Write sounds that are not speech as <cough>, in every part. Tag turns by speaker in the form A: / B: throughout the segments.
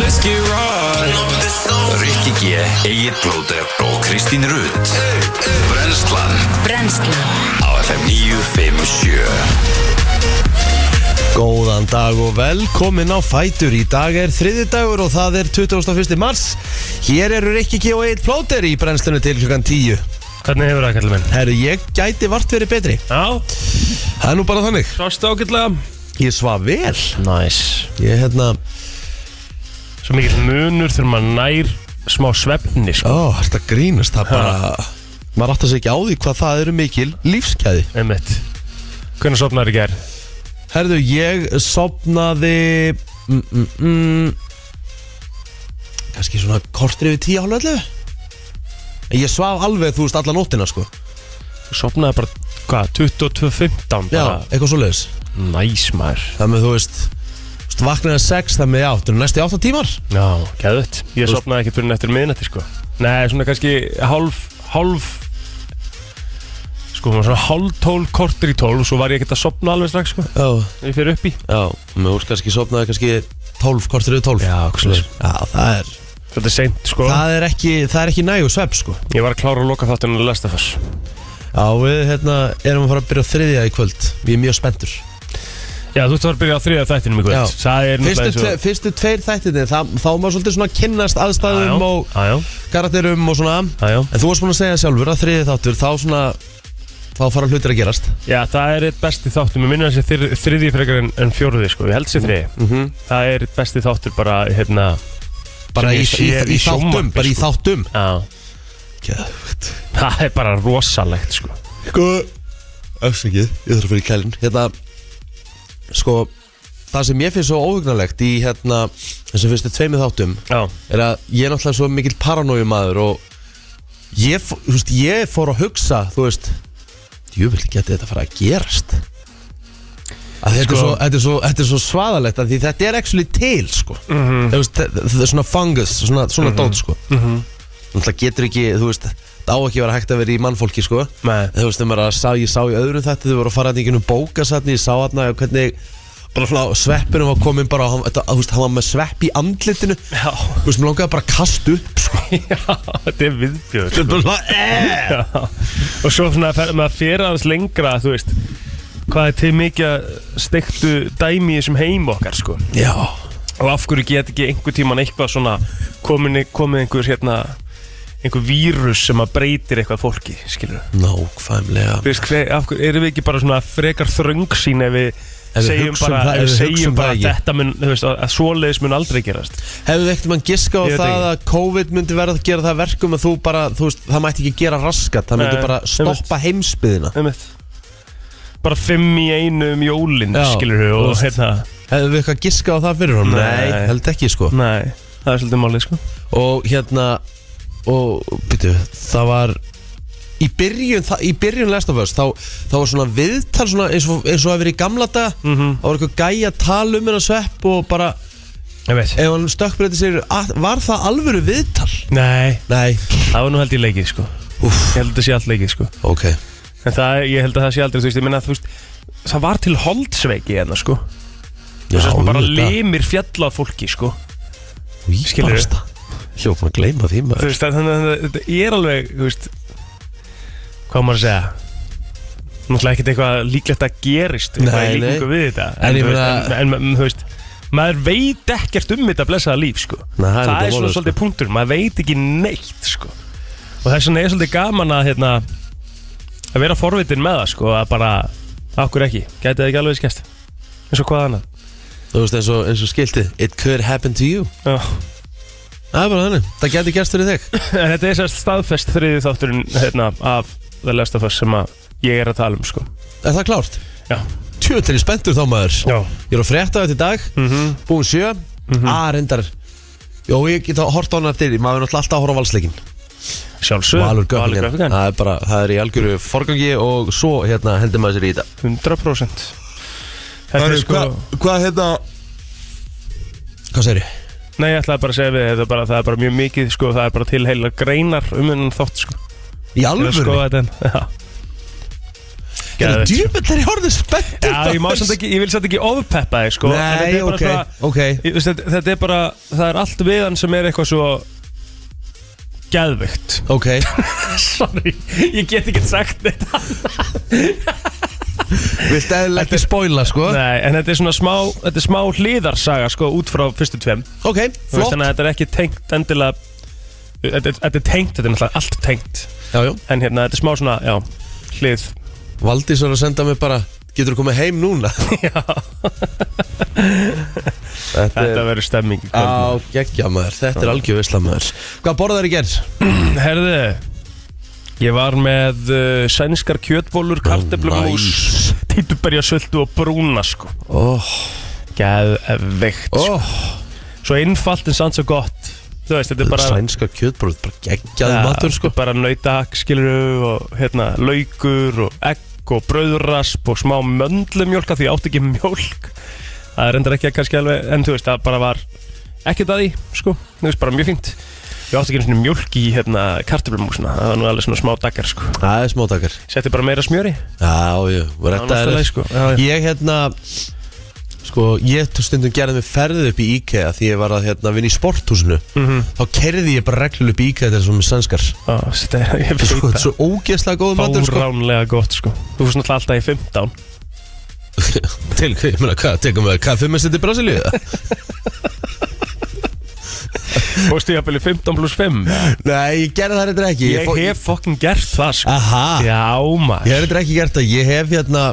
A: Let's get right
B: Rikki G, Egil Blóter og Kristín Rutt Brenslan
C: Brennslan
B: á FM 957
D: Góðan dag og velkomin á Fætur Í dag er þriði dagur og það er 21. mars Hér eru Rikki G og Eitt Plóter í brennslunni til klukkan 10
E: Hvernig hefur það, kallið minn?
D: Herru, ég gæti vart verið betri
E: Já,
D: Það er nú bara þannig
E: sást ágætlega
D: Ég svaf vel
E: Næs
D: Ég hérna
E: Svo mikill munur þegar maður nær smá svefni, sko
D: Ó, þetta grínast Það bara Maður átt að segja ekki á því hvað það eru mikil lífskeiði
E: Einmitt Hvernig sopnaður í gær?
D: Herðu, ég sopnaði mm, mm, mm, kannski svona kortir yfir tíu hálf allu Ég svaf alveg, þú veist, alla nóttina sko
E: Sopnaði bara, hvað, 22.15
D: Já, eitthvað svo leiðis
E: Næs maður
D: Það með, þú veist, þú veist, vaknaði sex, það með átt Næsti átta tímar
E: Já, gæðvett Ég sopnaði ekki fyrir eftir miðnætti, sko Nei, svona kannski hálf, hálf Sko, maður svona hálf tól, kortur í tól Og svo var ég ekkert að sopna alveg strax, sko
D: Já,
E: Ég fyrir upp í
D: já, með úr kannski sopnaði kannski tólf, kortir yfir tólf
E: Já, eitthvað svoleiðis.
D: Já, það er,
E: Þetta er seint, sko
D: það er ekki, það er ekki nægu svepp sko
E: Ég var að klára að loka þáttunum að lesta þess
D: Já, við, hérna, erum að fara að byrja á þriðja í kvöld Við erum mjög spenntur
E: Já, þú ert að fara að byrja á þriða þættinum í kvöld
D: Já.
E: Það er
D: Fyrstu,
E: eins og-
D: tve, fyrstu tveir þættinni, það, þá er maður svolítið svona að kynnast
E: Já,
D: aðstæðum og
E: já,
D: karakterum og svona
E: já, já.
D: En þú varst búin að segja sjálfur að þriði þáttur, þá svona, þá fara hlutir að gerast
E: já, það er eitt besti þáttur Mér minnir þessi þrið, þriði frekar en, en fjóruði sko. Ég held sér þriði
D: Mhm.
E: Það er eitt besti þáttur bara hérna,
D: Bara
E: Sem
D: í,
E: ég
D: í,
E: sé
D: í,
E: í
D: þáttum,
E: sjónvarpi,
D: bara í
E: sko.
D: þáttum
E: já,
D: Gæðvögt
E: Það er bara rosalegt sko.
D: Sko, öfsingið, ég þarf að fyrir kælinn Hérna, sko, það sem ég finnst svo óhugnalegt í hérna, þessum fyrstu tveimur þáttum
E: Já,
D: er að ég er náttúrulega svo mikill paranójumadur og ég, f- þú veist, ég fór að hugsa, þú veist, djúvill geti þetta fara að gerast. Að þetta,
E: Sko-
D: er svo, þetta, er svo, þetta er svo svaðalegt að því þetta er actually til, sko.
E: Mhm.
D: -hmm. veist, þetta, þetta er svona fungus, svona, svona dót, sko. Mm -hmm. Náttúrulega getur ekki, þú veist, það á ekki að vera hægt að vera í mannfólki, sko.
E: Nei.
D: Þú veist, þegar maður að sá, ég sá í öðru þetta, þau voru að fara að einhvern bókasatni, ég sá hérna hvernig bara svona sveppinum var komin bara, hann, þetta, þú veist, hann var með svepp í andlitinu
E: já,
D: Þú veist, mér langaði bara að kasta upp sko.
E: já Þetta er viðbjörn sko.
D: bara, eh.
E: Já. Og svo svona, fer, maður fyrir aðeins lengra Þú veist Hvað er til mikið að steiktu dæmi í þessum heim okkar sko.
D: Já
E: og af hverju get ekki einhver tíman eitthvað svona komin, komið einhver hérna einhver vírus sem að breytir eitthvað fólki, skilur
D: Nákvæmlega
E: við veist, hver, af hverju, erum við ekki bara svona frekar þröngsýn ef við
D: Ef við
E: segjum
D: hugsum
E: bara,
D: það-
E: ef
D: ef
E: við
D: við
E: segjum
D: hugsum
E: bara
D: það
E: að
D: ekki.
E: þetta mun, þú veist, að, að svoleiðis mun aldrei gerast
D: Hefðu ekkert mann giska á
E: Ég veit
D: það
E: ekki.
D: að COVID myndi verða að gera það að verkum að þú bara, þú veist, það mætti ekki gera raskat Það myndi
E: Nei,
D: bara stoppa heimsbyðina
E: Einmitt. bara fimm í einu um jólin
D: Já,
E: skilur við
D: þú
E: og
D: veist.
E: hérna,
D: Hefðu við eitthvað giska á það fyrir hún?
E: Nei.
D: held ekki sko
E: nei, það er svolítið málið sko
D: Og hérna, og byrju, það var Í byrjun, það, í byrjun Last of Us þá, þá var svona viðtal svona eins og, eins og að vera í gamla dag mm
E: Mhm.
D: -hmm. Það var eitthvað gæja tal um hennar svepp og bara
E: ég veit,
D: ef hann stökkbreyti sér að- var það alvöru viðtal?
E: nei,
D: Nei
E: það var nú held ég leikið sko
D: Úff,
E: ég held að sé allt leikið sko
D: ok
E: En það, ég held að það sé aldrei, þú veist, ég minna, þú veist, það var til holdsveiki hérna, sko.
D: Já,
E: Þess að bara
D: auðvitað.
E: limir fjalla af fólki, sko.
D: Í
E: skilurðu?
D: barasta. Hljópa að gleyma því
E: Þú
D: maður
E: veist, að- þannig að þetta er alveg, þú veist, hvað á maður að segja? Náttúrulega ekkert eitthvað líklegt að gerist, eitthvað
D: Nei,
E: í líkingu
D: nei.
E: við þetta.
D: En ég
E: þú veist,
D: meina-
E: en, en, þú veist, maður veit ekkert um þetta blessaða líf, sko.
D: Nei, það er
E: það,
D: nefnilega
E: er svona
D: málið, sko.
E: svolítið punktur, maður veit ekki neitt, sko. Og þess vegna er svolítið gaman að, hérna, að vera forvitin með það, sko, að bara, okkur ekki, gæti það ekki alveg skæst. Eins og hvað annað.
D: Þú veist eins og, eins og skiltið It could happen to you
E: Já.
D: Það er bara þannig Það geti gerst fyrir þig
E: <laughs> En þetta er sérst staðfest þriði þátturinn, hérna, af The Last of Us sem að ég er að tala um, sko.
D: Er það klárt?
E: Já.
D: Tjóttir í spenntur þá maður
E: Já. Mhm.
D: Ég er að frétta þetta í dag mm -hmm. Búin sjö mm reyndar Jó, ég get að horta á hana eftir Maður er náttúrulega alltaf að horfa á valsleikin
E: Sjálfsög.
D: Valur
E: Göfningin.
D: göfningin Það er bara, það er í algjöru forgangi Og svo hérna hendur maður sér í þetta
E: 100%. Þetta er sko...
D: hvað hérna Hvað segir ég?
E: Nei, ég ætlaði bara að segja við, þetta er bara, það er bara mjög mikið, sko, það er bara til heila greinar um hennan þátt, sko.
D: Í
E: Ég er að
D: alvöru?
E: skoða þetta, en- já.
D: Það er
E: geðveikt, sko.
D: djúpill er ég horfðið spennt
E: Já, ég, má samt ekki, ég vil samt ekki ofpeppa þig sko, en þetta
D: Nei,
E: er bara
D: ok,
E: svona-
D: ok
E: Ég veist, þetta, þetta er bara, það er allt við hann sem er eitthvað svo geðvögt
D: Ok,
E: <laughs> Sorry, ég get ekki sagt þetta
D: viltu eða ekki spoila sko
E: Nei, en þetta er svona smá, þetta er smá hlýðarsaga sko út frá fyrstu tveim Þú
D: Ok,
E: veist,
D: flott
E: Þannig að þetta er ekki tengt endilega Þetta, er- þetta er tengt, þetta er náttúrulega allt tengt
D: Já, já,
E: En hérna, þetta er smá svona, já, hlið
D: Valdís var að senda mig bara Getur þú komið heim núna?
E: <laughs> Já,
D: Þetta
E: þetta verður stemming í kvöld.
D: Á, geggja maður, þetta er algjör veisla maður Hvað borðar í gerð?
E: <clears throat> Herðu, ég var með uh, sænskar kjötbólur, karteblumús
D: Næs.
E: Títuberja og brúna sko
D: Óh,
E: Geðveikt sko.
D: óh
E: Svo einfalt en samt svo gott Þú veist, þetta er bara
D: Sænska kjötbrúð, bara geggjaði
E: Ja,
D: matur sko
E: þetta er Bara nautak, skilur og hérna, laukur og egg og brauðrasp og smá möndlumjólk af Því ég átti ekki mjólk Það er endur ekki kannski alveg En þú veist, það bara var ekkert að því sko Þú veist, bara mjög fínt Ég átti ekki einu sinni mjólk í hérna, karteblumúsina Það var nú alveg svona smá daggar sko
D: Það er smótakar
E: Setti bara meira smjöri
D: Já, já, og
E: Það var
D: þetta
E: náttúrulega
D: er
E: sko Já, já.
D: Ég hérna Sko, ég til stundum gerði mig ferðið upp í IKEA Því ég var að hérna vinna í sporthúsinu Þá kerði ég bara reglul upp í IKEA Þetta er svona með sænskar
E: Mhm. Já, þetta er- ég veit
D: Sko,
E: það.
D: þetta er svo ógeðslega góð matur sko
E: Fáránlega gott sko Þú fórst náttúrulega alltaf í 15
D: <laughs> Til, ég meina, hvað, tekum við kaffimestit í Brasilíu?
E: <laughs> Fórstu ég að byrja 15 pluss 5
D: Nei, ég gerði það reyndar ekki
E: Ég
D: fó-
E: hef fokkin gert það sko
D: Aha,
E: Já
D: ég
E: maður
D: hef reyndar ekki gert það Ég hef hérna,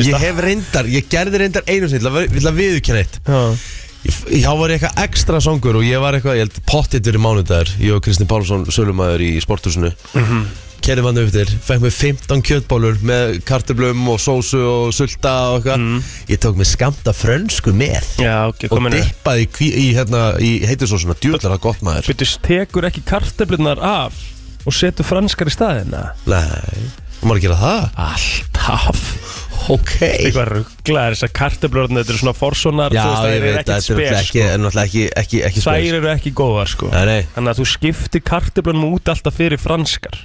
D: ég
E: það?
D: hef reyndar Ég gerði reyndar einu sinni, ég ætla að- ég ætla að viðurkenna eitt
E: Já.
D: Ég- Já var ég eitthvað ekstra songur og ég var eitthvað, ég held pottittur í mánudagur Ég og Kristinn Pálsson, sölumæður í sporthúsinu mm -hmm. Kerði mann upp til, fekk mér 15 kjötbólur með kartöblum og sósu og sulta og eitthvað
E: Mm.
D: Ég tók mér skamta frönsku með
E: Já ok,
D: og
E: komin er
D: dippaði í, kví- í, hérna, í heitisósuna, djúðlar það gott maður
E: Byttu tekur ekki karteflunar af Og setur franskar í staðina
D: Nei, þú maður að gera það
E: Alltaf
D: Ok
E: Eitthvað ruggla er þess að karteflunar Þetta eru svona forsonar
D: Já,
E: þú veist, þær
D: ég
E: eru
D: veit
E: ekkert
D: að þetta er
E: spes,
D: náttúrulega ekki,
E: sko.
D: er náttúrulega ekki, ekki, ekki spes
E: Þær eru ekki góðar sko
D: Nei, nei,
E: Þannig að þú skiptir karteflunum út alltaf fyrir franskar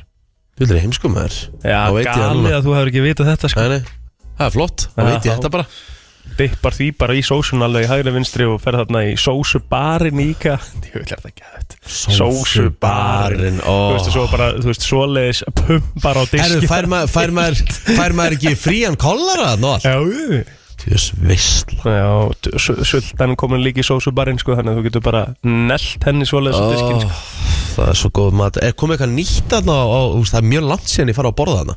D: þú er heimskum maður
E: Já,
D: Þá veit ég það
E: galið
D: núna.
E: að þú hefur ekki vitað þetta sko
D: Nei, nei, það er flott, þá
E: Já,
D: veit ég
E: þá-
D: þetta bara
E: dippar því bara í sósun alveg í hægri vinstri og fer þarna í sósubarinn <laughs> líka ég vil hérna ekki að þetta
D: Sósubarinn, ó.
E: þú veist svo bara þú veist svoleiðis pumpar á
D: Erðu,
E: diski
D: fær, ma fær, maður, fær maður ekki frían kollara nú allt?
E: já jú.
D: Tjus, veistla
E: já t- su- sultan komin líka í sósubarinn sko þannig að þú getur bara nelt henni svoleiðis á diskin sko.
D: Það er svo góð mat Er komið eitthvað nýtt aðna á, á, úst, það er mjög langt síðan ég fara að borða þarna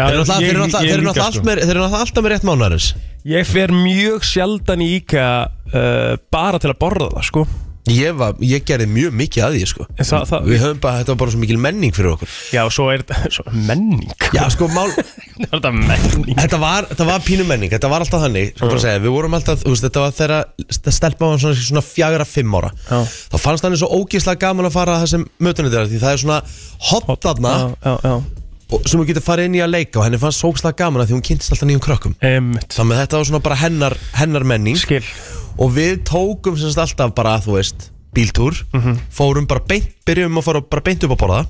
D: Þeir eru náttúrulega- þeir
E: ég-
D: eru náttúrulega
E: ég
D: þeir eru
E: líka,
D: náttúrulega allt
E: sko.
D: með- þeir eru náttúrulega alltaf með rétt mánarins
E: ég fer mjög sjaldan í IKEA uh, bara til að borða það sko
D: Ég, var, ég gerði mjög mikið að því sko.
E: En það- það-
D: Við höfum bara, þetta var bara svo mikil menning fyrir okkur
E: já og svo er þetta- <laughs> svo menning
D: Já sko, mál,
E: það er <laughs> þetta menning
D: þetta, var, þetta var pínu menning Þetta var alltaf þannig, sko bara segja Við vorum alltaf, þú veist, þetta var þegar Stelpa var svona, svona fjagra fimm ára
E: Já.
D: Þá fannst hann eins og ógeðslega gaman að fara að þessum mötunni þeirra Því það er svona hot þarna
E: já já já
D: og sem hún getur farið inn í að leika og henni fannst sókslega gaman að því hún kynntist alltaf nýjum krökkum
E: Einmitt.
D: þannig að þetta var svona bara hennar, hennar menning
E: skil
D: og við tókum semst alltaf bara þú veist bíltúr,
E: Mhm.
D: fórum bara beint byrjum að fara bara beint upp að borða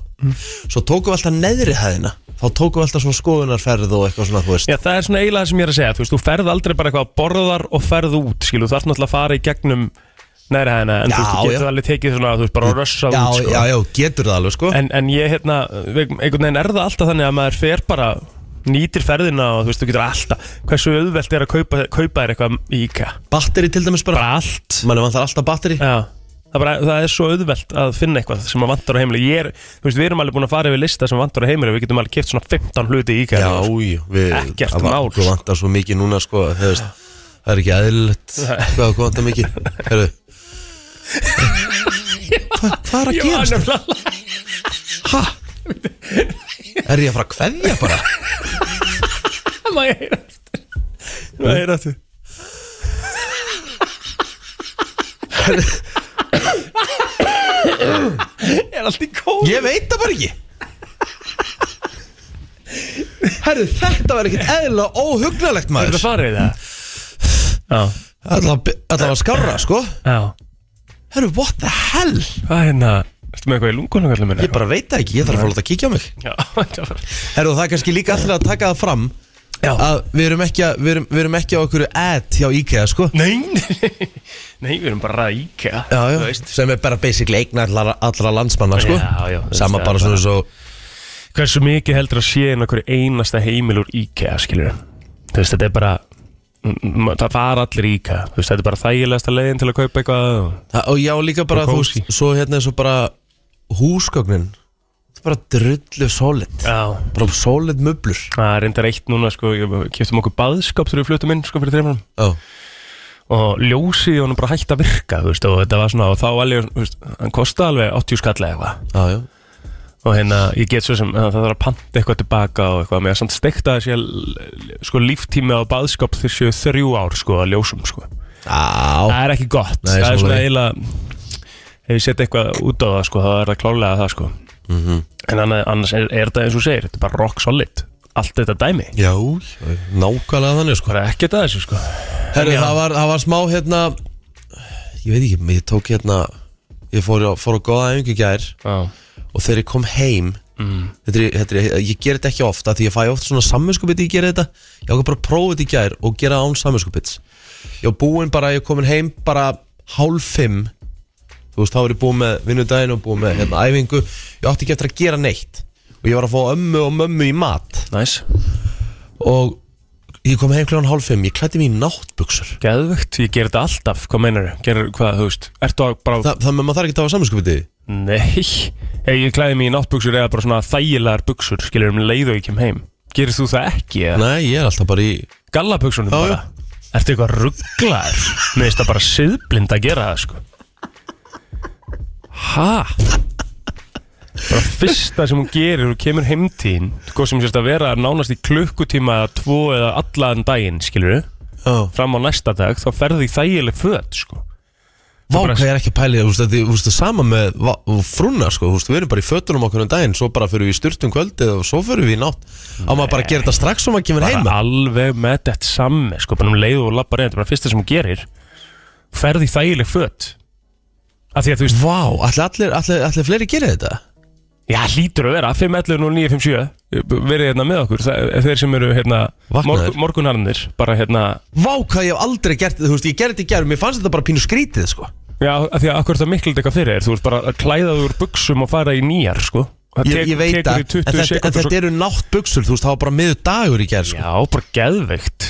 D: svo tókum við alltaf neðri hæðina þá tókum við alltaf svona skoðunarferð og eitthvað svona þú veist
E: Já, það er svona eiginlega það sem ég er að segja, þú veist, þú ferð aldrei bara eitthvað borðar og ferð út, skilu, þú þarf náttúrulega að fara í gegnum næri hæðina, en þú veist,
D: Já,
E: þú
D: já.
E: getur
D: Mm.
E: alveg tekið svona, þú veist, bara að rössa
D: já,
E: út, sko.
D: já, já, getur það alveg sko
E: En, en ég, hérna, einhvern veginn er það alltaf þannig að maður fer bara, nýtir ferðina og þú veist, þú getur alltaf, hversu auðvelt er að kaupa, kaupa þér eitthvað í IKEA,
D: batteri til dæmis bara,
E: bara allt,
D: mann vantar alltaf batteri
E: já. Það, bara, það er svo auðvelt að finna eitthvað sem maður vantar á heimili Ég er, þú veist, við erum alveg búin að fara yfir lista sem vantar á heimili Við getum alveg keft svona 15 hluti í IKEA sko.
D: já, já, við
E: Ekkert
D: það var-
E: mál,
D: okkur
E: sko.
D: vantar svo mikið núna sko þú veist, það er ekki aðlilegt hvað okkur vantar mikið Heru, Hva, hvað er að
E: Já,
D: gerast?
E: nefnilega.
D: Er ég að fara að kveðja bara?
E: <laughs> Má ég heyra aftur Má ég heyra aftur Er allt í góð
D: Ég veit það bara ekki Herru, þetta var ekkert eðlilega óhugnalegt
E: Er þetta
D: maður
E: farið það? Já
D: Alltaf að skarra, sko
E: Já
D: Herru, what the hell?
E: Hvað er hérna? Ertu með eitthvað í lungunum kallum minna?
D: Ég bara veit það ekki, ég þarf að fóla þetta að kíkja á mig
E: Já <laughs> þetta var-
D: Herru, það er kannski líka alltaf að taka það fram
E: Já.
D: að við erum ekki, að, við erum, við erum ekki á okkur ad hjá IKEA sko
E: Nei, nei, nei, við erum bara að ræða IKEA
D: já,
E: þú
D: já,
E: veist.
D: sem er bara basically eigna allra, allra landsmanna sko
E: Já, já, þú veist,
D: sama
E: það
D: bara
E: er
D: svona
E: bara-
D: svo
E: Hversu mikið heldur að sé inn okkur einasta heimil úr IKEA, skilur Þú veist, þetta er bara m- m- Það fara allir í IKEA Þú veist, þetta er bara þægilegasta leiðin til að kaupa eitthvað
D: og já líka bara
E: Og
D: þú
E: kósí.
D: veist svo hérna svo bara húsgögnin það er bara drullu solid
E: Já
D: bara solid möblur
E: Það er reyndar eitt núna, sko, kjöftum okkur baðskap þegar við fluttum inn, sko, fyrir þreifnum
D: já,
E: og ljósið í honum bara hægt að virka, þú veist, og þetta var svona, og þá alveg, þú veist, hann kostaði alveg 80 skall eða eitthvað
D: já, já,
E: og hérna ég get svo sem að það þarf að panta eitthvað tilbaka og eitthvað með að samt stekta þessi að, sko líftími á baðskap þessu þrjú ár sko að ljósum sko
D: já.
E: það er ekki gott,
D: Nei,
E: það er svona
D: sammála því.
E: eiginlega ef ég setja eitthvað út á það sko þá er það klárlega það sko
D: Mhm.
E: en annað, annars er, er þetta eins og þú segir, þetta er bara rock solid allt þetta dæmi,
D: já nákvæmlega þannig sko
E: bara ekkert að þessu sko
D: Herru,
E: Já.
D: það var, það var smá hérna Ég veit ekki, ég tók hérna Ég fór á, fór á góða æfingu í gær
E: Já, Mm.
D: Og þegar ég kom heim þetta er, þetta er, Ég ger þetta ekki ofta Því ég fæ oft svona samvinskupið Ég gera þetta, ég ákveð bara að prófa þetta í gær Og gera án samvinskupið Ég var búinn bara, ég var komin heim bara Hálf fimm Þú veist, þá var ég búinn með vinnudaginn og búinn með hérna, æfingu Ég átti ekki eftir að gera neitt Og ég var að fá ömmu og mömmu í mat
E: næs,
D: Og ég kom heim kljóðan hálf fimm Ég klætti mér í náttbuxur
E: geðvögt, ég ger þetta alltaf hvað meinar, gerir hvað, þú veist ertu að bara,
D: Þa, það með maður þarf ekki að hafa samvinskupið
E: Nei, hey, ég klæði mig í náttbuksur eða bara svona þægilegar buksur, skilur um leið og ég kem heim. Gerir þú það ekki? Eða?
D: Nei, ég er alltaf bara í
E: Gallabuksunum
D: Já,
E: bara? Ertu eitthvað rugglar? Mér finnst það bara siðblind að gera það, sko. Ha? Bara fyrsta sem hún gerir, hún kemur heimtíðin, hvað sem sérst að vera nánast í klukkutíma eða tvo eða allan daginn, skilur
D: Já.
E: fram á næsta dag, þá ferði þægileg föt, sko.
D: Vá,
E: bara-
D: hvað ég er ekki að pæli Þú veist, þetta er- þú veist, sama með va- frúna sko, þú veist, Við erum bara í fötunum okkur um daginn Svo bara fyrir við í styrtum kvöldið og svo fyrir við í nátt Á maður bara að gera þetta strax og maður kemur heima
E: bara alveg með þetta samme sko, bara um leið og lappa reynd, bara fyrsta sem hún gerir ferði þægileg fött af því að þú veist,
D: Vá, allir, allir, allir, allir fleiri gera þetta
E: já hlýtur að vera 511 og 957 verið hérna með okkur, það, þeir sem eru hérna
D: Vaknaðir.
E: morgun, morgunarnir, bara hérna
D: Vá, hvað ég hef aldrei gert þetta Þú veist, ég gerði þetta í gerð Mér fannst þetta bara pínu skrítið sko.
E: já, af því að akkur það miklu eitthvað fyrir þér, þú veist bara að klæða þú úr buksum og fara í nýjar, sko Það
D: ég, ég veit
E: tekur
D: að
E: í
D: En
E: 20
D: þetta, en
E: sekúndur svo-
D: þetta eru nátt buksur Þú veist, það var bara miður dagur í gerð sko.
E: Já, bara geðveikt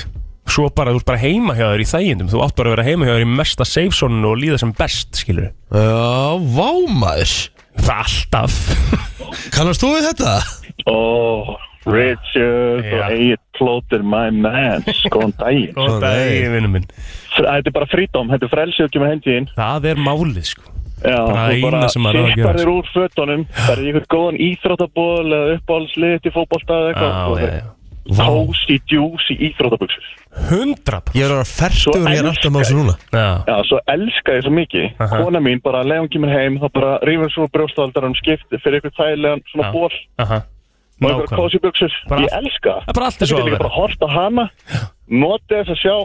E: Svo bara, þú ert bara heima hjá þér í þægindum Þú átt bara að vera heima hjá þér í mesta safe zone og líða sem best, skilur
D: Já, vá maður
E: Það er alltaf
D: <laughs> Kannast þú við þetta?
F: Oh, Richard
E: Já.
F: og Egil Plóter, my man, góðan daginn.
E: Góðan daginn, vinnu minn
F: Þetta er bara frítóm, þetta er frelsið að kemur hendi þín.
E: Það er málið, sko
F: Já,
E: Bara
F: þú
E: eina sem maður á að gera, sko.
F: fiskar þér úr fötunum, það er einhvern góðan íþróttaból eða uppáhaldsliðt í fótbolta eða eitthvað.
E: Já, já,
F: já. Kósi, djúsi, íþróttabuxur.
E: Hundra
D: Ég er að vera fertugur og ég er alltaf maður sem núna
E: Já,
F: Já, svo elska ég svo mikið.
E: Aha.
F: Kona mín, bara leið hún kemur heim, þá bara rífur svo brjóstaldarum skipti fyrir einhvern þægilegan svona
E: Já.
F: ból
E: aha
F: og einhvern
E: Nákvæm
F: kósi buxur.
E: Bara
F: Ég
E: allt-
F: elska
E: Það er bara allt
F: Ég
E: eins og
F: get
E: að
F: líka bara
E: vera
F: að horta hana Noti þess að sjá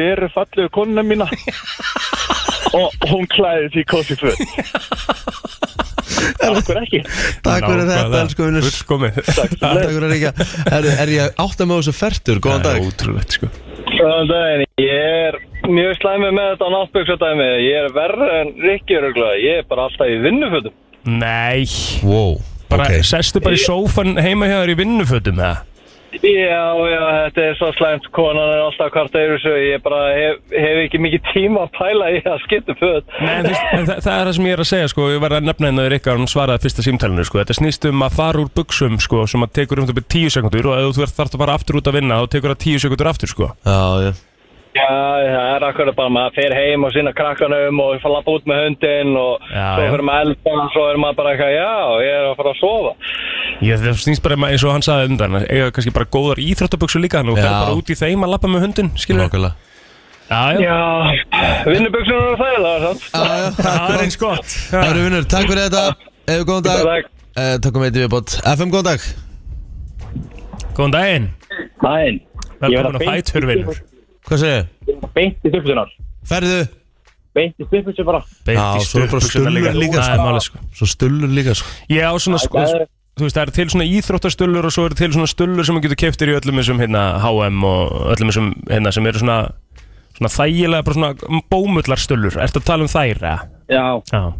F: Beru fallegu konuna
E: <laughs>
F: mína Og hún klæði því kósi föt Akkur ekki
D: Takk fyrir þetta, elsku vinnur
E: Gull komið Það
D: <laughs> Takk fyrir að ríkja Er, er ég átt að með þessu fertur, góðan
E: er
D: dag
E: ótrúlegt, sko
B: Góðan daginn, ég er mjög slæmið með þetta náttböksadæmi, ég er verra en Rikki öruglega, ég er bara alltaf í vinnufötum.
E: Nei
D: Wow,
E: Bara,
D: ok
E: sestu bara í sófan heima hjá þér í vinnufötum, eða?
B: Já, já, þetta er svo slæmt, konan er alltaf hvart eður þessu, ég bara hef, hef ekki mikið tíma að pæla í að skipta um föt.
E: Nei, þú veist, en þa það er það sem ég er að segja sko, ég var að nefna hennar Rikka og hún svaraði fyrsta símtælinu sko, þetta snýst um að fara úr buksum sko, sem að tekur um þetta byrja tíu sekundur og ef þú ert þarft að fara aftur út að vinna þá tekur það tíu sekundur aftur sko
D: Já, já
B: Já, það er akkur bara maður fer heim og sína krakkanum og fara að lappa út með hundin og
E: Já,
B: svo
E: já.
B: fyrir maður að elda og svo er maður bara eitthvað, já, ég er að fara að sofa.
E: Ég, það snýst bara um að- eins og hann sagði undan að eiga kannski bara góðar íþróttaböksu líka þannig að þú
D: Já.
E: fer bara út í þeim að lappa með hundin skilur við?
D: Nákvæmlega
E: Já, já,
B: Já, vinnuböksunum eru þægilega, sant?
D: Já, já,
E: það er
D: takk
E: eins gott
D: Það eru vinnur, takk fyrir þetta Eða góðan dag
B: Takk.
D: Eh, Takkum eitt í viðbót FM, góðan dag
E: Góðan daginn,
B: Næn,
E: velkomin á fætur vinnur
D: Hvað segir þið?
B: beint í stuppusunar.
D: Ferðu?
B: beint í stippelsu bara
E: Beint
D: Já,
E: í
D: svo er bara
E: stuttbuxurnar
D: stullur líka,
E: Það er málið sko
D: Svo stullur líka, sko
E: Ég á svona sko,
B: það er-
E: þú veist, það eru til svona íþróttastullur og svo eru til svona stullur sem maður getur keftir í öllum þessum hérna HM og öllum þessum hérna sem eru svona, svona þægilega, bara svona bómullarstullur. Ertu að tala um þær, eða?
G: Já,
E: Já.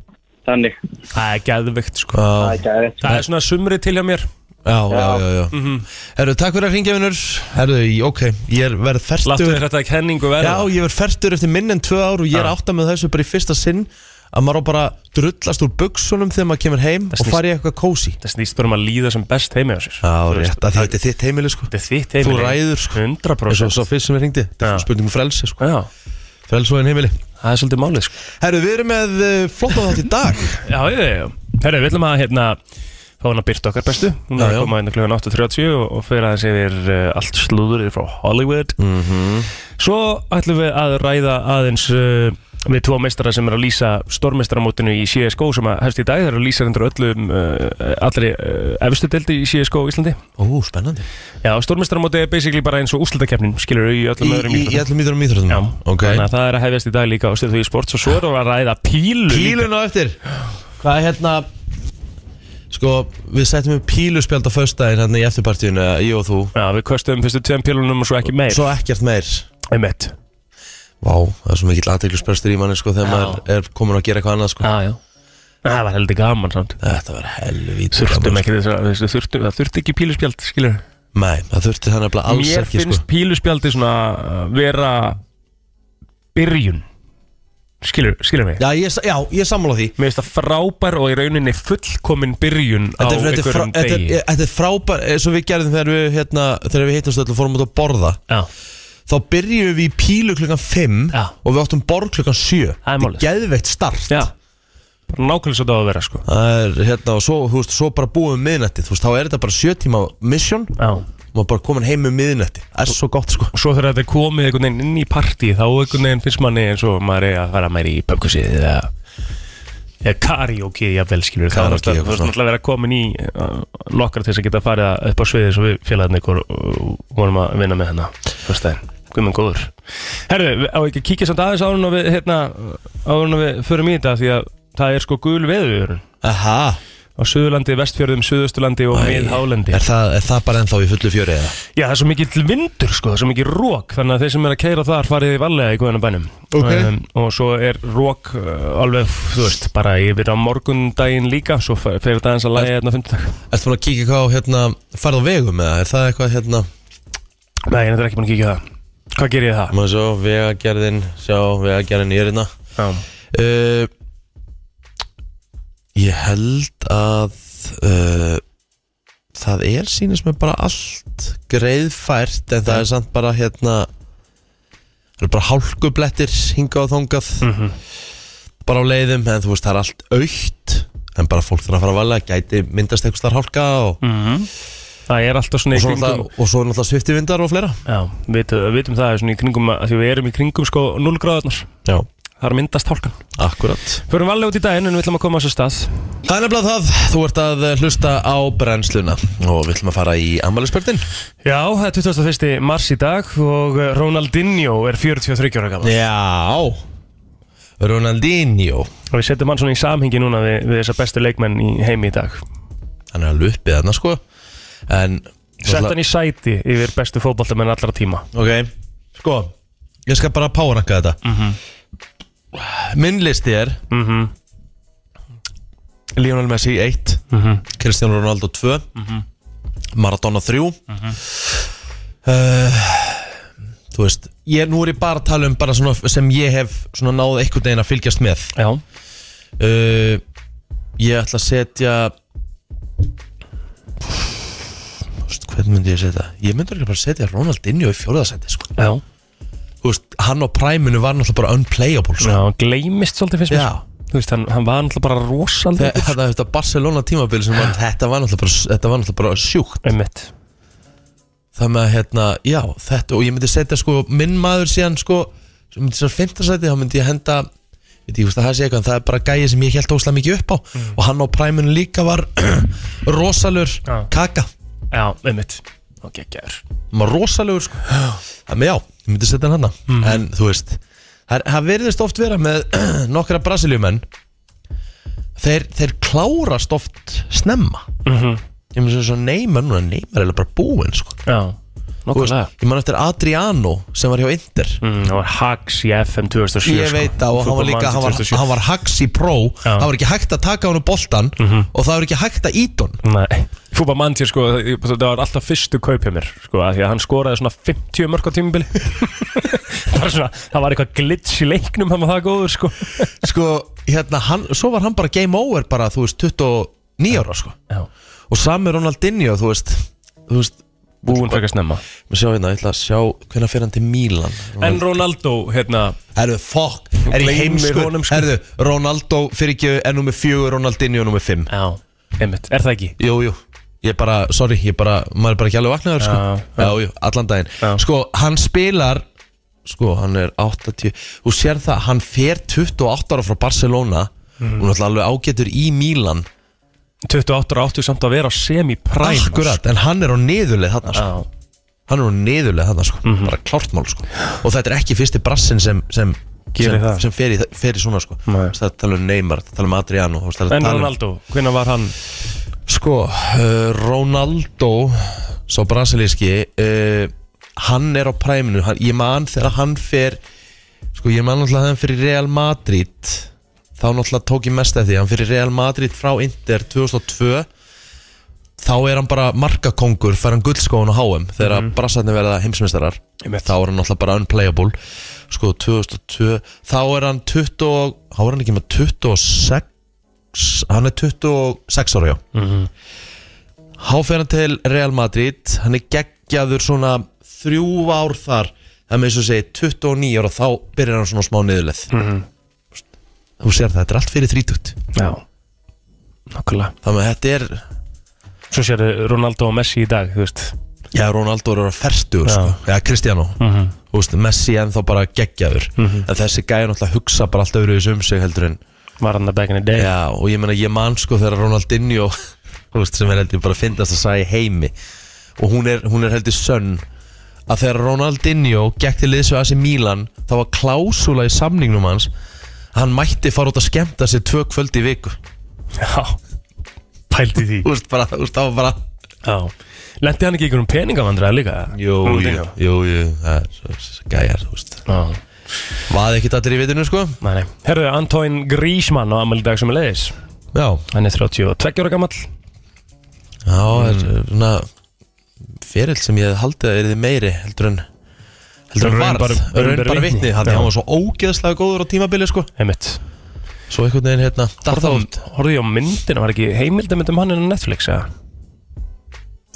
G: þannig
E: Það er geðvikt, sko.
D: Já,
G: Það er gæðið
E: Það er svona sumrið til hjá mér. Mhm.
D: já, já, já, já. Herru, takk fyrir að hringja vinnur Herru, í- ok, ég er verið
E: Láttu
D: fertur
E: þér þetta kenningu verða.
D: Já, ég verið fertur eftir minn en tvö ár og ég er átta með þessu bara í fyrsta sinn að maður á bara að drullast úr buksunum þegar maður kemur heim og
E: snýst-
D: fari í eitthvað kósi
E: Það snýst bara um að líða sem best heimi á sér.
D: Já,
E: Þú veist,
D: rétt, af því þetta er þitt heimili sko
E: Þetta er þitt heimi.
D: Þú ræður, sko. Eins
E: 100%.
D: og svo fyrst sem ég hringdi, þetta
E: Já.
D: er spurning um frelsi sko
E: Já,
D: Frelsóin heimili
E: það er svolítið málið, sko.
D: Herru, við erum með uh, flottan þátt í dag
E: Já, já, já. Herru, við ætlum að hérna fá hann að byrta okkar bestu. Hún
D: Já,
E: er
D: já.
E: að koma hérna klugan 8.30 og, og fyrir aðeins yfir uh, allt slúðurðið frá
D: Mm.
E: Hollywood.
D: Mhm.
E: Svo ætlum við að ræða aðeins uh, við tvo meistara sem er að lýsa stormeistaramótinu í CSGO sem að hefst í dag. Það eru að lýsa hendur öllum uh, allri uh, efstu deldi í CSGO Íslandi.
D: Ó, spennandi
E: Já, stormeistaramóti er basically bara eins og úrslitakeppnin, skilur við í
D: Í,
E: öllum öðrum
D: í, í
E: íþróttum.
D: allum íþjóðum íþjóðum
E: Já,
D: ok
E: þannig að það er að hefjast í dag líka á stöðu í sport og svo erum við að ræða pílu líka.
D: Pílun á eftir Hvað er hérna Sko, við settum við píluspjald á föstudaginn hérna í eftirpartíinu, eða ég og þú
E: Já, við köstum fyrstu tveim pílunum og svo ekki meir
D: Svo ekkert meir
E: Einmitt
D: Vá, það er svo mikill aðteglisbrestur í manni sko þegar
E: Já.
D: maður er komin að gera eitthvað annað sko
E: Já, já Það var heldur gaman samt
D: Þetta var helvítið
E: Þurftum
D: gaman,
E: ekki þess að þessu þurftum, Það þurfti ekki píluspjald, skilur
D: sko. Nei, það þurfti þannig að alls
E: Mér
D: ekki
E: finnst
D: sko
E: píluspjaldi svona uh, vera byrjun Skilur, skilur mig
D: Já, ég, já, ég sammála því
E: Mér finnst það frábær og í rauninni fullkomin byrjun á
D: Þetta er, þetta, er frá,
E: einhverjum
D: þetta,
E: degi
D: er, þetta er frábær, eins og við gerðum þegar við, hérna, þegar við hittumst öll og fórum út að borða
E: Já,
D: Þá byrjum við í pílu klukkan 5
E: Já.
D: og við áttum borð klukkan 7
E: Það er
D: Þetta
E: málið.
D: er geðveikt start
E: já Bara nákvæmlega svo það á að vera, sko
D: Það er hérna og svo, þú veist, svo bara búum við miðnætti Þú veist, þá er þetta bara sjö tíma mission og
E: Já
D: maður bara komin heim um með miðnætti Það er svo gott sko
E: Og svo þegar þetta er komið einhvern veginn inn í partí þá einhvern veginn finnst manni eins og maður er að fara meiri í pöpkusið eða eða karaoke, jafnvel skilur þá er
D: Karaoke,
E: náttúrulega
D: eitthvað
E: þú ert
D: svona.
E: náttúrulega að vera komin í uh, nokkra til þess að geta farið að- upp á sviðið svo við félagarnir ykkur uh, vorum að vinna með hennar fyrst daginn, guðmenn góður Herðu, við- á ekki að kíkja samt aðeins árun og við hérna, árun og við förum í þetta því að það er sko gul veður
D: Aha,
E: á Suðurlandi, Vestfjörðum, Suðusturlandi og Miðhálendi
D: er það, er það bara ennþá í fullu fjöri eða?
E: Já, það er svo mikill vindur sko, það er svo mikill rók þannig að þeir sem er að keira þar farið í valega í guðanum bænum Um,
D: Ok.
E: og svo er rók uh, alveg, þú veist, bara yfir á morgundaginn líka svo fer fer þetta eins að lægja hérna á fymtudag
D: Ertu búin að kíkja hvað á hérna farð á vegum eða? Er það eitthvað hérna?
E: Nei, ég er ekki búin að kíkja á það Hvað ger ég það?
D: Má svo, vegagerðin, sjá, vegagerðin ég er hérna
E: Já,
D: uh, Ég held að uh, það er sýnist mér bara allt greiðfært en það er samt bara hérna það eru bara hálkublettir hingað og þongað
E: Mhm.
D: bara á leiðum en þú veist það er allt aukt en bara fólk þarf að fara að vala gæti myndast eitthvað þar hálka og,
E: Mm-hmm. það er alltaf Mhm.
D: og,
E: svona
D: svo,
E: í kringum
D: náttúrulega- og svo er náttúrulega sviftivindar og fleira
E: Já, við vitum það er svona í kringum að því við erum í kringum sko 0 gráðarnar
D: Já,
E: Það er að myndast hálkan
D: akkurat
E: Förum valega út í daginn en við ætlum að koma á svo stað
D: Það er nefnilega það, þú ert að eh, hlusta á brennsluna og við ætlum að fara í ammælisbörnin
E: Já, það er 21. mars í dag og eh, Ronaldinho er 43 ára gammal
D: Já Ronaldinho
E: og við setjum hann svona í samhengi núna við, við þessa bestu leikmenn í heimi í dag
D: Hann er að lupið þarna sko En
E: sett hann í sæti yfir bestu fótballtamenn allra tíma
D: Ok, sko Ég skal bara powerranka þetta Minn listi er
E: mm
D: Lionel Messi 1 Cristiano Ronaldo 2 Maradona 3 uh, Þú veist ég, Nú er ég bara að tala um bara svona, sem ég hef svona náð einhvern veginn að fylgjast með
E: Já,
D: uh, Ég ætla að setja Þú veist, Hvernig myndi ég setja? Ég myndi ekki bara setja Ronaldinho í fjóruðasendi sko.
E: já,
D: Þú veist, Hann á præminu var náttúrulega bara unplayable
E: já,
D: sko.
E: hann gleymist svolítið fyrst mér
D: Já.
E: Þú veist, hann, hann var náttúrulega bara
D: Þe-
E: rosalega
D: Þetta, þetta Barcelona tímabil sem
E: <laughs>
D: var, þetta var náttúrulega bara, þetta var náttúrulega bara sjúkt
E: Einmitt,
D: Það með að hérna, já, þetta Og ég myndi setja sko, minn maður síðan sko sem myndi sér fimmtarsæti, þá myndi ég henda Veit ég, þú veist að það sé eitthvað, en það er bara gæði sem ég held óslega mikið upp á
E: Mm.
D: Og hann á præminu líka var <clears throat> rosalur
E: Já.
D: kaka
E: já, einmitt Og geggjær
D: maður rosalegur sko Þannig já, ég myndi setja hann hann
E: Mm.
D: En þú veist, það það virðist oft vera með <clears throat> nokkra
E: Mhm.
D: brasiljumenn þeir, þeir klárast oft snemma ég með svo neymar núna, neymar er eiginlega bara búinn sko.
E: Já,
D: Þú veist,
E: nokkulega
D: ég man eftir Adriano sem var hjá Inter
E: Mm, Það var Hags í FM 2007
D: ég
E: sko.
D: veit það og hann var líka hann var,
E: Football Manager
D: hann var hax í pró
E: Já.
D: það var ekki hægt að taka hann úr boltan
E: Mm.
D: og það var ekki hægt að ít hann
E: 2007. Nei Fútbol Manager sko, það var alltaf fyrstu kaup hjá mér sko, af Því að hann skoraði svona 50 mörg á tímubili Bara svona, <laughs> það var eitthvað glitch í leiknum Hann var það góður sko
D: <laughs> sko, hérna, hann, svo var hann bara game over bara, þú veist, 29 ára sko.
E: Já.
D: og sami Ronaldinho þú veist, þú veist
E: Búin frekar snemma
D: við sjá hérna, ég ætla að sjá hvernig fyrir hann til Mílan
E: En Ronaldo, hérna
D: Herðu, fokk, er ég
E: Gleymir
D: heimsku
E: honum, sko.
D: Herðu, Ronaldo fyrir ekki er nummer fjögur, Ronaldinho nummer fimm
E: Já, einmitt, er það ekki?
D: Jú, jú, ég bara, sorry, ég bara maður er bara ekki alveg vaknaður, sko
E: Já,
D: Já, jú, allan daginn
E: Já.
D: Sko, hann spilar Sko, hann er 80 Þú sér það, hann fer 28 ára frá Barcelona Hún er alltaf alveg ágætur í Mílan
E: 28 ára áttu samt að vera semi-prime
D: Akkurat, en hann er á niðurleið þarna, sko
E: Já, Mhm.
D: Hann er á niðurleið þarna, sko Bara klárt mál, sko Og þetta er ekki fyrsti brassin sem, sem
E: Gerir
D: sem,
E: það.
D: sem fer, í, fer í svona sko
E: Nei.
D: það tala um Neymar, það tala um Adriano þú veist, það er að
E: en
D: tala um-
E: Ronaldo, hvenær var hann?
D: Sko, uh, Ronaldo Svo brasilíski uh, Hann er á præminu hann, Ég man þegar hann fer Sko, ég man náttúrulega þegar hann fyrir Real Madrid Þá náttúrulega tók ég mest eftir því Hann fyrir Real Madrid frá Inter 2002 Þá er hann bara markakongur Fær hann guldskóðun á HM Þegar mm brassarnir verða heimsmeistarar
E: Mhm. Einmitt.
D: Þá er hann náttúrulega bara unplayable Sko, 2002 Þá er hann 20 og- Þá er hann ekki með 26 Hann er 26 ára, já
E: Mhm.
D: Háferðan til Real Madrid Hann er geggjaður svona þrjú ár þar Það með þess að segja 29 ára þá byrjar hann svona smá niðurleð
E: Mhm.
D: Þú sér það, þetta er allt fyrir 30
E: Já, nokkulega
D: Þannig að þetta er,
E: Svo sérðu Ronaldo og Messi í dag, þú veist
D: já Ronaldo er að ferstu sko. Já, Cristiano
E: Mhm.
D: Þú veist, Messi ennþá bara geggjaður En þessi gæði náttúrulega hugsa bara allt öðru um sig heldur en
E: Var hann að back in the day
D: Já, og ég meina ég man sko þegar Ronaldinho <laughs> þú veist, sem er heldur bara að fyndast að sagja heimi og hún er, hún er heldur sönn að þegar Ronaldinho gekk til liðs við AC Milan þá var klásula í samningnum hans að hann mætti fara út að skemmta sér tvö kvöld í viku
E: Já, pældi því
D: Þú veist, bara, þú veist, það var bara
E: Já, lendi hann ekki í einhverjum peningavandræða líka?
D: Jú, jú,
E: Ronaldinho?
D: jú, jú það er svo- svo gæjar, þú veist
E: Já,
D: Vaði ekkert allir í vitinu, sko
E: nei, nei Herðu, Antoine Griezmann á ammæli í dag sem er leiðis
D: Já,
E: Hann er 32 ára gamall Mm.
D: já, er svona ferill sem ég hefði haldið að er meiri heldur en heldur en
E: Raun
D: varð,
E: bara- raun
D: raun
E: bara
D: bara
E: vitni.
D: vitni hann
E: Já.
D: hann var svo ógeðslega góður á tímabili sko
E: Einmitt
D: svo einhvern veginn hérna datt á út
E: Horfðu ég á myndina, var ekki heimildamind um hann en á Netflix, eða?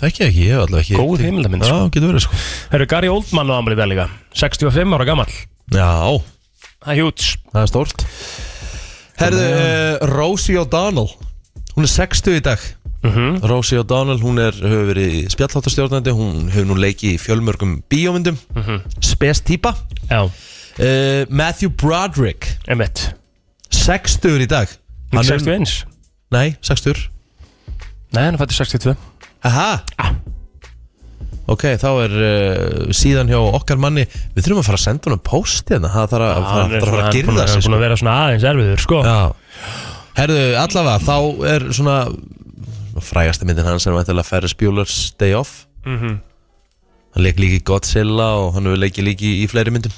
D: það ekki ekki, ég hef alltaf ekki
E: Góð heimildamynd,
D: já,
E: sko
D: getur verið sko
E: Herru, Gary Oldman á ammæli í dag líka 65 ára gamall
D: já,
E: Það er hjúts
D: það er stórt herðu, uh, Rosie O'Donnell hún er 60 í dag
E: Mhm.
D: Rosie O'Donnell, hún er hefur verið spjallháttastjórnandi, hún hefur nú leikið í fjölmörgum bíómyndum mm spes típa
E: Mhm. Já,
D: uh, Matthew Broderick
E: einmitt
D: 60 í dag
E: Hann er
D: er-
E: 61
D: Nei, 60
E: Nei, hann er fættur 62
D: Aha Ok, þá er uh, síðan hjá okkar manni Við þurfum að fara að senda honum post hérna Það þarf að, fara- þarf að fara að
E: búinn
D: girða
E: hann
D: sig
E: er búinn
D: sko.
E: að vera svona aðeins erfiður, sko
D: Já Herðu, allavega, þá er svona Frægasta myndin hans er væntanlega Ferris Bueller's Day Off
E: Mhm.
D: Hann leik líki í Godzilla og hann hefur leikið líki í fleiri myndum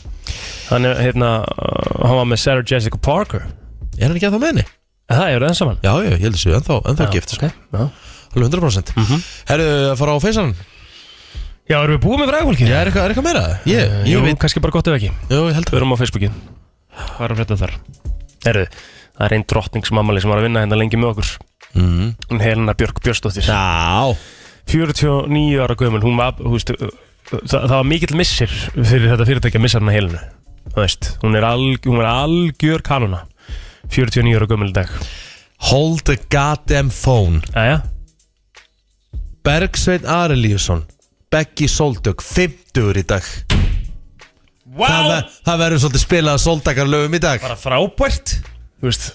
E: Hann er, hérna, uh, hann var með Sarah Jessica Parker
D: Er hann ekki að það með henni?
E: Eh, Það eru enn saman
D: Já, já, ég heldur sér, ennþá, ennþá gift sko.
E: Já, Mhm.
D: Alveg 100% Herðu, að fara á feysan
E: Já, erum við búið með frægafólki?
D: Er eitthvað, er eitthvað meira? Ég,
E: Eh,
D: ég
E: Jú,
D: veit,
E: kannski bara gott ef ekki
D: jú, ég held
E: Við erum á Facebooki Hvað er að frétta um þar? Herðu, það er einn drottning sem ammali sem var að vinna hérna lengi með okkur
D: mm.
E: Hún Helena Björk Björnsdóttir
D: Já
E: 49 ára gömul Hún var, þú veist, uh, það, það var mikill missir fyrir þetta fyrirtæki að missa hana Helenu Þú veist, hún er, alg, hún er algjör kanuna 49 ára gömul í dag
D: Hold the goddamn phone
E: Æja,
D: Bergsveit Arelíusson Beggi Soldök, 50 í dag það, ver, það verður svolítið spilað Soldakar lögum í dag
E: bara frábært Þú veist,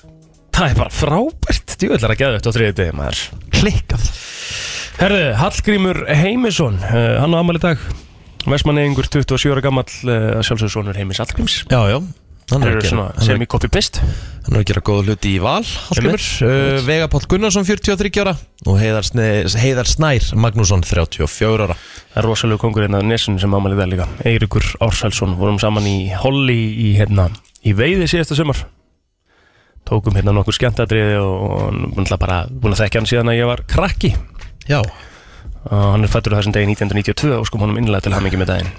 E: það er bara frábært Djúvillar að geða þetta á þriðið degi maður
D: klikkað
E: Herðu, Hallgrímur Heimisson uh, Hann á eh, amal í dag Vestmannegingur, 27 ára gamall uh, Sjálfsögur sonur Heimis Hallgríms
D: Já, já, Hann er
E: Þeir
D: að
E: eru
D: gera-
E: svona
D: hann er-
E: sem í copy-paste
D: Hann er að gera góða hluti í val Hallgrimur uh, Vega Páll Gunnarsson 43 ára og Heiðar, Sne, Heiðar Snær Magnússon 34 ára
E: Það er rosalega kongur hérna á nesun sem ámalið það líka Eirikur Ársælsson, vorum saman í Holly í, hérna, í veiði síðasta sumar Tókum hérna nokkur skemmtadriði og og náttúrulega bara búin að þekkja hann síðan að ég var krakki
D: Já
E: og hann er fættur þessum degi 1992 og skum honum innlega til hamingi með daginn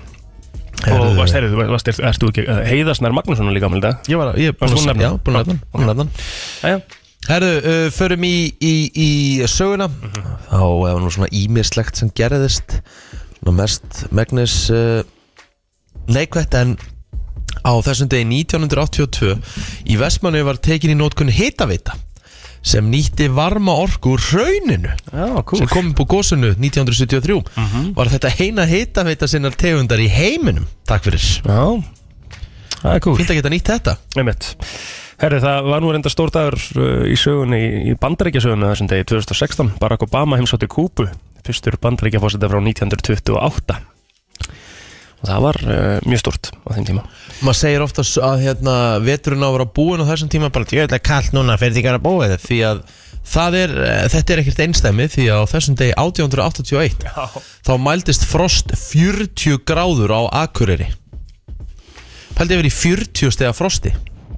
E: Og varst, heyrðu, þú- varst, er, ertu ekki, Heiðarsnær Magnússon er líka ámalið það
D: Ég var að, ég er búin
E: Varstu búin
D: að Já,
E: að nefna hann?
D: búin að nefna hann, búin að nefna hann
E: Æja,
D: Herðu, uh, förum í, í, í söguna
E: Mhm.
D: Þá hefur nú svona ímislegt sem gerðist Svona mest megnis uh, neikvætt en á þessum degi 1982 í Vestmannu var tekin í nótkunn hitaveita sem nýtti varma orku úr hrauninu
E: já, cool Mhm.
D: sem kom upp úr gósunu 1973 var þetta eina hitaveita sinnar tegundar í heiminum Takk fyrir
E: Já, það er cool
D: Fínt að geta nýtt þetta
E: Einmitt. Herri, það var nú reynda stórdagur uh, í sögunni, í bandaríkjasögunni þessum degi 2016. Barack Obama heimsótti Kúbu, fyrstur bandaríkjafósita frá 1928. Og það var uh, mjög stórt á þeim tíma.
D: Maður segir ofta s- að hérna, veturinn á að vera búin á þessum tíma bara ég ætla kallt núna fyrir því að vera búið því að það er, eh, þetta er ekkert einstæmi því að á þessum degi 1881 þá mældist frost 40 gráður á Akureyri Pældi yfir í 40 stega frosti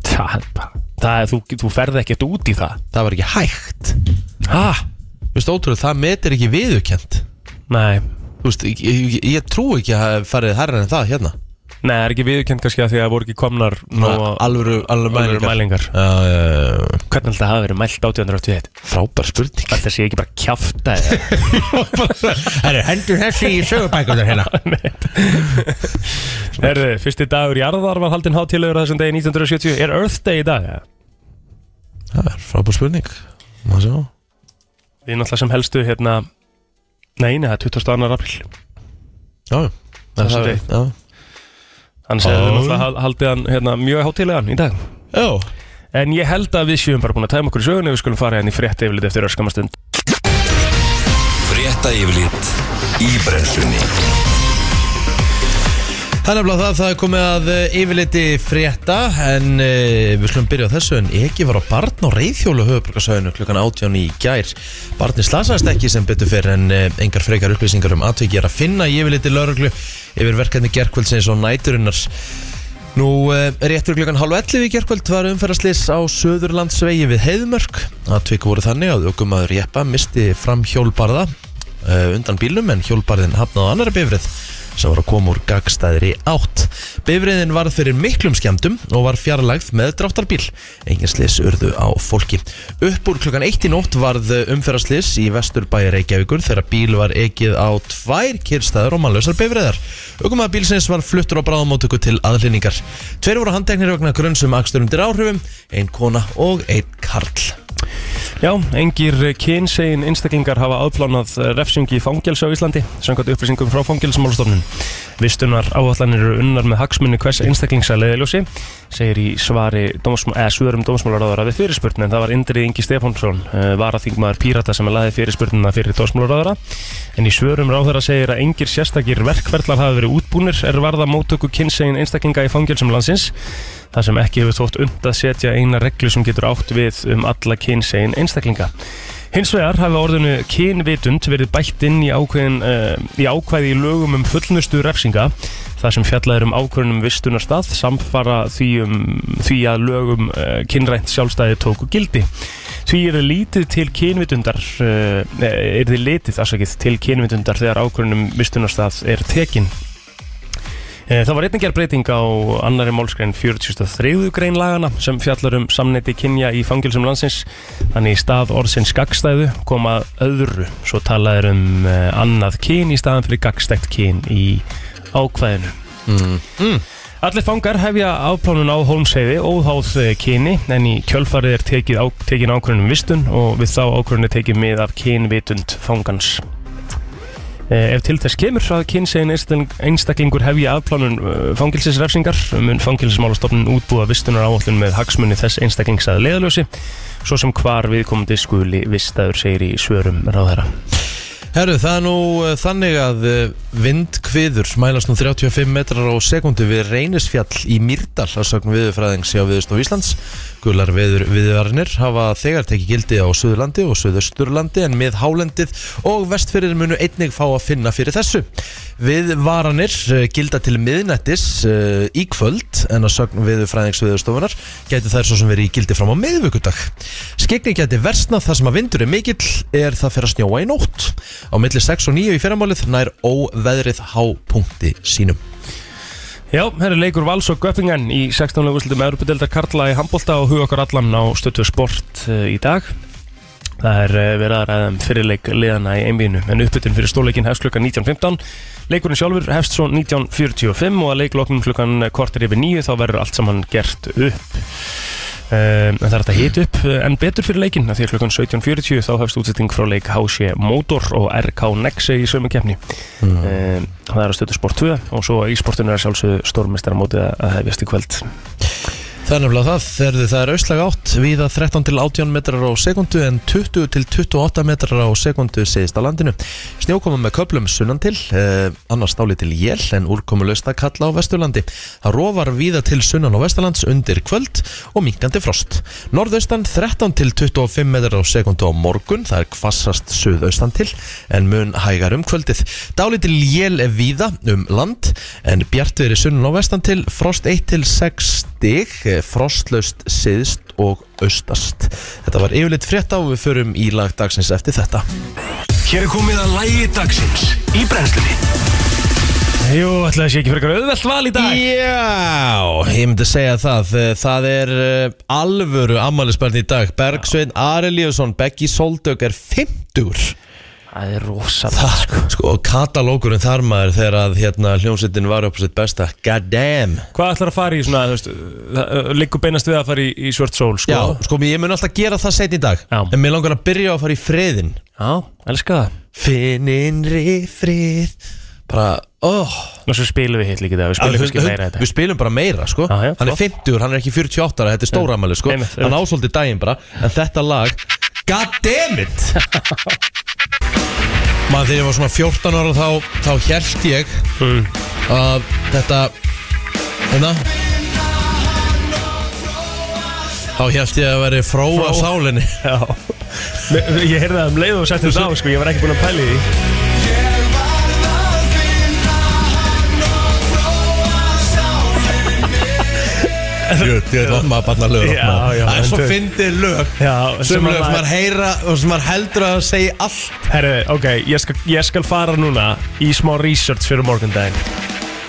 E: Það, er bara- það er, þú, þú ferð ekkert út í það.
D: það var ekki hægt
E: Hæ?
D: Vist, ótrúlega, það metir ekki viðurkjönd
E: Nei.
D: Þú veist, ég, ég, ég trú ekki að hafa farið hærra en það hérna
E: Nei, það er ekki viðurkend kannski að því að það voru ekki komnar nú að
D: Alvöru, alvöru
E: alvöru
D: mælingar,
E: mælingar.
D: mælingar. Uh,
E: Hvernig alltaf hafa verið mælt 1881?
D: Frábær spurning
E: Þetta sé ekki bara kjafta eða
D: <laughs> Herru, hendur þessi í sögubækunar
E: <laughs>
D: hérna
E: Herðu, fyrsti dagur jarðar var haldinn hátíðlegur á þessum degi 1970 Er Earth Day í dag? Ja?
D: Það er frábær spurning Má sjá
E: Við náttúrulega sem helstu hérna Nei, nei, það er 22. apríl
D: Já, já.
E: Það er
D: það
E: svo
D: er
E: rétt.
D: já.
E: Þannig
D: Ó.
E: að við náttúrulega hal- haldið hann hérna, mjög hátíðlegan í dag
D: Já,
E: En ég held að við séum bara búin að tæma okkur í sögunni Við skulum fara hérna í frétt yfirlit eftir öskamastund
H: Frétta yfirlit í brennslunni
D: Það er nefnilega það, það er komið að eh, yfirliti frétta en e, við slumum byrja á þessu en ekki var á barn á reyðhjólu höfuborgarsöðinu klukkan 18 í gær Barni slasaðist ekki sem betur fyrir en e, engar frekar upplýsingar um atviki er að finna í yfirliti lauruglu yfir verkefni gerkvöldsins og næturinnar Nú, eh, réttur klukkan halv 11 í gerkvöld var umferðaslis á Söðurlandsvegi við Heiðmörk. Atvik voru þannig að aukumæður Jeppa misti fram hjólbarða eh, undan bílnum en hjólbarðin hafnaði á annara bifrið sem var að koma úr gagstæðri átt. Bifriðin varð fyrir miklum skemmdum og var fjarlægð með dráttarbíl. Engin slis urðu á fólki. Upp úr klukkan 1 í nótt varð umferðaslis í vesturbæja Reykjavíkur þegar bíl var ekið á tvær kyrstæður og mannlausar bifriðar. Aukumæður bílsins var fluttur á bráðamótöku til aðlýningar. Tveir voru handteknir vegna grunnsum aksturum til áhrifum, ein kona og ein karl.
E: Já, engir kynsegin einstaklingar hafa afplánað eh, refsingi í fangelsi á Íslandi Samkvæmt upplýsingum frá fangelsmálstofnun Vistunar áallanir eru unnar með hagsmunni hvers einstaklings að leiðiljósi Segir í svari dómsmál, eða, svörum dómsmálaráðara við fyrirspurnin En það var Indrið Ingi Stefánsson, eh, varaþingmaður Pírata sem laði fyrirspurnina fyrir dómsmálaráðara En í svörum ráðara segir að engir sérstakir verkverðlar hafi verið útbúnir er varða móttöku kynsegin einstaklinga í fangelsum landsins þar sem ekki hefur þótt und að setja eina reglu sem getur átt við um alla kynsegin einstaklinga. Hins vegar hafi orðinu kynvitund verið bætt inn í, ákveðin, uh, í ákvæði í lögum um fullnustu refsinga þar sem fjallað er um ákvörðunum vistunarstað samfara því, um, því að lögum uh, kynrænt sjálfstæði tóku gildi. Því er þið lítið til kynvitundar uh, er þið litið afsakið til kynvitundar þegar ákvörðunum vistunarstað er tekin Eh, Það var einnig gerð breyting á annari málskrein 43. grein lagana sem fjallar um samneiti kynja í fangilsum landsins þannig í stað orðsins gagstæðu koma öðru svo talað er um eh, annað kyn í staðan fyrir gagstætt kyn í ákvæðinu Allir fangar hefja afplánun á Hólmsheiði óháð eh, kyni en í kjölfarið er tekið á, tekin ákvörðunum vistun og við þá ákvörðunum tekið mið af kynvitund fangans. Eh, Ef til þess kemur að kynsegin einstaklingur hefja afplánun eh, fangelsisrefsingar mun fangelsismálastofnun útbúa vistunar áallun með hagsmunni þess einstaklings að leiðalösi svo sem hvar viðkomandi skuli vistaður segir í svörum ráðherra.
D: Herru, það er nú eh, þannig að eh, vindkviður mælast nú 35 metrar á sekundu við Reynisfjall í Mýrdal að sögn viðurfræðings hjá Viðurstof Íslands. Gular viður, viðvarnir hafa þegar tekið gildi á Suðurlandi og Suðausturlandi en mið Hálendið og vestfyrir munu einnig fá að finna fyrir þessu. Viðvaranir eh, gilda til miðnættis eh, í kvöld en að sögn viðurfræðings viðurstofunar gæti þær svo sem verið í gildi fram á miðvikudag. Skegni gæti versnað þar sem að vindur er mikill er það fyrir að snjóa í nótt. Á milli 6 og 9 í fyrramálið nær óveðrið hápunkti sínum.
E: Já, herri leikur Vals og Göppingen í 16. úrslutum Europadeildar Karla í handbólta og huga okkur allan á stöttu sport eh, í dag. Það er eh, verið að ræða um fyrirleik liðana í einbínu, en uppbytun fyrir stóleikin hefst klukkan 19.15. Leikurinn sjálfur hefst svo 19.45 og að leikloknum klukkan kortir yfir nýju þá verður allt saman gert upp. Um, en það er hægt að hita upp eh, enn betur fyrir leikinn af því að klukkan 17.40 þá hefst útsetting frá leik HC Motor og RK Nexe í sömu kefni um, það er að stötu sport 2 og svo í sportinu er sjálfsögðu stórmestara mótið að hefjast í kvöld
D: Það er nefnilega það, þegar það er auslag átt viða 13 til 18 metrar á sekundu en 20 til 28 metrar á sekundu segist á landinu. Snjókoma með köplum sunnan til, eh, annars stáli til jél en úrkomulöst að kalla á vesturlandi. Það rofar viða til sunnan á vesturlands undir kvöld og minkandi frost. Norðaustan 13 til 25 metrar á sekundu á morgun, það er kvassast suðaustan til en mun hægar um kvöldið. Dálítil jél er víða um land en bjartveri sunnan á vestan til frost 1 til 6 stig, eh, frostlaust syðst og austast. Þetta var yfirleitt frétta og við förum í lag dagsins eftir þetta.
H: Hér er komið að lægi dagsins í brennslunni
E: Jú, ætlaði sé ekki fyrir eitthvað auðvelt val í dag
D: Já, ég myndi segja það Eh, Það er eh, alvöru ammælisbarn í dag Bergsveinn Arelíusson, Beggi Soldögg er 50
E: Það er rosalega
D: Það, sko, og katalókurinn þar maður þegar að hérna hljómsveitin var upp á sitt besta God damn
E: Hvað ætlar að fara í svona, þú veist, uh, liggur beinast við að fara í, í svört sól, sko
D: Já, sko, ég mun alltaf gera það setn í dag
E: Já.
D: En mér langar að byrja á að fara í friðin
E: Já, elska það
D: Finn innri frið Bara, oh
E: Og svo spilum við hitt líka það, við spilum
D: Við,
E: kannski meira
D: við
E: þetta
D: spilum bara meira, sko
E: Já, já,
D: Hann er
E: flott.
D: 50, hann er ekki 48 ára, þetta er stóramæli, sko
E: Einmitt,
D: Hann ásóldi daginn bara, en þetta lag God damn
E: <laughs>
D: it Maður þegar ég var svona 14 ára þá, þá held ég
E: Mm.
D: að þetta hérna þá held ég að veri fróa
E: Fró.
D: sálinni
E: Já Mér- Ég heyrði það um leið og settum þetta á, sko, ég var ekki búin að pæli því
D: Jöt, ég veit maður barna lög
E: Já, já,
D: það er
E: en
D: svo
E: þú-
D: fyndið lög
E: Já,
D: sem lög
E: að-
D: sem maður heyra og sem maður heldur að það segi allt
E: Herru, ok, ég skal, ég skal fara núna í smá research fyrir morgundaginn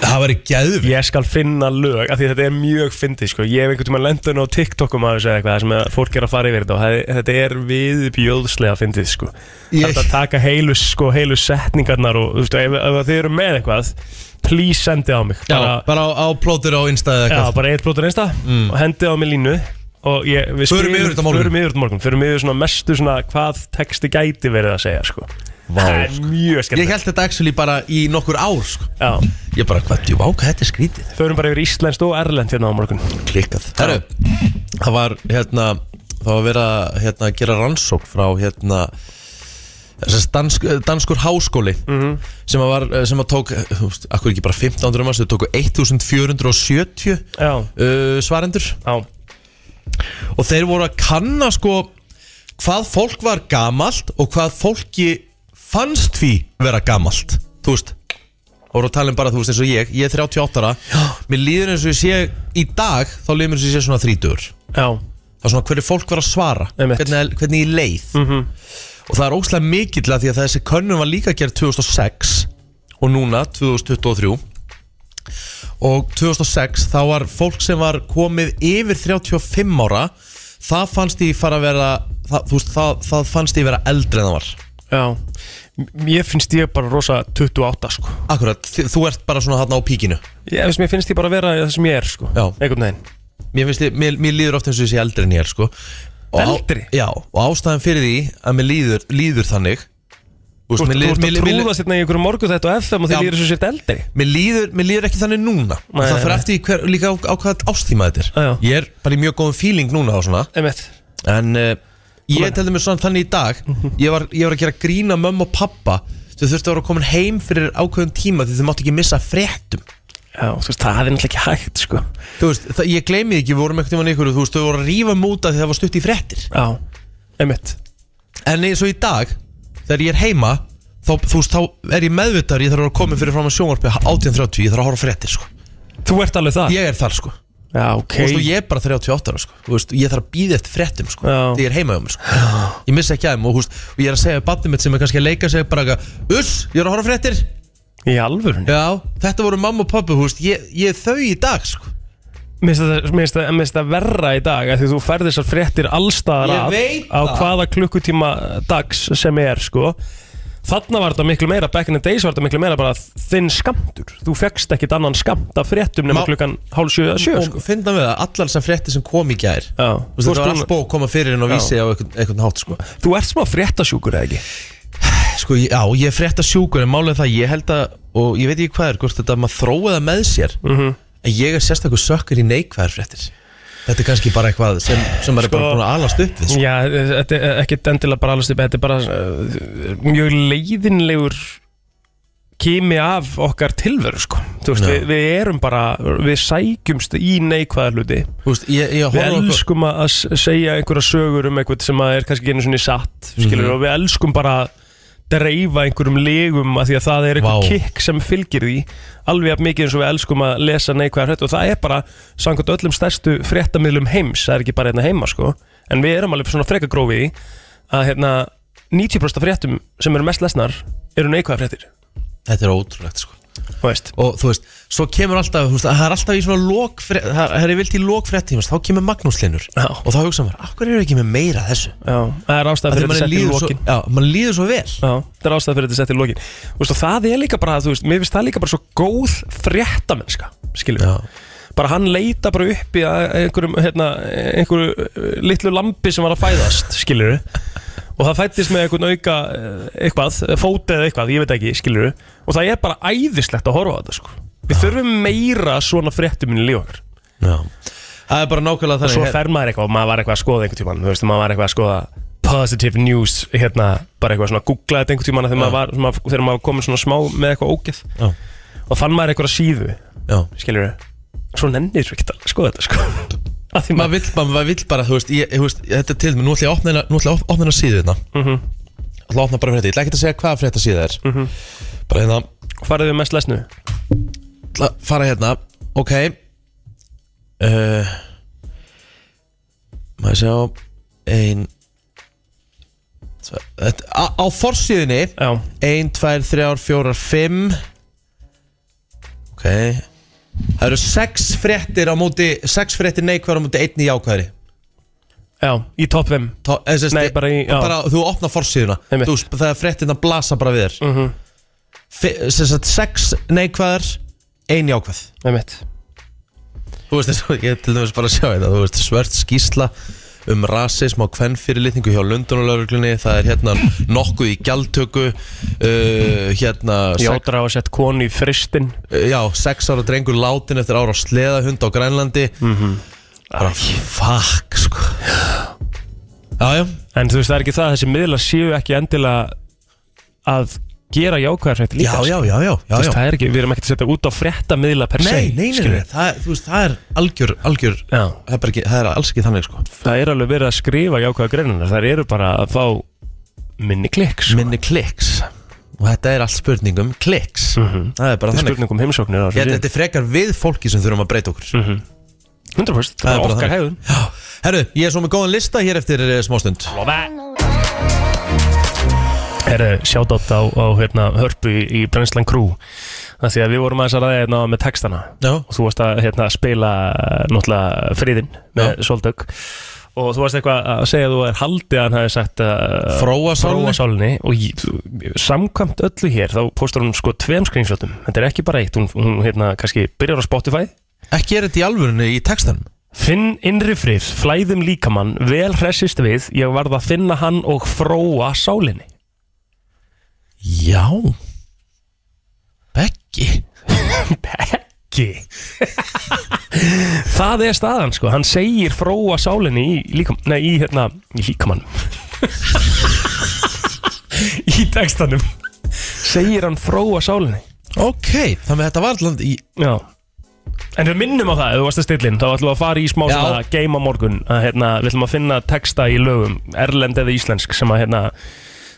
D: það veri gæðvig
E: Ég skal finna lög, af því þetta er mjög fyndið sko. Ég hef einhvern tímann lendun á TikTokum að þessu eða eitthvað þar sem að fólk er að fara yfir þetta og það- þetta er viðbjóðslega fyndið sko.
D: Ég-
E: Það er að taka heilu, sko, heilu setningarnar og þú veist, ef, ef þið eru með eitthvað please sendi á mig
D: já,
E: bara,
D: bara á, á plótur á einstæði
E: já,
D: eitthvað Mm.
E: bara eitt brotur einsta og hendi á mig línu og ég, við
D: Förum
E: spilum-
D: yfir þetta á morgun.
E: Förum yfir þetta á morgun Förum yfir svona mestu svona hvað texti gæti verið að segja sko.
D: Vá,
E: Það er mjög
D: ég
E: skemmt
D: held þetta actually bara í nokkur ár sko.
E: Já,
D: ég bara, hvað, jú, ákvað, þetta er skrítið
E: förum bara yfir Íslands og Erlend hérna á morgun
D: klikkað Herru, það var hérna það var verið að hérna, gera rannsók frá hérna þessast dansk, danskur háskóli
E: Mhm.
D: sem, að var, sem að tók þú veist, akkur ekki bara 1500 manns, þau tóku 1470
E: Já,
D: uh, svarendur
E: já,
D: og þeir voru að kanna sko hvað fólk var gamalt og hvað fólki fannst því vera gamalt þú veist og voru að tala um bara, þú veist, eins og ég, ég er 38 ára mér líður eins og ég sé í dag þá líður mér eins og ég sé svona 30
E: já
D: það er svona hverju fólk var að svara
E: Einmitt. Mhm.
D: hvernig, hvernig ég leið og það er óslega mikill að því að þessi könnum var líka gerð 2006 og núna 2023 og 2006 þá var fólk sem var komið yfir 35 ára það fannst því fara að vera það, þú veist, það, það fannst því vera eldri en það var
E: Já, M- ég finnst ég bara rosa 28 sko
D: Akkurat, þi- þú ert bara svona þarna á píkinu
E: ég, veist, Mér finnst ég bara að vera það sem ég er sko
D: Já.
E: Einhvern veginn
D: Mér, finnst, ég- mér, mér líður oft eins og ég sé eldri en ég er sko. og á-
E: Eldri?
D: Já, og ástæðan fyrir því að mér líður, líður þannig Þú
E: Þú
D: mér líður-
E: ert
D: mér-
E: að
D: mér líður-
E: trúða sérna í einhverju morgu þetta og FM og
D: Já.
E: þið líður svo sért eldri
D: Mér líður, mér líður ekki þannig núna og
E: Nei,
D: Það
E: nei,
D: fyrir
E: nei.
D: eftir í hver, líka á, á hvað ástíma þetta
E: Já, já.
D: er Ég er bara í mjög góðum feeling núna og svona
E: Einmitt
D: En uh, Ég telði mig svona þannig í dag
E: Mhm.
D: Ég var, ég var að gera grína mömmu og pappa Þau þurftu að vera komin heim fyrir ákveðum tíma Því þau máttu ekki missa fréttum
E: Já, þú veist, það er náttúrulega ekki hægt, sko
D: Þú veist, það, ég gleymi því ekki, við vorum einhvern tímann í ykkur Þú veist, þau voru að rífa múta því það var stutt í fréttir
E: Já, einmitt
D: En eins og í dag, þegar ég er heima Þá, þú veist, þá er ég meðvitaður Ég þarf að vera komin fyrir fram að sjónvarpi 18.30 Ég þarf að horfa á fréttir, sko
E: Þú ert alveg það?
D: Ég er þar, sko
E: Já, ok
D: Þú veist, og ég er bara 38 ára, sko Þú veist, ég þarf að býða eftir fréttum, sko
E: Já.
D: Þegar ég er heima hjá mér, sko Ég missa ekki aðeim og, þú veist, og ég er að segja Baddi mitt sem er kannski að leika segja bara eitthvað, Uss, ég er að horfa á fréttir
E: Í alvörunni
D: Já, þetta voru mamma og pappi, þú veist Ég, ég er þau í dag, sko
E: Mér finnst það- mér finnst það- mér finnst það verra í dag af Því þú færð þessar fréttir allstaðar
D: Ég
E: að
D: veit
E: Á
D: það.
E: hvaða klukkutíma dags sem er, sko Þarna var þetta miklu meira, back in the days var þetta miklu meira bara þinn skamtur Þú fekkst ekkit annan skamt af fréttum nema
D: Má-
E: klukkan hálf sjö að sjö,
D: Og
E: sko
D: finna við það, allar sem fréttir sem kom í gær
E: Já,
D: Þú veist,
E: þú
D: þetta var allt
E: ert, búin,
D: bóð að koma fyrir en á vísi á einhvern, einhvern hátt sko.
E: þú ert smá fréttasjúkur eða ekki?
D: sko, ég- já, ég er frétta sjúkur en málið er það, ég held að og ég veit ekki hvað er, hvort þetta að maður þróið það með sér
E: Mhm.
D: -hmm. en ég er sérstakur sökkur í neikvæðar fréttir þetta er kannski bara eitthvað sem, sem maður er bara búin að alast upp við sko.
E: Já, þetta er ekkert endilega bara alveg stipið, þetta er bara uh, mjög leiðinlegur kimi af okkar tilveru, sko. Þú veist,
D: Já.
E: við, við erum bara, við sækjumst í neikvæða hluti.
D: Þú veist, ég, ég
E: Við
D: horfði á okkur-
E: elskum að að s- segja einhverja sögur um eitthvað sem að er kannski genið svona í satt,
D: Mhm.
E: skilur, og við elskum bara að dreifa einhverjum legum af því að það er
D: Vá.
E: eitthvað kikk sem fylgir því alveg jafn mikið eins og við elskum að lesa neikvæðar hrætt og það er bara samkvæmt öllum stærstu fréttamiðlum heims, það er ekki bara hérna heima sko en við erum alveg svona freka grófi í því að hérna 90% af fréttum sem eru mest lesnar eru neikvæðar fréttir
D: þetta er ótrúlegt sko.
E: þú veist
D: og þú veist, svo kemur alltaf þú veist, það er alltaf í svona lók það er vilt í lók fréttímast, þá kemur Magnús Linur
E: Já.
D: og þá hugsa maður, af hverju eru ekki með meira af þessu
E: Já, það er ástæða
D: Af því
E: fyrir þetta
D: manni
E: sett í
D: líður svo-
E: lokin
D: já, mann líður svo vel
E: Já, það er ástæða fyrir þetta sett í lokin Þú veist, og það er líka bara, þú veist, mér finnst það líka bara svo góð fréttamennska, skiljum
D: Já.
E: bara hann leita bara upp í að- einhverjum, hérna, einhverju eh, litlu lampi sem var að fæðast, skiljum og það fættist með einhvern auka eh, eitthvað, fót eða eitthvað, ég veit ekki skiljum, og það er bara æðislegt að horfa á þetta, sko Við þurfum meira svona fréttum minni lífakar
D: Já. það er bara nákvæmlega
E: og
D: þannig
E: svo fer maður eitthvað og maður var eitthvað að skoða einhvern tíman þú veist, maður var eitthvað að skoða positive news hérna, bara eitthvað svona googlaði þetta einhvern tíman þegar maður var, svona, þegar maður var komin svona smá með eitthvað ógeð
D: Já.
E: og fann maður eitthvað síðu,
D: Já.
E: skilur svo nennir þú ekki að skoða þetta sko að því
D: maður
E: maður,
D: vill, maður, maður vill bara, þú veist, ég, þú veist þetta er til mig, nú ætla ég að opna hérna- nú ætla ég að op- opna hérna síðu þetta mm
E: Mhm.
D: -hmm. ætla að opna bara fyrir þetta, ég ætla ekki að segja hvað fyrir þetta síða er bara hérna,
E: farið við mest lesnu
D: ætla að fara hérna ok uh, maður sjá ein tve, þetta, á, á forsíðinni
E: já,
D: 1, 2, 3, 4, 5 Ok Það eru 6 fréttir á móti 6 fréttir neikvæðar á móti 1 í jákvæðari
E: já, í top 5
D: Tó, eða, sest,
E: Nei, bara í- já.
D: bara, Þú opnar forsíðuna
E: Einmitt. Mhm.
D: þú, Það er fréttina blasa bara við þér mm -hmm. 6 neikvæðar 1 jákvæð
E: einmitt
D: Þú veist <laughs> eins og ég til dæmis bara að sjá þetta Þú veist svört skýsla um rasism á kvennfyrirlitningu hjá Lundunulauruglunni Það er hérna nokkuð í gjaldtöku uh, Hérna sex-
E: játra á að setja konu í fristin
D: Já, sex ára drengur látin eftir ára á sleðahund á Grænlandi
E: Mhm.
D: Mhm. Bara fuck, sko Já, já,
E: en þú veist, það er ekki það, þessi miðla séu ekki endilega að gera jákvæðar
D: já,
E: fréttir líka sko.
D: já, já, já, já,
E: Þú veist,
D: já.
E: það er ekki, við erum ekkert að setja út á frétta miðla per se
D: Nei, nei, nei, nei,
E: skilurðu.
D: það, er- þú veist, það er algjör, algjör
E: Já.
D: það er, bara ekki, það er alls ekki þannig, sko
E: það er alveg verið að skrifa jákvæða greinuna þær eru bara að fá minni klikk sko.
D: Minni kliks Og þetta er allt spurning um kliks Það er bara
E: Þetta er
D: þannig
E: spurning um heimsóknir á þessu
D: Ég,
E: síðan.
D: þetta er frekar við fólki sem þurfum að breyta okkur
E: 100% það er bara okkar hegðun
D: Já. Herru, ég er svo með góðan lista hér eftir eh, smástund
E: er sjátt á, á hérna, hörpu í, í Brennslan Crew það því að við vorum aðeins að ræða hérna með textana
D: Já.
E: og þú varst að hérna, spila eh, náttúrulega friðin með Soldögg og þú varst eitthvað að segja að þú er haldið að hann hafi sagt uh,
D: Fróasálinni?
E: fróasálinni og ég, þú- samkvæmt öllu hér þá postar hún sko tveim screenshotum þetta er ekki bara eitt, hún, hún hérna, kannski byrjar á Spotify
D: Ekki er þetta í alvörunni í textanum
E: Finn innri frið, flæðum líkamann, vel hressist við, ég varð að finna hann og fróa sálinni.
D: Já Beggi
E: Bekki? ekki <laughs> Það er staðan sko Hann segir fróa sálinni í líkam Nei, í hérna, í líkamann <laughs> Í textanum Segir hann fróa sálinni
D: Ok, þannig að þetta var allan í
E: Já En við minnum á það, ef þú varst að stillin Þá ætlum við að fara í smá
D: Já.
E: svona game á morgun að, hérna, Við ætlum að finna texta í lögum Erlend eða íslensk sem að hérna,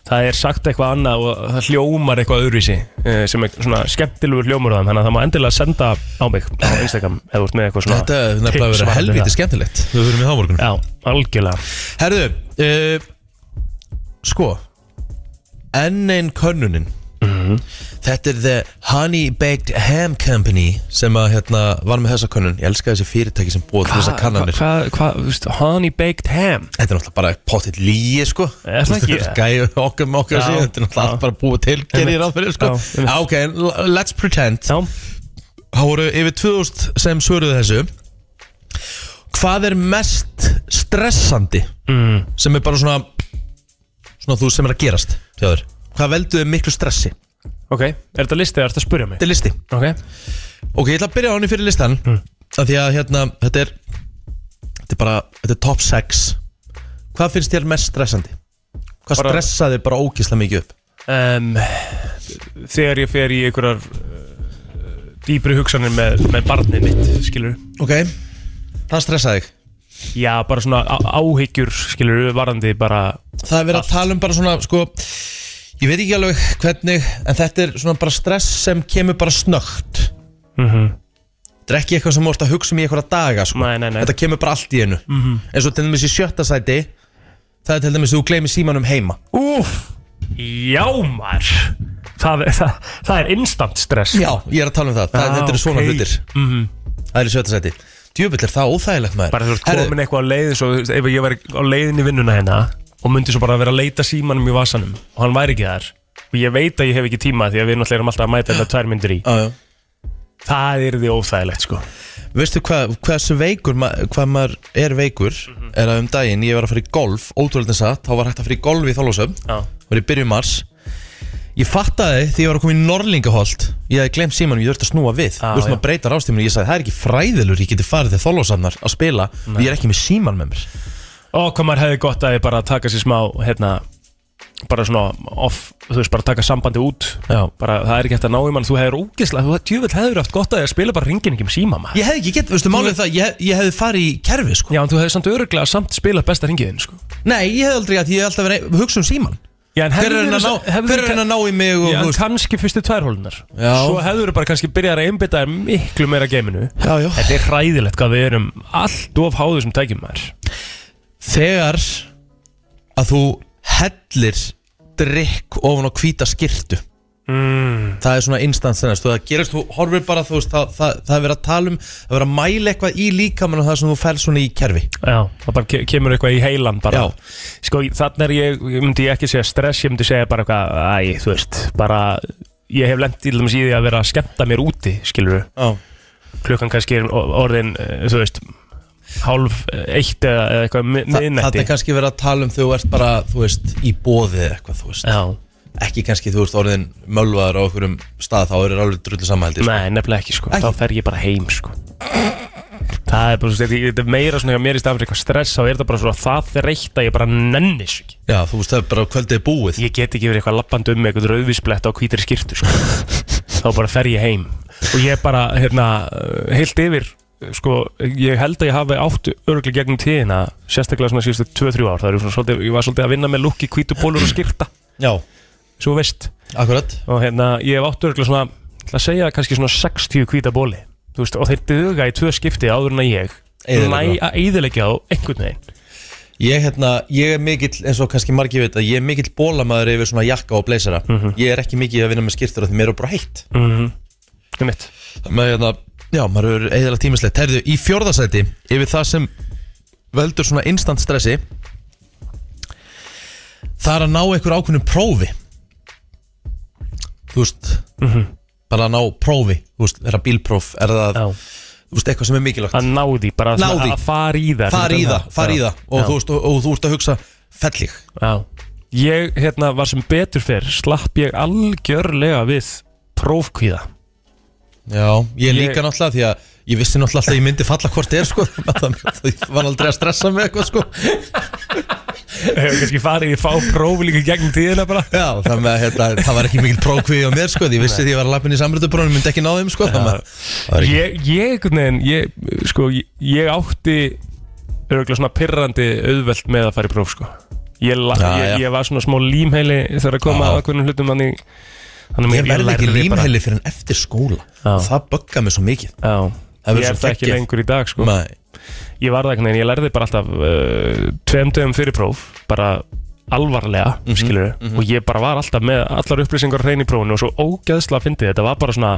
E: Það er sagt eitthvað annað og það hljómar eitthvað öðruvísi eh, sem er svona skemmtilegur hljómur á þeim þannig að það má endilega senda á mig á Instagram eða þú ert með eitthvað svona
D: Þetta er nefnilega verið
E: tips varðandi
D: helviti
E: það.
D: skemmtilegt Við verum í hámorgun
E: Já, algjörlega
D: Herðu, uh, sko Enn einn könnunin
E: Mhm.
D: Þetta er The Honey Baked Ham Company sem að hérna var með þessa könnun Ég elska þessi fyrirtæki sem búið til þessa kannanir
E: Hvað, hvað, hvað, þú veist, honey baked ham
D: Þetta er náttúrulega bara pottitt líi sko
E: Er það ekki?
D: Gæði okkur með okkur
E: Já,
D: að segja Þetta er náttúrulega
E: já.
D: allt bara búið til Gerði
E: Einmitt.
D: ég ráð fyrir sko
E: Já, einmitt.
D: Já, Ok, en l- let's pretend
E: Já,
D: Það voru yfir 2000 sem svöruðu þessu Hvað er mest stressandi mm. sem er bara svona svona þú sem er að gerast þjóður Hvað veldu þið miklu stressi? Þetta
E: ok, er þetta listið, er þetta að spurja mig
D: er listi
E: Ok,
D: Ok, ég ætla að byrja á henni fyrir listan mm. af því að hérna, þetta er þetta er bara, þetta er top 6 Hvað finnst þér mest stressandi? Hvað
E: Bara-
D: stressaði bara ógislega mikið upp?
E: um, þegar ég fer í einhverjar uh, dýpri hugsanir með, með barnið mitt, skilur
D: Ok Það stressaði þig
E: já, bara svona á- áhyggjur, skilur varandi bara,
D: Það er verið að tala um bara svona sko, Ég veit ekki alveg hvernig En þetta er svona bara stress sem kemur bara snögt
E: mhm.
D: Þetta er ekki eitthvað sem vorst að hugsa um í einhverja daga sko.
E: Nei, nei, nei.
D: Þetta kemur bara allt í einu mm -hmm. En svo til dæmis í sjötta sæti Það er til dæmis þú gleymir símanum heima
E: úf jámar það, er- það, það er instant stress
D: Já, ég er að tala um það, það
E: Ah,
D: Þetta eru svona
E: ok. Mhm.
D: hlutir Það er í sjötta sæti Djöfull er það óþægilegt maður
E: bara þú ert
D: Herðu,
E: komin eitthvað á leið svo, þú veist, ef ég væri á leiðin í vinnuna hérna og myndi svo bara að vera að leita símanum í vasanum og hann væri ekki þar og ég veit að ég hef ekki tíma því að við náttúrulega erum alltaf að mæta þetta tvær myndir í
D: á, já.
E: það er því óþægilegt sko
D: Veistu hvað, hversu veikur ma hvað maður er veikur
E: Mhm.
D: er að um daginn ég var að fara í golf ótrúlega satt, þá var hægt að fara í golf í Þólásöfn
E: Já.
D: var í byrjun mars ég fattaði því ég var að koma í Norlingaholt ég hafði glemt símanum, ég þurfti að snúa við
E: Já,
D: þú veist
E: já.
D: maður breyta rástíminu, ég sagði það er ekki fræðilur ég geti farið til Þólásöfnar að spila og ég er ekki með síman með mér
E: Og hvað maður hefði gott að ég bara taka sér smá hérna, bara svona off, þú veist, bara taka sambandi út
D: Já.
E: bara það er ekki hægt að ná í mann, þú hefur ógislega þú djúvill hefur haft gott að ég spila bara ringin ekki um síma maður
D: ég hefði ekki gett, veistu málið er það, ég, hef- ég hefði farið í kerfi sko.
E: Já, en þú hefur samt öruglega samt spilað besta ringiðin sko.
D: nei, ég hefði aldrei að ég hef alltaf verið að hugsa um síman
E: Já, en
D: hver er
E: hefðirðu
D: henn að
E: sa-
D: ná,
E: hefðirðu
D: hver er
E: ka-
D: henn að ná í mig og, þú
E: Já, en
D: veist-
E: kannski fyrstu tværhólunar
D: Já.
E: Svo hefur bara kannski byrjað að einbytta þér miklu meira að geiminu
D: já, já.
E: Þetta er hræðilegt hvað við erum allt of háðu sem tækjum maður
D: þegar að þú hellir drikk ofan á hvíta skirtu mm. það er svona instant þennast það gerist, þú horfir bara þú veist það, það, það er verið að tala um, það er verið að mæla eitthvað í líkamann og það sem þú fæl svona í kerfi
E: Já, það bara ke kemur eitthvað í heilan bara
D: Já.
E: Sko, þannig er ég, ég myndi ég ekki segja stress, ég myndi segja bara eitthvað, æ, þú veist, bara Ég hef lent í dæmis í því að vera að skemmta mér úti, skilur
D: Já.
E: Klukkan kannski er o- orðin, eh, þú veist, hálf eh, eitt eða eða eitthvað mi-
D: Þa, það
E: miðnætti
D: er kannski verið að tala um þegar þú ert bara þú veist, í bóðið eitthvað þú veist.
E: Já,
D: ekki kannski þú veist orðin mölvaðar á okkurum stað þá er alveg drullu samanhaldi sko.
E: nei, nefnilega ekki, sko,
D: Ekki?
E: þá fer ég bara heim, sko Það er bara, þú veist, þetta- þetta er meira svona hjá mér í stafn fyrir eitthvað stress, þá er þetta bara svona það þreytt að ég bara nenni svo ekki
D: já, þú veist það er bara kvöldið er búið
E: ég get ekki verið eitthvað lappandi um með eitthvað rauðvísblett á hvítri skýrtu
D: <laughs>
E: sko. þá bara fer ég heim og ég bara, hérna, uh, heilt yfir sko, ég held að ég hafi átt örgli gegnum tíðina, sérstaklega svona síðustu 2-3 ár, það eru svona svolítið, ég var svolítið að vinna með lukki hvítu bólur og skýrta
D: já,
E: svo þú veist,
D: akkurat
E: og hérna, ég hef átt örgli svona, ég ætla að segja kannski svona 60 hvíta bóli, þú veist, og þeir duga í tvö skipti áður en að ég næ
D: Eyðileggja.
E: að eyðilegja á einhvern veginn
D: Ég, hérna, ég er mikill, eins og kannski margir veit að ég er mikill bólamaður yfir svona jakka og bleysara Ég er ekki mikið að vinna með skýrtur af því mér er bara heitt
E: um mitt,
D: Með, hérna, Já, maður er eðalega tímislegt Herðu, í fjórðasæti, yfir það sem veldur svona instant stressi Það er að ná einhver ákveðnum prófi Þú veist,
E: Mhm.
D: bara að ná prófi Þú veist, er það bílpróf, er það,
E: Já.
D: þú veist, eitthvað sem er mikilvægt
E: að ná því bara
D: Ná
E: svona
D: því.
E: að fara í það
D: Far í það, far í
E: Já.
D: það og,
E: Já.
D: þú veist, og, og þú ert að hugsa fellig
E: Já, ég hérna var sem betur fyrr slapp ég algjörlega við prófkvíða
D: Já, ég
E: Ég-
D: líka náttúrulega því að ég vissi náttúrulega alltaf að ég myndi falla hvort er sko <laughs> þannig að ég var aldrei að stressa með eitthvað sko
E: Hefur kannski farið í fá prófi líka gegnum tíðina bara
D: Já, þannig að hérna, það var ekki mikil prókvið á mér sko því ég vissi því ég var að lappin í samröndubrónum myndi ekki ná þeim sko þannig að það var ekki
E: Ég, ég, einhvern veginn, ég, sko, ég, ég átti örgulega svona pirrandi auðvelt með að fara í próf, sko. Ég, la,
D: Já, já.
E: ég, ég var svona smá límheili þegar að koma
D: Já.
E: að hvernig hlutum hann í...
D: Ég verði ekki límheili fyrir en eftir skóla
E: Já.
D: og það bugga mig svo mikið
E: Já,
D: Það verður
E: ég
D: svo
E: er það ekki
D: geggjað.
E: lengur í dag, sko.
D: Nei,
E: Ég var það einhvern veginn, ég lærði bara alltaf uh, tveim dögum fyrir próf, bara alvarlega,
D: Mhm,
E: mm og ég bara var alltaf með allar upplýsingar hrein í prófinu og svo ógeðslega fyndið, þetta var bara svona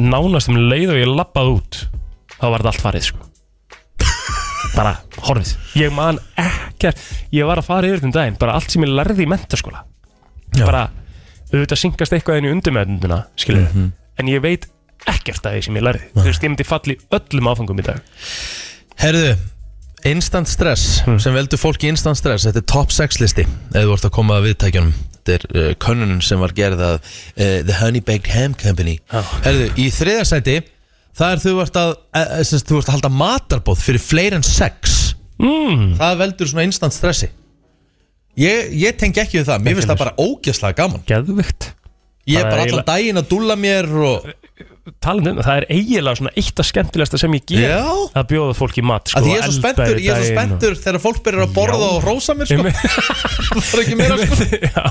E: nánast um leið og ég lappað út þá var þetta allt farið, sko bara horfið ég man ekkert, ég var að fara yfir þeim daginn bara allt sem ég lærði í mentaskóla
D: Já.
E: bara, auðvitað syngast eitthvað inn í undirmeðnunduna, skilur
D: Mhm.
E: en ég veit ekkert að því sem ég lærði þú veist, ég myndi falli öllum áfangum í dag Hmm.
D: Herðu, instant stress sem veldur fólki instant stress þetta er top 6 listi eða þú ert að koma að viðtækjunum þetta er uh, könnun sem var gerð að uh, The Honey Baked Ham Company
E: Já.
D: Herðu, í þriðarsæti það er þú ert að, eh, að, að þú ert að halda matarbóð fyrir fleiri en 6 mm.
E: Hmm.
D: það veldur svona instant stressi Ég, ég tengi ekki við það, mér finnst það bara ógjörslega gaman
E: geðvikt
D: Ég er
E: Bara Eh,
D: bara allan daginn að dúlla mér og
E: talandi um það, það er eiginlega svona eitt af skemmtilegasta sem ég ger
D: Já.
E: að bjóða fólki í mat sko,
D: að því ég er svo
E: elda
D: spenntur,
E: yfir
D: ég er svo
E: daginn og-
D: spenntur þegar fólk byrjar að borða og rósa mér sko,
E: Einmitt.
D: það er ekki meira sko
E: <laughs> Já,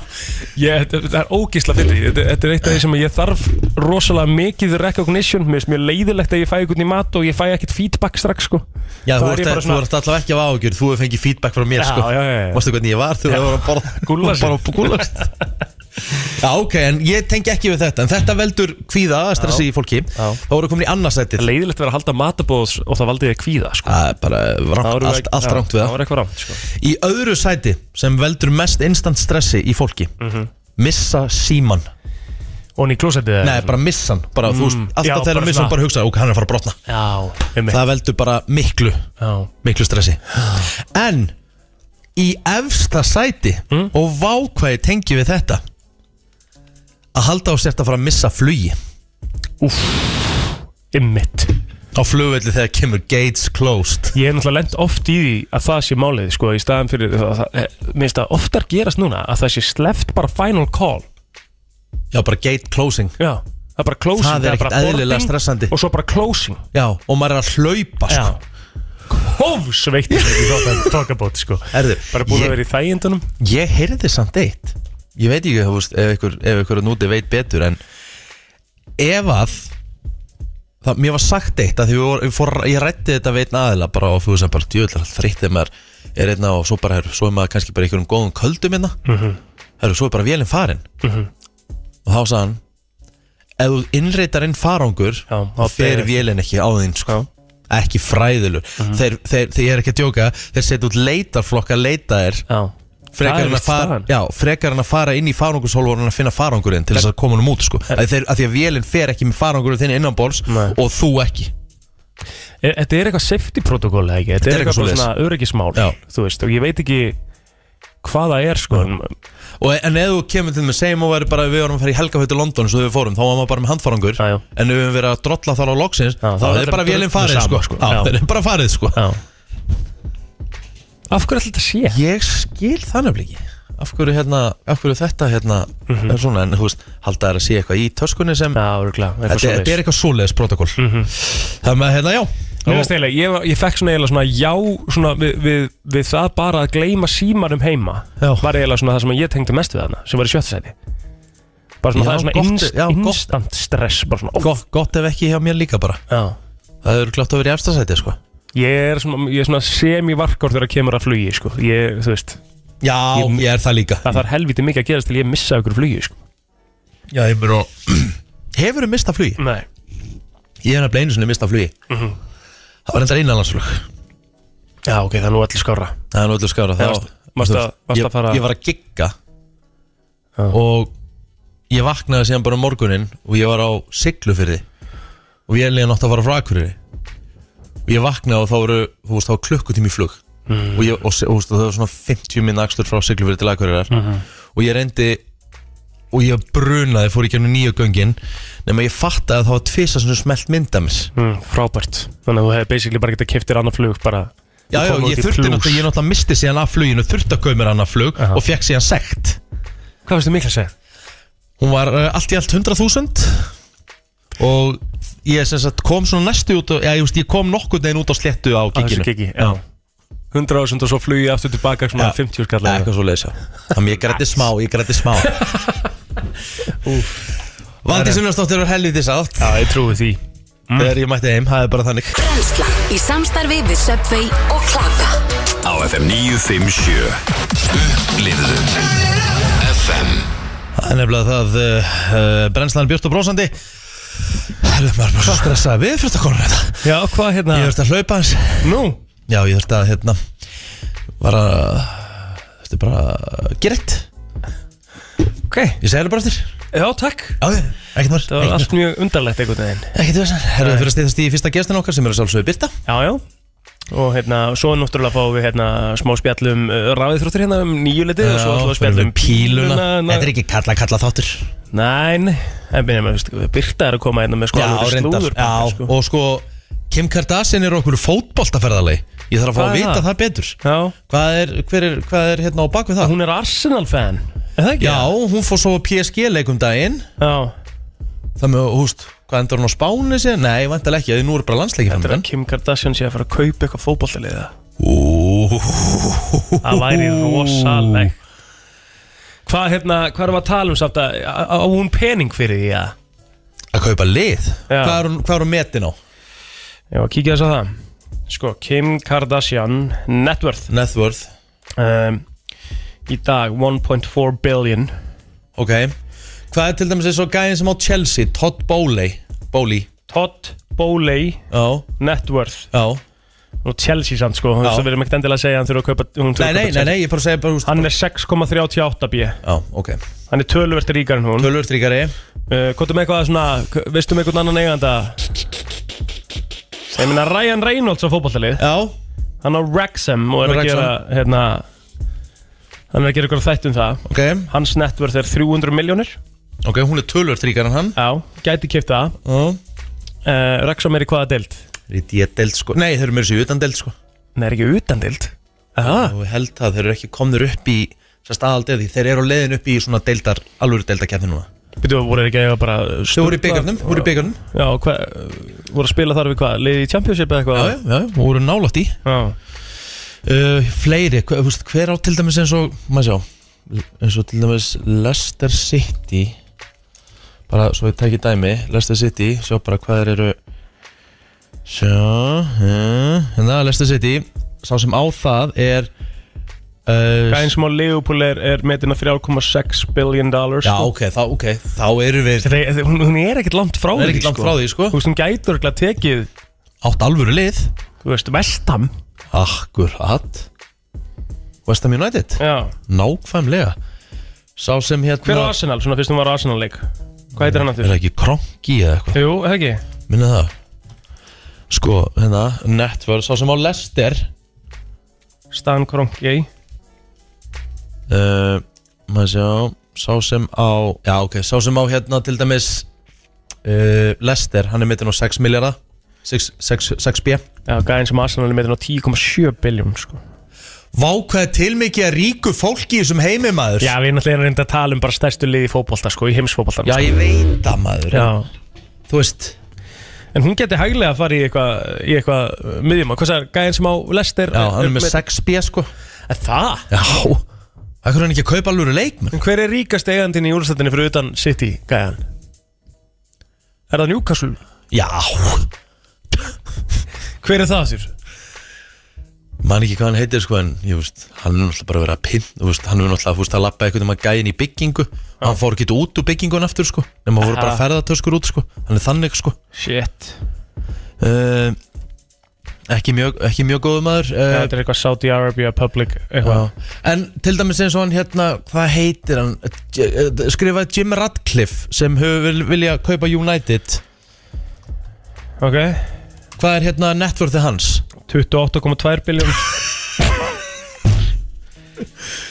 E: ég, þetta, þetta er ógísla fyrir þetta, þetta er eitt af því sem ég þarf rosalega mikið recognition Mér finnst mjög leiðilegt að ég fæ einhvern í mat og ég fæ ekkert feedback strax sko.
D: Já, þú
E: Þá er
D: ert,
E: ég bara
D: svona... ert allavega ekki af áhugjur, þú hefur fengið feedback frá mér
E: Já,
D: sko
E: já, já, já.
D: Varstu hvernig ég var þegar þú var að borða
E: <laughs> Gúlla sig.
D: bara að gúlla sig. Já, ok, en ég tengi ekki við þetta En þetta veldur kvíða að stressi í fólki
E: Já.
D: Þá voru komin í annarsætið
E: Leiðilegt að vera að halda matabóðs og það valdi þig kvíða sko.
D: Það er bara rangt,
E: Það voru
D: allt,
E: ekki-
D: allt
E: já,
D: rangt við
E: Það
D: það
E: var eitthvað rangt sko.
D: Í öðru sæti sem veldur mest instant stressi í fólki Missa síman
E: Mhm. Og hann <laughs> í klósettið eða
D: Nei,
E: eitthvað
D: bara missan bara, þú veist,
E: Mm, Já,
D: Alltaf þegar
E: bara
D: missan
E: svona-
D: bara hugsa Ok, hann er að fara að brotna
E: svona? Já, einmitt.
D: Það veldur bara miklu
E: Já.
D: miklu stressi En í efsta sæti
E: Mm.
D: og vákvæði tengi við þetta að halda á sért að fara að missa flugi
E: Einmitt.
D: á flugvelli þegar kemur gates closed
E: Ég hef náttúrulega lent oft í því að það sé málið sko, í staðan fyrir það, það, eh, Mér finnst það oftar gerast núna að það sé sleft bara final call
D: Já, bara gate closing
E: Já, það er bara closing
D: Það er
E: bara
D: ekkert eðlilega
E: boarding
D: stressandi.
E: Og svo bara closing
D: Já, og maður er að hlaupa sko.
E: Já Hófs veitti
D: <laughs>
E: í tókabót sko
D: Herðu,
E: Bara búin
D: ég-
E: að vera í þægindunum
D: Ég heyrði samt eitt Ég veit ekki þú veist, ef ykkur, ef ykkur núti veit betur En ef að það, Mér var sagt eitt að því við voru, við fór, Ég rætti þetta veit aðeila Bara á fjóðu sem bara djöðlar Þreyttið maður er einna og svo bara heru, Svo er maður kannski bara í einhverjum góðum köldum hérna
E: Mhm.
D: Heru, Svo er bara vélinn farin Og þá sagði hann Ef þú innreitar inn farangur
E: Já,
D: Þá
E: þá
D: fer
E: deyr- Mhm.
D: vélinn ekki á þín sko ekki fræðilur þeir, þeir, þeir, ég er ekki að djóka þeir setja út leitarflokka leita þér
E: Já
D: frekar
E: Það er
D: en, að
E: víst
D: fara,
E: staðan.
D: já, frekar en að fara inn í farangurshólvorun að finna farangurinn til þess að koma hann út sko. að, þeir, að því að vélinn fer ekki með farangurinn þinn innan bóls
E: Nei.
D: og þú ekki
E: E- Þetta er eitthvað safety protocol eða ekki Þetta er eitthvað bara svona öryggismál
D: Já.
E: Þú veist og ég veit ekki hvað það er sko en,
D: og, e- en ef þú kemur til með segjum og verður bara við vorum að fara í helgafætt til London svo við fórum, þá var maður bara með handfarangur
E: Já, já.
D: en ef við höfum verið að drolla þar á loksins
E: Já,
D: þá
E: þá
D: er
E: er
D: bara
E: þetta
D: vélinn
E: bara
D: farið
E: sama,
D: sko.
E: sko.
D: Já,
E: Já.
D: <laughs> þeir eru bara farið sko.
E: Já Af hverju ætla þetta sé?
D: ég skil þannig ekki af hverju, hérna, af hverju þetta hérna, er svona, en þú veist, halda þær að sé eitthvað í töskunni sem
E: Mhm. Já, örgulega
D: þetta, þetta er eitthvað svoleiðis protokoll
E: Mhm.
D: þannig að hérna, já
E: Mér finnst eiginlega, ég, var- ég fekk svona eiginlega svona já svona við, við, við það bara að gleyma símanum heima
D: Já.
E: var eiginlega svona það sem ég tengdi mest við þarna sem var í sjötta sæti bara svona
D: Já,
E: það er svona
D: gott-
E: inst,
D: já, gott.
E: instant stress bara svona, ó,
D: gott, gott ef ekki hjá mér líka bara
E: já.
D: Það eru klátt að vera í efstasæti sko
E: ég er svona, ég er svona semi-varkor þegar kemur að flugi sko. ég, þú veist,
D: Já, ég, er það líka
E: það þarf helviti mikið að gerast til ég missa ykkur flugi sko.
D: Já, ég mér og <clears throat> Hefurðu mistað flugi?
E: nei, Mhm.
D: Ég hef nefnilega einu sinni mistað flugi Það var enda einanlandsflug
E: já ok, það er nú allir skára
D: Það er náttúrulega skára
E: Já, varstu- varstu að- varstu
D: ég,
E: að fara-
D: ég var að gigga Og ég vaknaði síðan bara um morguninn Og ég var á Siglufyrði Og ég er líka nátt að fara frá Akureyri Og ég vaknaði og þá voru Þú veist, þá var klukkutími í flug
E: Mhm.
D: Og, ég, og, og, og það var svona 50 minn akstur frá Siglufyrði til Akureyrar Og ég reyndi og ég brunaði, fór í gegnum nýju göngin nema ég fattaði að það var tvisa sem smelt mynda mér
E: mm, Frábært Þannig að þú hefði basically bara getað kiptir annað flug bara
D: Já, já, ég þurfti náttúrulega, ég náttúrulega misti síðan af fluginu, þurfti að kaupa mér annað flug
E: Aha.
D: og fekk síðan sekt
E: Hvað finnst þú mikla að segja?
D: Hún var uh, allt í allt 100.000 og ég sem sagt kom svona næstu út, og, já, ég, veist, ég kom nokkurn veginn út á sléttu á
E: Að þessu
D: giginu
E: gigi, já 100 ásund og svo flugi aftur tilbaka svona 50 skall eða
D: Eitthvað svo leysa Þannig ég grætti smá, ég grætti
E: <laughs>
D: smá Valdi Sunnastóttir var helviti sátt
E: eitthvað. Já, ég trúi því Mm.
D: Þegar ég mætti heim, það er bara þannig
C: Brennslan í samstarfi við Subway og Klaka
H: Á FM 957 Upplifðu FM
D: Það er nefnilega það uh, uh, Brennslan björst og brósandi Herðu maður bara svo stressað við fyrir þetta konur þetta
E: Já, hvað hérna?
D: Ég þurfti að hlaupa hans
E: Nú?
D: Já, ég þurfti að hérna Var að Þetta er bara uh, Gerett
E: Ok,
D: Ég segi það bara eftir
E: já, takk
D: Já, já, ekkert maður
E: Það var allt mjög undarlegt einhvern veginn
D: Ekkert þess að Herðu fyrir að stýðast í fyrsta gestin okkar sem er að sjálfsögðu Birta
E: Já, já Og hérna, svo náttúrulega fáum við hérna smá spjallum uh, ráðiðþróttir hérna um nýjuleiti og svo ætlum við að spjalla um píluna hérna.
D: Þetta er ekki kalla kalla þáttur
E: Nein, en byrja með, veist, Birta er að koma hérna með sko alvöru slúður
D: Já,
E: sko.
D: og sko Kim Kardashian er okkur fótboltaferðalegi Ég þarf að fá
E: Hvað
D: að
E: er
D: vita
E: það?
D: það betur
E: já,
D: Hvað er, hver er, hvað er hérna á bakvið það?
E: hún er Arsenal fan Er það ekki?
D: Já, hún fór svo á PSG leikum um daginn
E: Já,
D: Það með, húst, hvað endur hún á Spáni síðan? Nei, vantilega ekki, því nú er bara landsleiki
E: þetta er
D: framöndan
E: að Kim Kardashian sé að fara að kaupa eitthvað fótballtaliða
D: Úúúú
E: Það væri rosaleg Hvað hérna, hvað erum við að tala um samt að á- á hún pening fyrir því að
D: Að kaupa lið?
E: Já.
D: Hvað er hún, hvað er hún metin á?
E: Já, kíkja þess að það Sko, Kim Kardashian net worth
D: Networth
E: um, Í dag 1.4 billion
D: Ok Hvað er til dæmis eins og gæðin sem á Chelsea? Todd Bowley Bowley
E: Todd Bowley
D: Já,
E: net worth
D: já
E: og Chelsea samt sko, þú veist,
D: Já.
E: við erum ekkert endilega að segja að hann þurfa að kaupa, hún þurfa
D: Nei,
E: að
D: nei,
E: kaupa
D: nei,
E: Chelsea.
D: nei, ég bara segja bara, húst
E: Hann er 6,38 b
D: Já, ok
E: Hann er töluvert ríkar en hún
D: Tölvöld ríkari
E: uh, Kvotum eitthvað svona, k- veistu um einhvern annan eiganda Ég meina Ryan Reynolds á fótballtalið
D: Já,
E: hann á Wrexham og er
D: Á
E: að
D: Wrexham.
E: gera hérna, hann er að gera ykkur þætt um það
D: ok
E: hans networth er 300 miljónir
D: Ok, hún er tölvöld ríkari en hann
E: já, gæti kipta það
D: Já
E: uh, Wrexham er í hvaða deild?
D: Í D-delt sko Nei, þeir eru mér sér utan delt sko
E: Nei, er ekki utan deild aha,
D: Og ég held að þeir eru ekki komnir upp í Sérst aðaldeði Þeir eru á leiðin upp í svona deildar Alvöru deildarkefni núna
E: byrju að voru þeir ekki að eiga bara
D: Þau voru í byggarnum Voru í byggarnum
E: já, hva, voru að spila þar við hvað, liði í championship eða
D: Já,
E: eitthvað
D: já, já Voru nálátt í
E: já.
D: uh, Fleiri hver, húst, hver á til dæmis eins og Maður sjá Eins og til dæmis Leicester City Bara svo ég tæki dæmi Leicester City Sjá bara hvað þeir eru Sjá uh, Hérna Leicester City Sá sem á það er uh,
E: gæðin sem á Liverpool er, er metin að 3,6 billion dollars
D: Já,
E: sko.
D: ok, þá, ok, þá erum við
E: Þeir- þeir- hún, hún er ekkert langt frá
D: Það er ekkert langt frá því, sko
E: þú veist, hún gætur ekki að tekið
D: Átt alvöru lið
E: þú veist, vestam
D: Akkurat West Ham United
E: já
D: Nákvæmlega Sá sem hérna
E: Hver á Arsenal, svona fyrst hún var á Arsenal-leik? Hvað heitir hann
D: Er
E: aftur?
D: það ekki Kronki eða eitthvað?
E: Jú, eða ekki?
D: Minna það Sko, hérna, Network Sá sem á Lester
E: Stan Kroenke
D: uh, Maður sjá Sá sem á Já, ok, sá sem á hérna til dæmis uh, Lester, hann er mittin á 6 miljardar 6, 6, 6B
E: Já, gæðin sem Arsenal er meðin á 10,7 biljum sko.
D: Vá, hvað er til mikið að ríku fólki í þessum heimi, maður?
E: Já, við erum náttúrulega reynda að tala um bara stærstu lið í fótbolta sko, í heimsfótboltan
D: Já,
E: sko.
D: ég veit það maður
E: Já.
D: Þú veist
E: En hún geti hæglega að fara í eitthvað í eitthvað uh, miðjum Hvað sagði gæðin sem á Lester?
D: Já, hann er með 6B sko
E: Er Það?
D: Já Það er hann ekki að kaupa alvöru leikmenn
E: En hver er ríkast eigandinn í úrstættinni fyrir utan City, gæðan? Er það Newcastle?
D: Já
E: Hver er það þér?
D: Man ekki hvað hann heitir sko en ég veist Hann er náttúrulega bara að vera að pinn Þú veist, hann er náttúrulega þú veist, að lappa eitthvað um að gæja inn í byggingu Og hann fór ekki út úr byggingun aftur sko Nefnum hann voru bara
E: Aha.
D: ferðatöskur út sko Hann er þannig sko
E: Shit
D: uh, Ekki mjög, ekki mjög góðu maður uh,
E: Þetta er eitthvað Saudi Arabia Public eitthvað
D: Já. En til dæmis eins og hann hérna Hvað heitir hann? J- eh, Skrifaði Jim Radcliffe sem hefur vil- viljað kaupa United
E: Ok
D: Hvað er hérna networthið hans?
E: 28,2 biljón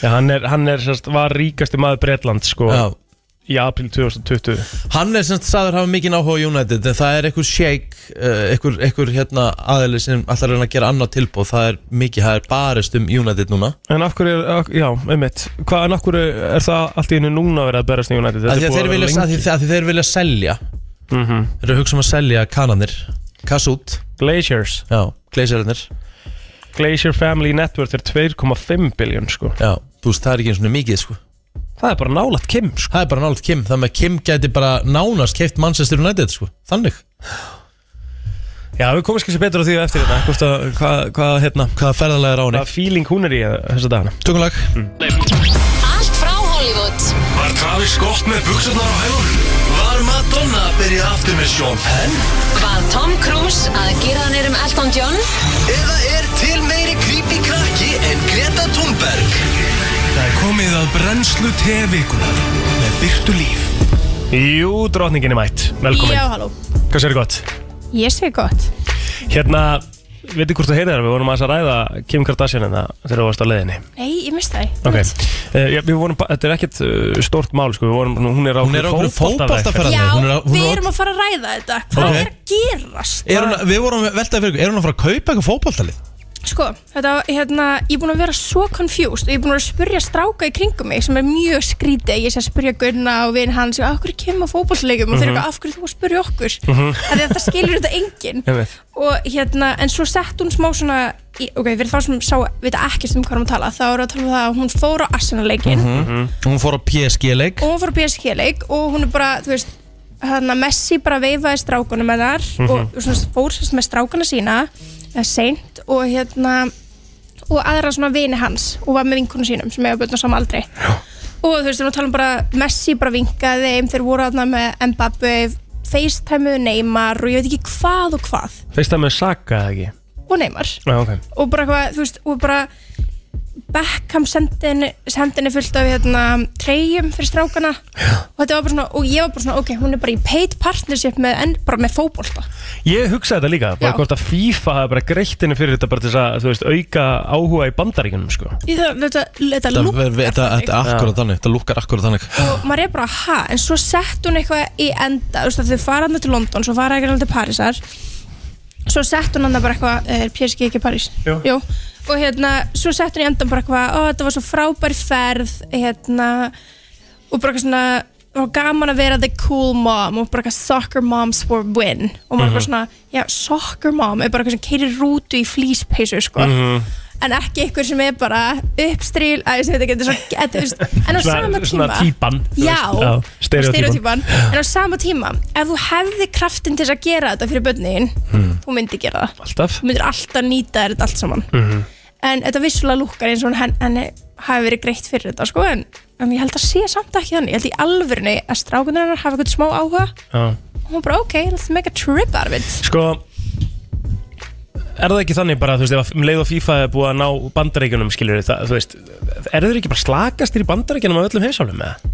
E: Já, hann er, hann er sérst, var ríkasti maður Bretland sko
D: Já
E: í april 2020
D: Hann er semst sagður hafa mikinn áhuga á United en það er einhver shake uh, einhver, einhver hérna aðeili sem ætlar að reyna að gera annað tilbúð það er mikið, það er barist um United núna
E: En af hverju, er, af, já, einmitt Hvað, en af hverju er það allt í hennu núna verið að berast í United?
D: að því að þeir
E: búið vera
D: vilja,
E: lengi.
D: að því, að því þeir vilja selja
E: Mhm.
D: þeir eru að hugsa um að selja kananir Kassút,
E: Glaciers
D: já, gleisjarinnir
E: Glacier Family Network er 2,5 biljón sko
D: já, þú veist, það er ekki eins og mikið sko.
E: Það er bara nálægt Kim sko
D: það er bara nált Kim, það með Kim gæti bara nánast keift Manchester United, sko, þannig
E: Já, við komum skilsið betur á því á eftir þetta Hvort að, hvað, hvað, hérna
D: hvaða ferðalega er á henni
E: Hvað feeling hún er í eh, þessa dagana Mm.
D: Tungulag,
C: Allt frá Hollywood
H: Var Travis gott með buksunar á hægunum? Var Madonna að byrja aftur með Sean Penn?
C: Var Tom Cruise að gera hann um Elton John?
H: Eða er til meiri creepy krakki en Greta Thunberg? Það er komið að brennslu tevikunar með byrtu líf.
E: Jú, drotningin er mætt, velkomin
I: Já, halló
E: Hvað sér gott?
I: Ég segi gott
E: Hérna, veitir hvort þú heyrið þar Við vorum aðeins að ræða Kim Kardashian en það þegar þú varst á leiðinni
I: Nei, ég misti það
E: Ok, uh, já, við vorum, ba- þetta er ekkert uh, stórt mál sko, við vorum, hún er á
D: hún er okkur
E: fótboltaferð.
D: fótboltaferðarni
I: Já,
D: Hún er á- hún
I: við
D: er á-
I: erum að fara að ræða þetta Hvað
D: Ok.
I: er að gerast?
D: er hún að- Við vorum að veltaði fyrir ykkur, er hún að fara að kaupa eitthvað fótboltalið?
I: Sko, þetta, var- hérna, ég er búin að vera svo confused og ég er búin að vera að spyrja stráka í kringum mig sem er mjög skrítið, ég sé að spyrja Gunna og vin hans og af hverju kemur fótbollsleikum og
D: Mhm.
I: þeir eru eitthvað af hverju þú að spyrja okkur mm -hmm. þetta skilur þetta enginn
E: Einmitt.
I: og hérna, en svo sett hún smá svona í, ok, fyrir þá sem sá, veit ekkert um hvað hún tala, þá eru að tala um það að hún fór á Arsenal-leikin
D: Mhm. Hún fór á PSG-leik
I: og hún fór á PSG-leik og hún er bara, þú veist hérna Messi bara veifaði strákunum með þar og svona fór sérst með strákuna sína eh, seint og hérna og aðra svona vini hans og var með vinkunum sínum sem hefur börn á sama aldri og þú veist, við erum að tala um bara Messi bara vinkaði þeim, þeir voru aðna með Mbappe, FaceTime-uðu Neymar og ég veit ekki hvað og hvað
E: Feist það með Saka eða ekki?
I: og Neymar
E: Já, ok
I: og bara eitthvað, þú veist, og bara Beckham sendi henni sendi henni fullt af hérna treyjum fyrir strákana og þetta var bara svona, og ég var bara svona, ok, hún er bara í paid partnership með, en, bara með fótbolta
E: Ég hugsaði þetta líka, bara
I: Já.
E: hvort að FIFA hafa bara greitt henni fyrir þetta bara til þess að, þú veist, auka áhuga í bandaríkunum, sko
I: Ég það- þetta, þetta
D: Þetta
I: lúkkar
D: ver- ver- þetta- þetta
I: þannig
D: er akkurat þannig, þetta lukkar akkurat þannig
I: og maður er bara, ha, en svo sett hún eitthvað í enda, þú veist, að þau fara hann til London svo fara hann til Parísar svo sett hún hann bara eitthvað, er PSG ekki París?
E: Jú.
I: Jú. og hérna, svo sett hún í endan bara eitthvað, ó, þetta var svo frábær ferð, hérna og bara eitthvað svona og gaman að vera the cool mom og bara eitthvað soccer moms for win og maður er bara
E: Mhm.
I: svona, já, soccer mom er bara eitthvað sem keirir rútu í flýspeysu sko.
E: Mhm. Mm-hmm.
I: en ekki einhver sem er bara uppstríl, að ég veit ekki þetta er svo, þetta, þú veist, en á sama tíma
E: svona típan, þú
I: já,
E: veist, já, stereótýpan.
I: stereotypan en á sama tíma, ef þú hefði kraftin til þess að gera þetta fyrir börnin þú myndi gera það,
E: Alltaf
I: þú myndir alltaf nýta þér þetta allt saman
E: Mm-hmm.
I: en þetta vissulega lúkkar eins og henn, henni hafi verið greitt fyrir þetta sko, en, en ég held að sé samt ekki þannig, ég held í alvörunni að strákunar hennar hafa eitthvað smá áhuga
E: Já.
I: og hún bara ok, let's make a trip out of it
E: Sko, er það ekki þannig bara, þú veist, ef um leið og FIFA er búið að ná bandaríkunum, skilur það, þú veist Er þeir ekki bara slakastir í bandaríkunum af öllum heimsálum, eða?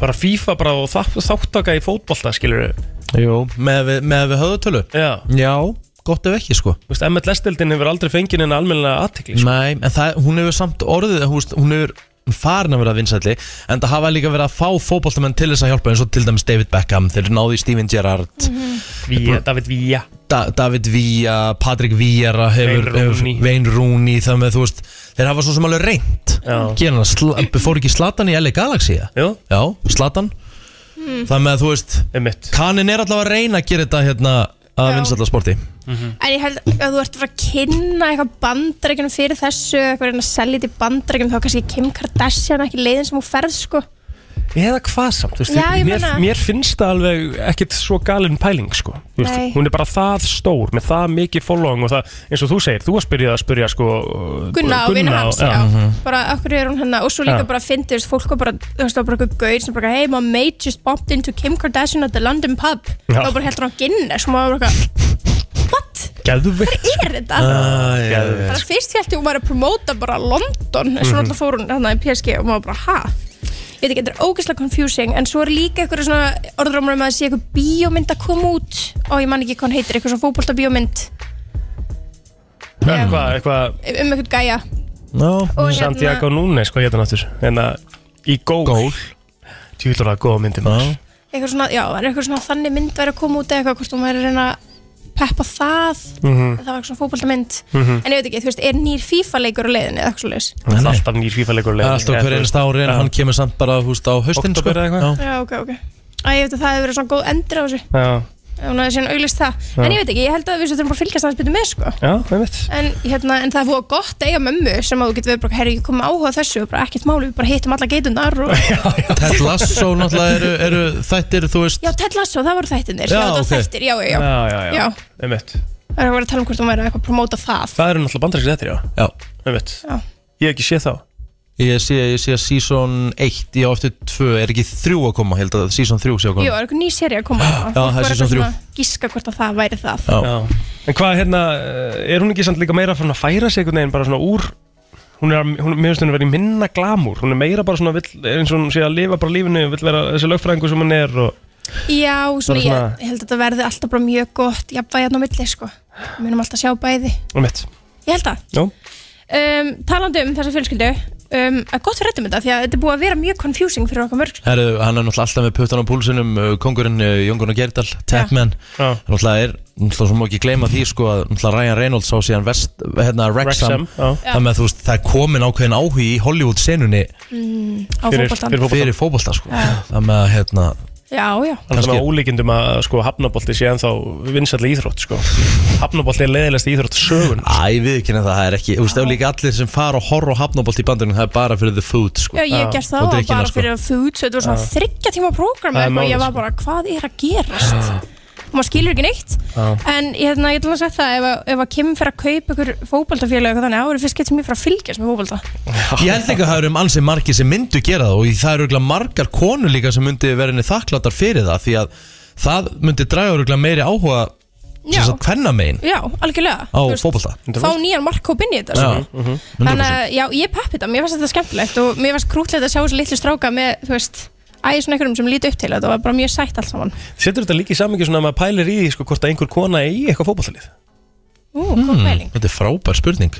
E: Bara FIFA bara og þa- þáttaka í fótbolta, skilur
D: Jú, með, við- með við höfðutölu
E: Já
D: Já, gott ef ekki sko
E: Þú veist, MLS-deldin hefur aldrei fengið henni almennilega aðtekli sko.
D: Nei, en það, hún hefur samt orðið hún, veist, hún hefur farin að vera vinsætli en það hafa líka verið að fá fótboltamenn til þess að hjálpa eins og til dæmis David Beckham þeir náðu í Steven Gerrard
E: Mhm. Vía, David Vía
D: da David Villa, Patrick Vieira hefur,
E: Wayne Rooney.
D: hefur Wayne Rooney þar með þú veist, þeir hafa svo sem alveg reynd
E: Já.
D: Gerna, sl, fór ekki Slatan í LA Galaxy eða?
E: Jú,
D: Já, Slatan
I: Hmm.
D: mm. þar með þú veist,
E: einmitt
D: Kanin er allavega að reyna að gera þetta hérna að
I: Já.
D: vinsætla sporti
E: Mhm.
I: en ég held að þú ert að fara að kynna eitthvað bandarækjunum fyrir þessu eitthvað reyna að selja þetta í bandarækjunum þá er kannski Kim Kardashian ekki leiðin sem hún ferð sko
E: Eða hvað samt, þú veist,
I: Já, ég
E: mér,
I: meina-
E: mér finnst það alveg ekkit svo galin pæling, sko Þú veist,
I: Nei.
E: Hún er bara það stór, með það mikið following og það, eins og þú segir, þú að spyrja að spyrja, sko
I: Gunna og vinnu hans,
E: og-
I: já, bara okkur er hún hennar og svo líka
E: Mhm. Já.
I: bara fyndið, þú veist, fólk var bara þú veist, það var bara eitthvað gauð sem bara, hey, my mate just bumped into Kim Kardashian at the London pub
E: Já.
I: þá bara heldur hann á Guinness og maður var bara eitthvað, what?
E: Geðveikt,
I: Hvað er þetta? Þannig
E: geðveikt.
I: að fyrst held ég hún var að promóta bara London en svo náttúrulega fór hún hann í PSG og maður bara, ha? Ég veit ekki, þetta er ógeðslega confusing en svo er líka eitthvað svona orðrumur um að það sé eitthvað bíómynd að koma út og ég man ekki hvað hann heitir, eitthvað svona fótbolta
E: Eitthvað, eitthvað,
I: um eitthvað gæja
D: Já,
I: og hérna,
E: Santiago Núnes, hvað hétt hann áttur En að, Hérna, í gól
D: Gól.
E: Tjúlur að góða myndi maður
I: eitthvað svona, já, en eitthvað svona þannig mynd væri að koma út eða eitthvað, hvort hún væri að reyna að peppa það,
E: Mhm.
I: það var eitthvað svona fótboltamynd
E: Mhm.
I: en ég veit ekki, þú veist, er nýr FIFA leikur á leiðinni eða eitthvað svo
E: Það er alltaf nýr fífaleikur
D: Það er alltaf hver einast ári en hann kemur samt bara húst á haustin sko.
E: Október eða eitthvað.
I: já, ok, ok, að ég veit að það hefur verið svona góð endur á þessu,
E: Já,
I: ef hún hefði síðan auglist það,
E: Já.
I: en ég veit ekki, ég held að við svo þurfum bara að fylgjast aðeins betur með, sko
E: já, einmitt
I: En, hérna, en það er fóða gott að eiga mömmu sem að þú getur verið bara, herri, ég kom með áhuga á þessu og bara ekkert máli, við bara hittum alla geitunar
E: <laughs>
I: og...
D: Ted Lasso náttúrulega eru, eru þættir þú veist
I: Já, Ted Lasso, það voru þættinir, já,
D: Já,
I: það voru
D: ok.
I: þættir, já, já, já.
E: já, já,
I: Já.
E: einmitt
I: Það er að vera að tala um hvort hún væri eitthvað að promóta það.
E: Það eru náttúrulega bandaríkis þetta, já
D: Já,
E: Einmitt
I: Já.
E: Ég hef ekki séð þá
D: ég sé, ég sé að season 1 ég á eftir 2, er ekki 3 að koma held að season 3 sé
I: Jú,
D: að koma
I: það er eitthvað ný seri að
E: <gasps>
I: koma. þarna.
D: það
I: Fólk
D: er
I: var
D: season
I: eitthvað
D: þrjú.
I: svona að Giska hvort að það væri það.
D: Já.
E: Já. En hvað, hérna, eh, er hún ekki samt líka meira farin að færa sig einhvern veginn bara svona úr Hún er, hún, mér finnst hún vera í minna glamúr Hún er meira bara svona, vill, eins og hún sé að lifa bara lífinu Vill vera þessi lögfræðingu sem hún er og,
I: Já, svona,
E: Bara svona-
I: ég held að þetta verði alltaf bara mjög gott, jafnvægjarn á milli, sko. Við munum alltaf sjá bæði.
E: og mitt
I: Ég held að.
E: Já.
I: Um, talandi um þessa fjölskyldu, um, að gott við rættum þetta, því að þetta er búið að vera mjög confusing fyrir okkar mörg.
D: Herru, hann er náttúrulega alltaf með puttan á púlsinum uh, kongurinn uh, Jóngun og Gerdal, Tapman
E: Já.
D: náttúrulega er, náttúrulega svo má ekki gleyma því sko að náttúrulega Ryan Reynolds á síðan vest, hérna, Rexham,
E: Wrexham, já.
D: þannig að þú veist það er komin ákveðin áhugi í Hollywood senunni
I: Mm, Á fótboltan.
E: fyrir fótbolta
D: fyrir fótbolta sko þannig að hérna,
I: Já, já.
E: Þannig að
D: Kannski-
E: með ólíkindum að sko, hafnabolti sé ennþá vinsætli íþrótt sko. Hafnabolti er leiðilegst íþrótt sögun
D: æ, við ekki nefnir það það er ekki, þú veist, það er líka allir sem fara og horra á hafnabolt í bandunum, það er bara fyrir the food sko
I: Já, ég hef gert það
D: og
I: og
D: drykkina,
I: bara
D: sko.
I: fyrir food, svo þetta var svona þryggja tíma prógram
E: hérna, Það er
I: og
E: málið,
I: ég var
E: sko.
I: bara, hvað er að gerast? Og maður skilur ekki neitt. En ég hérna, ég ætla að segja það, ef, að- ef að Kim fer að kaupa ykkur fókbaltafélag og þannig, þá eru fyrst getur mér fyrir að fylgjast með fókbalta.
D: Ég held ekki að það eru um ansið margir sem myndu gera það og í- það eru örugglega margar konur líka sem myndi vera henni þakkláttar fyrir það því að það myndi draga örgulega meiri áhuga
I: Já.
D: sem hvenna megin
I: Já, algjörlega.
D: á
I: Þú veist,
D: fótbolta
I: Fá nýjan markkóp inn í þetta.
D: Já, Mhm.
I: sko. Þannig að, já, ég peppi þetta, mér fannst þetta skemmtilegt og mér fannst krútlegt að sjá þessu litlu stráka með, þú veist, æði svona einhverjum sem líti upp til þetta og var bara mjög sætt allt saman.
E: Setur þetta líka í samingi svona að maður pælir í því sko, hvort að einhver kona eigi eitthvað fótboltalið
I: Ú,
D: Hmm.
I: góð pæling.
D: Þetta er frábær spurning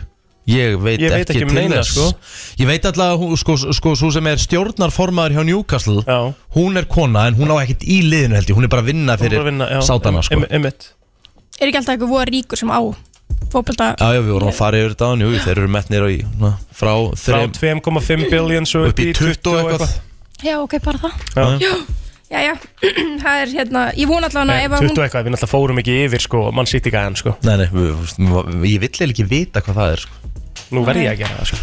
D: Ég veit,
E: Ég veit ekki um
D: til
E: neina,
D: þess.
E: sko.
D: Ég veit alltaf að hún, sko, sko, svo sem er stjórnarformaður hjá Newcastle
E: Já.
D: Hún er kona en hún á ekkert í liðinu held ég Hún er bara að vinna
E: Hún er
D: fyrir
E: að vinna, já.
D: sátana sko.
E: Em- Einmitt
I: Er ekki alltaf eitthvað voða ríkur sem á fókbalta?
D: Já, já, við vorum að fara yfir þetta áðan, jú, Þeir eru metnir í, na, frá,
E: Frá
D: þreim,
E: 2,5 billion svo
D: upp í 20 og eitthvað
I: Já, ok, bara það.
E: Já.
I: Já, já, <clears throat> það er hérna, ég vona allavega
E: Nei,
I: ef að
E: 20
I: hún,
E: og eitthvað, við náttúrulega fórum ekki yfir sko, mann sitt í gæðan sko.
D: Nei, nei, við- við- ég vill eiginlega ekki vita hvað það er sko.
E: Nú verð ég að gera það sko.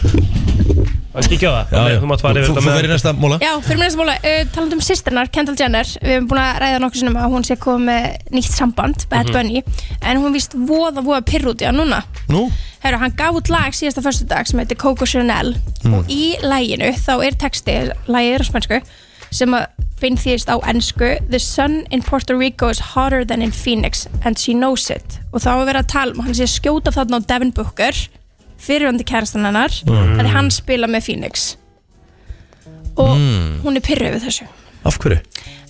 E: Það kíkja á það,
D: Já,
E: Nei,
D: já.
E: þú mátt fara yfir
D: Þú-
E: þetta
D: Þú
E: með-
D: verður í næsta móla
I: já, fyrir mér næsta bóla, uh, talandum um sýsternar, Kendall Jenner, við hefum búin að ræða nokkur sinnum að hún sé komið með nýtt samband, Bad Bunny, en hún víst voða, voða pyrr út í hann núna.
D: Nú?
I: Herru, hann gaf út lag síðasta förstu dag sem heitir Coco Chanel og í laginu þá er texti, lagið er á spænsku, sem að finn þýðist á ennsku The sun in Puerto Rico is hotter than in Phoenix and she knows it og þá er verið að tala um, að hann sé að skjóta þarna á Devin Booker fyrirvandi kærastan hennar mm. en hann spila með Phoenix og hún er pyrru yfir þessu
D: Hmm. Af hverju?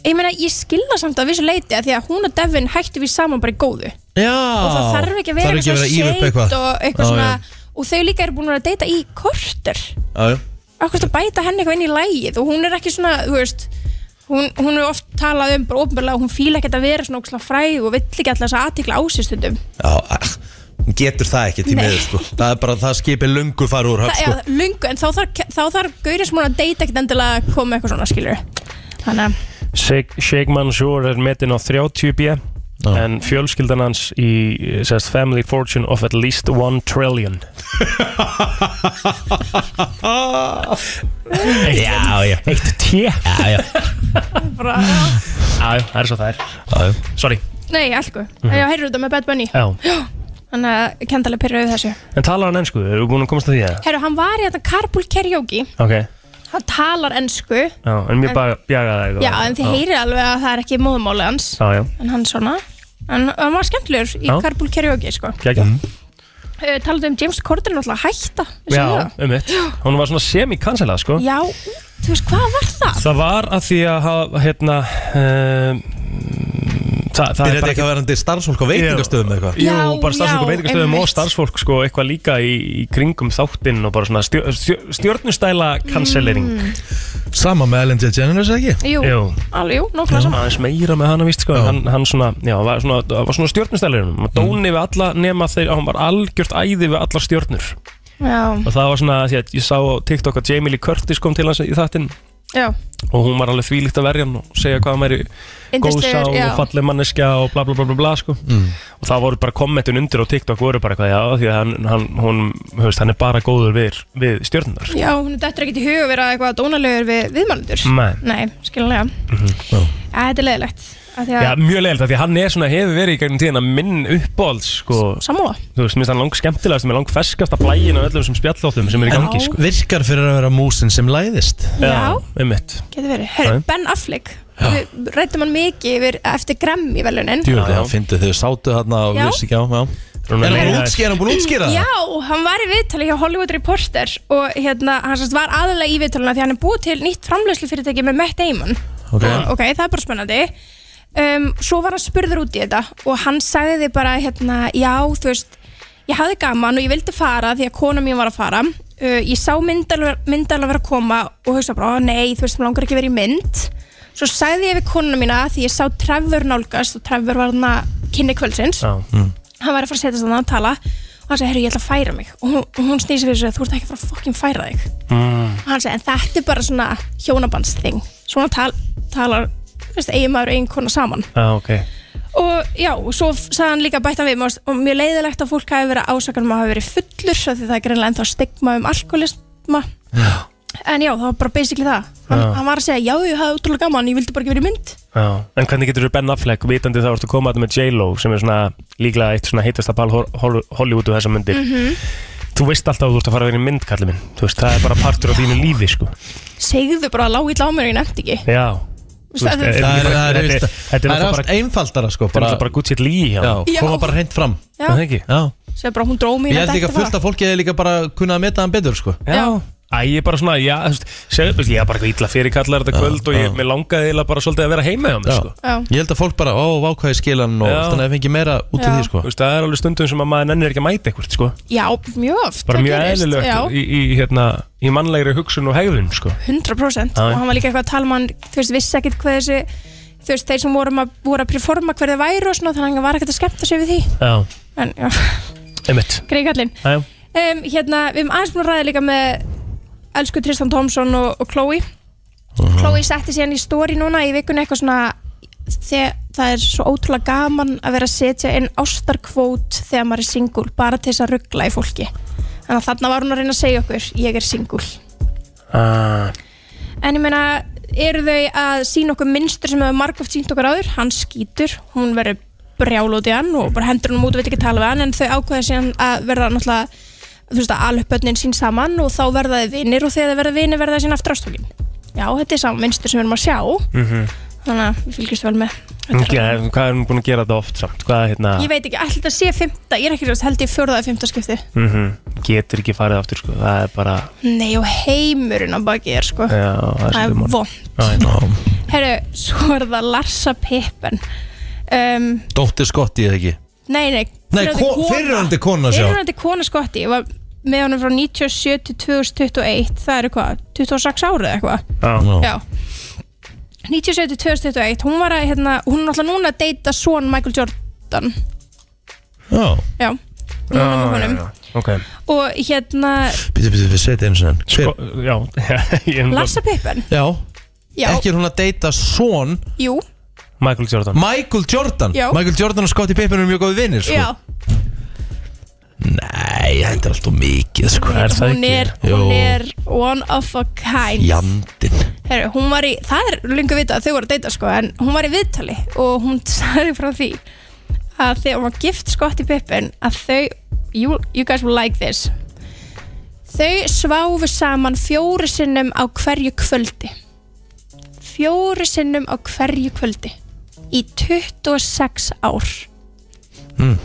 I: ég meina, ég skilða samt að vissu leiti að því að hún og Devin hættu við saman bara í góðu
D: Já
I: og það þarf ekki að vera
D: Þarf ekki að vera
I: eitthvað
D: íver upp
I: shade
D: eitthvað
I: og eitthvað
D: Já,
I: svona
D: já.
I: og þau líka eru búin að vera að deyta í korter
D: Já, já
I: okkur að bæta henni eitthvað inn í lægið og hún er ekki svona, þú veist hún, hún er oft talað um bara ofnbjörlega hún fíla ekkert að vera svona óksla fræg og vill ekki alltaf þess að aðtikla ásistundum
D: Já, ah, hún getur það ekki til
I: Nei.
D: miður sko Það er bara að það skipir lungu fara úr höfn
I: það
D: sko
I: er lungu, en þá þarf, þá þarf gaurið sem hún er að deyta ekkert endilega að koma með eitthvað svona skilur þannig að
E: Sheikh Sheikh Mansour er metin á 30 B en fjölskyldan hans í sérst, family fortune of at least 1 trillion
D: <laughs>
E: eitt,
D: <laughs> Já, já
E: eitt T já,
D: Já, já
I: bara, já.
E: <laughs> já, það er svo það er
D: Já, já.
E: sorry
I: nei, allku,
D: Mhm.
I: mm -hmm. ég heyrðu þetta með Bad Bunny
E: já.
I: þannig að kendalega pyrra við þessu
E: en tala hann ennsku, erum við búin að komast að því að
I: herru, hann var í þetta Carpool Karaoke
E: ok,
I: hann talar ennsku
E: já, en mér bara bjaga það
I: Já, en þið heyrið alveg að það er ekki móðumáli hans
E: já, já,
I: En hann svona En hann var skemmtilegur í
E: Já.
I: Karpul Karaoke sko.
E: gegja
D: Mhm.
I: uh, Talaðu um James Corden náttúrulega hætta vissuð þið
E: já,
I: það?
E: um mitt, hún var svona semi-cancelað sko
I: Já, þú veist hvað var það?
E: það var að því að hafa, hérna um, það, það
D: Byrjaði ekki að vera hann til starfsfólk á veitingastöðum eða eitthvað
E: Jú,
I: Já,
E: bara starfsfólk og
I: já,
E: veitingastöðum
I: einmitt.
E: og starfsfólk sko eitthvað
I: Mm.
E: líka í, í kringum þáttinn og bara svona stjör, stjör, stjórnustæla cancellering
D: Sama með Ellen DeGeneres ekki?
I: Jú,
E: Jú.
I: alveg, jú,
E: Já,
I: nokkla saman
E: aðeins meira með hana víst sko en hann, hann svona, já, var svona, var svona stjórnustælirinn hann
D: Mm.
E: dóni við alla nema þeir hann var algjört æði við allar stjórnur
I: Já,
E: og það var svona, því að ég sá á TikTok að Jamie Lee Curtis kom til hans í þattinn
I: já,
E: og hún var alveg þvílíkt að verja hann og segja hvað hann væri góð sá
I: Yndislegur, já.
E: og falleg manneskja og bla bla bla bla bla sko. og það voru bara kommentin undir á TikTok voru bara eitthvað, já, því að hann, hann, hún, hefst, hann er bara góður við, við stjórnunar
I: já, hún er dættur ekkert í hug að vera eitthvað dónalegur við viðmælendur
E: Nei.
I: Nei, skiljanlega Já, þetta er leiðilegt af því
E: Mhm, Já,
I: að
E: mjög leiðilegt af því að hann er svona, hefur verið í gegnum tíðina minn uppáhalds, sko,
I: Sammála
E: þú veist, minnst hann lang skemmtilegast með lang ferskasta blægin af öllum sem spjallóttum sem er í gangi, sko.
D: Virkar fyrir að vera músin sem læðist
I: Já,
E: einmitt.
I: getur verið Herru,
E: Nei.
I: Ben Affleck Við rættum hann mikið yfir, eftir Grammy velunin
D: Djúlega,
E: Já, já.
D: það fyndi þau sátu þarna og
I: Mm. Já.
D: vissi ekki á já.
E: Er
D: Er hann búinn að útskýra- er hann búin að útskýra það?
I: Já, hann var í viðtali hjá Hollywood Reporter og hérna, hann sérst var aðalega í viðtalina því hann er búið til nýtt framlöslufyrirtæki með Matt Damon
D: Ok.
I: og, ok, það er bara spennandi um, Svo var hann spurður út í þetta og hann sagði bara hérna, já, þú veist ég hafði gaman og ég vildi fara því að kona mín var að fara uh, ég sá myndal, myndal að vera að koma og hugsa bara, "Ó, nei, þú veist, maður langar ekki að vera í mynd Svo sagði ég við konuna mína því ég sá Trevor nálgast og Trevor var hann að kynni kvöldsins
E: Já,
I: hann var að fara að setja þannig að tala og hann segi, herru, ég ætla að færa mig og hún, og hún snýsi fyrir sig að þú ert ekki að fara að fokkin færa þig
E: Mm.
I: og hann segi, en þetta er bara svona hjónabandsþing svona tal, talar, þú veist, eigin maður og eigin kona saman
E: já, Ah, ok.
I: og já, og svo f- sagði hann líka bættan við mér og mjög leiðilegt að fólk hafi verið ásakan um að hafa verið fullur svo því það er greinlega ennþá stigma um alkoholisma en já, það var bara basically það hann,
E: Já.
I: hann var að segja, já, ég hafði útrúlega gaman ég vildi bara ekki verið mynd
E: Já. En hvernig getur þú Ben Affleck, vitandi þá ertu að koma að með J-Lo, sem er svona líklega eitt svona heitasta pal Hor- Hol- Hollywoodu þessa myndir.
D: Mhm.
I: Mhm.
E: Þú veist alltaf að þú ert að fara að vera í mynd, kallið minn. Þú veist, það er bara partur af þínu lífi, sko.
I: segðu bara að lágu illa á mér og ég nefndi ekki
E: Já. Þú
I: Það er-
D: Það er,
E: þetta
D: það er,
E: þetta
D: þetta, það
E: þetta
D: er
E: náttúrulega
D: allt
E: bara-
D: einfaldara sko
E: þetta er
D: bara,
E: náttúrulega bara gutt sér líi hjá.
D: já,
I: Já.
D: Koma bara hreint fram
E: Er það ekki?
D: já.
I: segðu bara hún dró
D: Ég
I: mín
D: held líka fullt af fólki eða líka bara kunna að meta hann betur sko
I: Já.
E: Æ, ég er bara svona, já, þú veist, segðu, þú veist, ég er bara eitthvað illa fyrir kallar þetta kvöld og ég, mér langaði eiginlega bara svolítið að vera heima hjá mér,
D: Já.
E: sko.
I: Já.
D: Ég held að fólk bara, ó, vákvæði skilan og
E: Já.
D: þannig að fengi meira út í
I: Já.
D: því sko
E: Þú veist, það er alveg stundum sem að maður nennir ekki að mæta eitthvað, sko.
I: Já, mjög oft
E: Bara
I: það
E: mjög
I: gerist, já,
E: eðlilegt í, í, hérna, í mannlegri hugsun og hegðun, sko.
I: 100%
E: Já, já.
I: og hann var líka eitthvað að tala um hann þú veist, vissi ekkert hvað þessi þú veist, þeir sem voru um að, voru að performa hver þeir væru og svona, þannig að hann var ekkert að skemmta sig við því
E: Já,
I: en já, <laughs>
E: einmitt.
I: greikallinn
E: Já, já.
I: um, hérna, við erum aðeins búin að ræða líka með elsku Tristan Thompson og, og Chloe
E: Mhm.
I: Chloe setti síðan í story núna í vikunni eitthvað svona þegar það er svo ótrúlega gaman að vera að setja inn ástarkvót þegar maður er singul, bara til þess að ruggla í fólki þannig að þarna var hún að reyna að segja okkur ég er singul
E: Ah,
I: En ég meina, eru þau að sína okkur minnstur sem hefur margóft sínt okkur áður? Hann skýtur, hún verður brjál út í hann og bara hendur hann út og veit ekki tala við hann en þau ákveða síðan að verða náttúrulega þú veist að alveg börnin sín saman og þá verða þau vinir og þegar þau verða vinir verða þau sín aftur ástókin. Já, þetta er saman minnstur sem við erum að sjá þannig að við fylgjumst vel með. Þetta
E: ok,
I: er-
E: Mhm. hvað er hún búin að gera þetta oft samt? Hvað, hérna,
I: Ég veit ekki, ætli þetta sé fymta, ég er ekki rjóðast, held ég fjórða að fymta skipti.
E: mhm, getur ekki farið aftur, sko. Það er bara,
I: Nei og heimurinn á baki er sko,
E: já,
I: það
E: það er
I: er
E: svolítið mál.
I: vond.
E: Æ, ná.
I: Herru, svo er það Larsa Pippen um,
D: Dóttir skotti eða ekki
I: Nei, nei,
D: Nei, ko- fyrrverandi kona, sjá.
I: Fyrirhandi kona skotti Ég var með honum frá 97 til 2021 Það eru hvað, 26 árið eitthvað
E: Já,
D: Já.
I: Já 97 til 2021 Hún var að, hérna, hún er alltaf núna að deyta son Michael Jordan
D: Já,
I: Já, hún er með honum
E: ok.
I: Og hérna,
D: býtu, býtu, við setja einu sinni Hver-
E: Sko, já, <laughs> ég er
I: Larsa Pippen
D: Já,
I: Já,
D: ekki er hún að deyta son
I: jú,
E: Michael Jordan.
D: Michael Jordan
I: Já.
D: Michael Jordan og Scottie Pippen eru mjög góði vinnir sko.
I: já
D: Nei, þetta er alltaf mikið sko.
E: Er það
I: Hún
E: ekki?
I: er,
D: Jú.
I: hún er one of a kind
D: Jandinn
I: Heru, hún var í, það er lengur vita að þau voru að deyta sko, en hún var í viðtali og hún <laughs> sagði frá því að þegar hún var gift skott í pippin að þau, you, you guys will like this þau sváfu saman fjóru sinnum á hverju kvöldi fjóru sinnum á hverju kvöldi í 26 ár
D: Mm.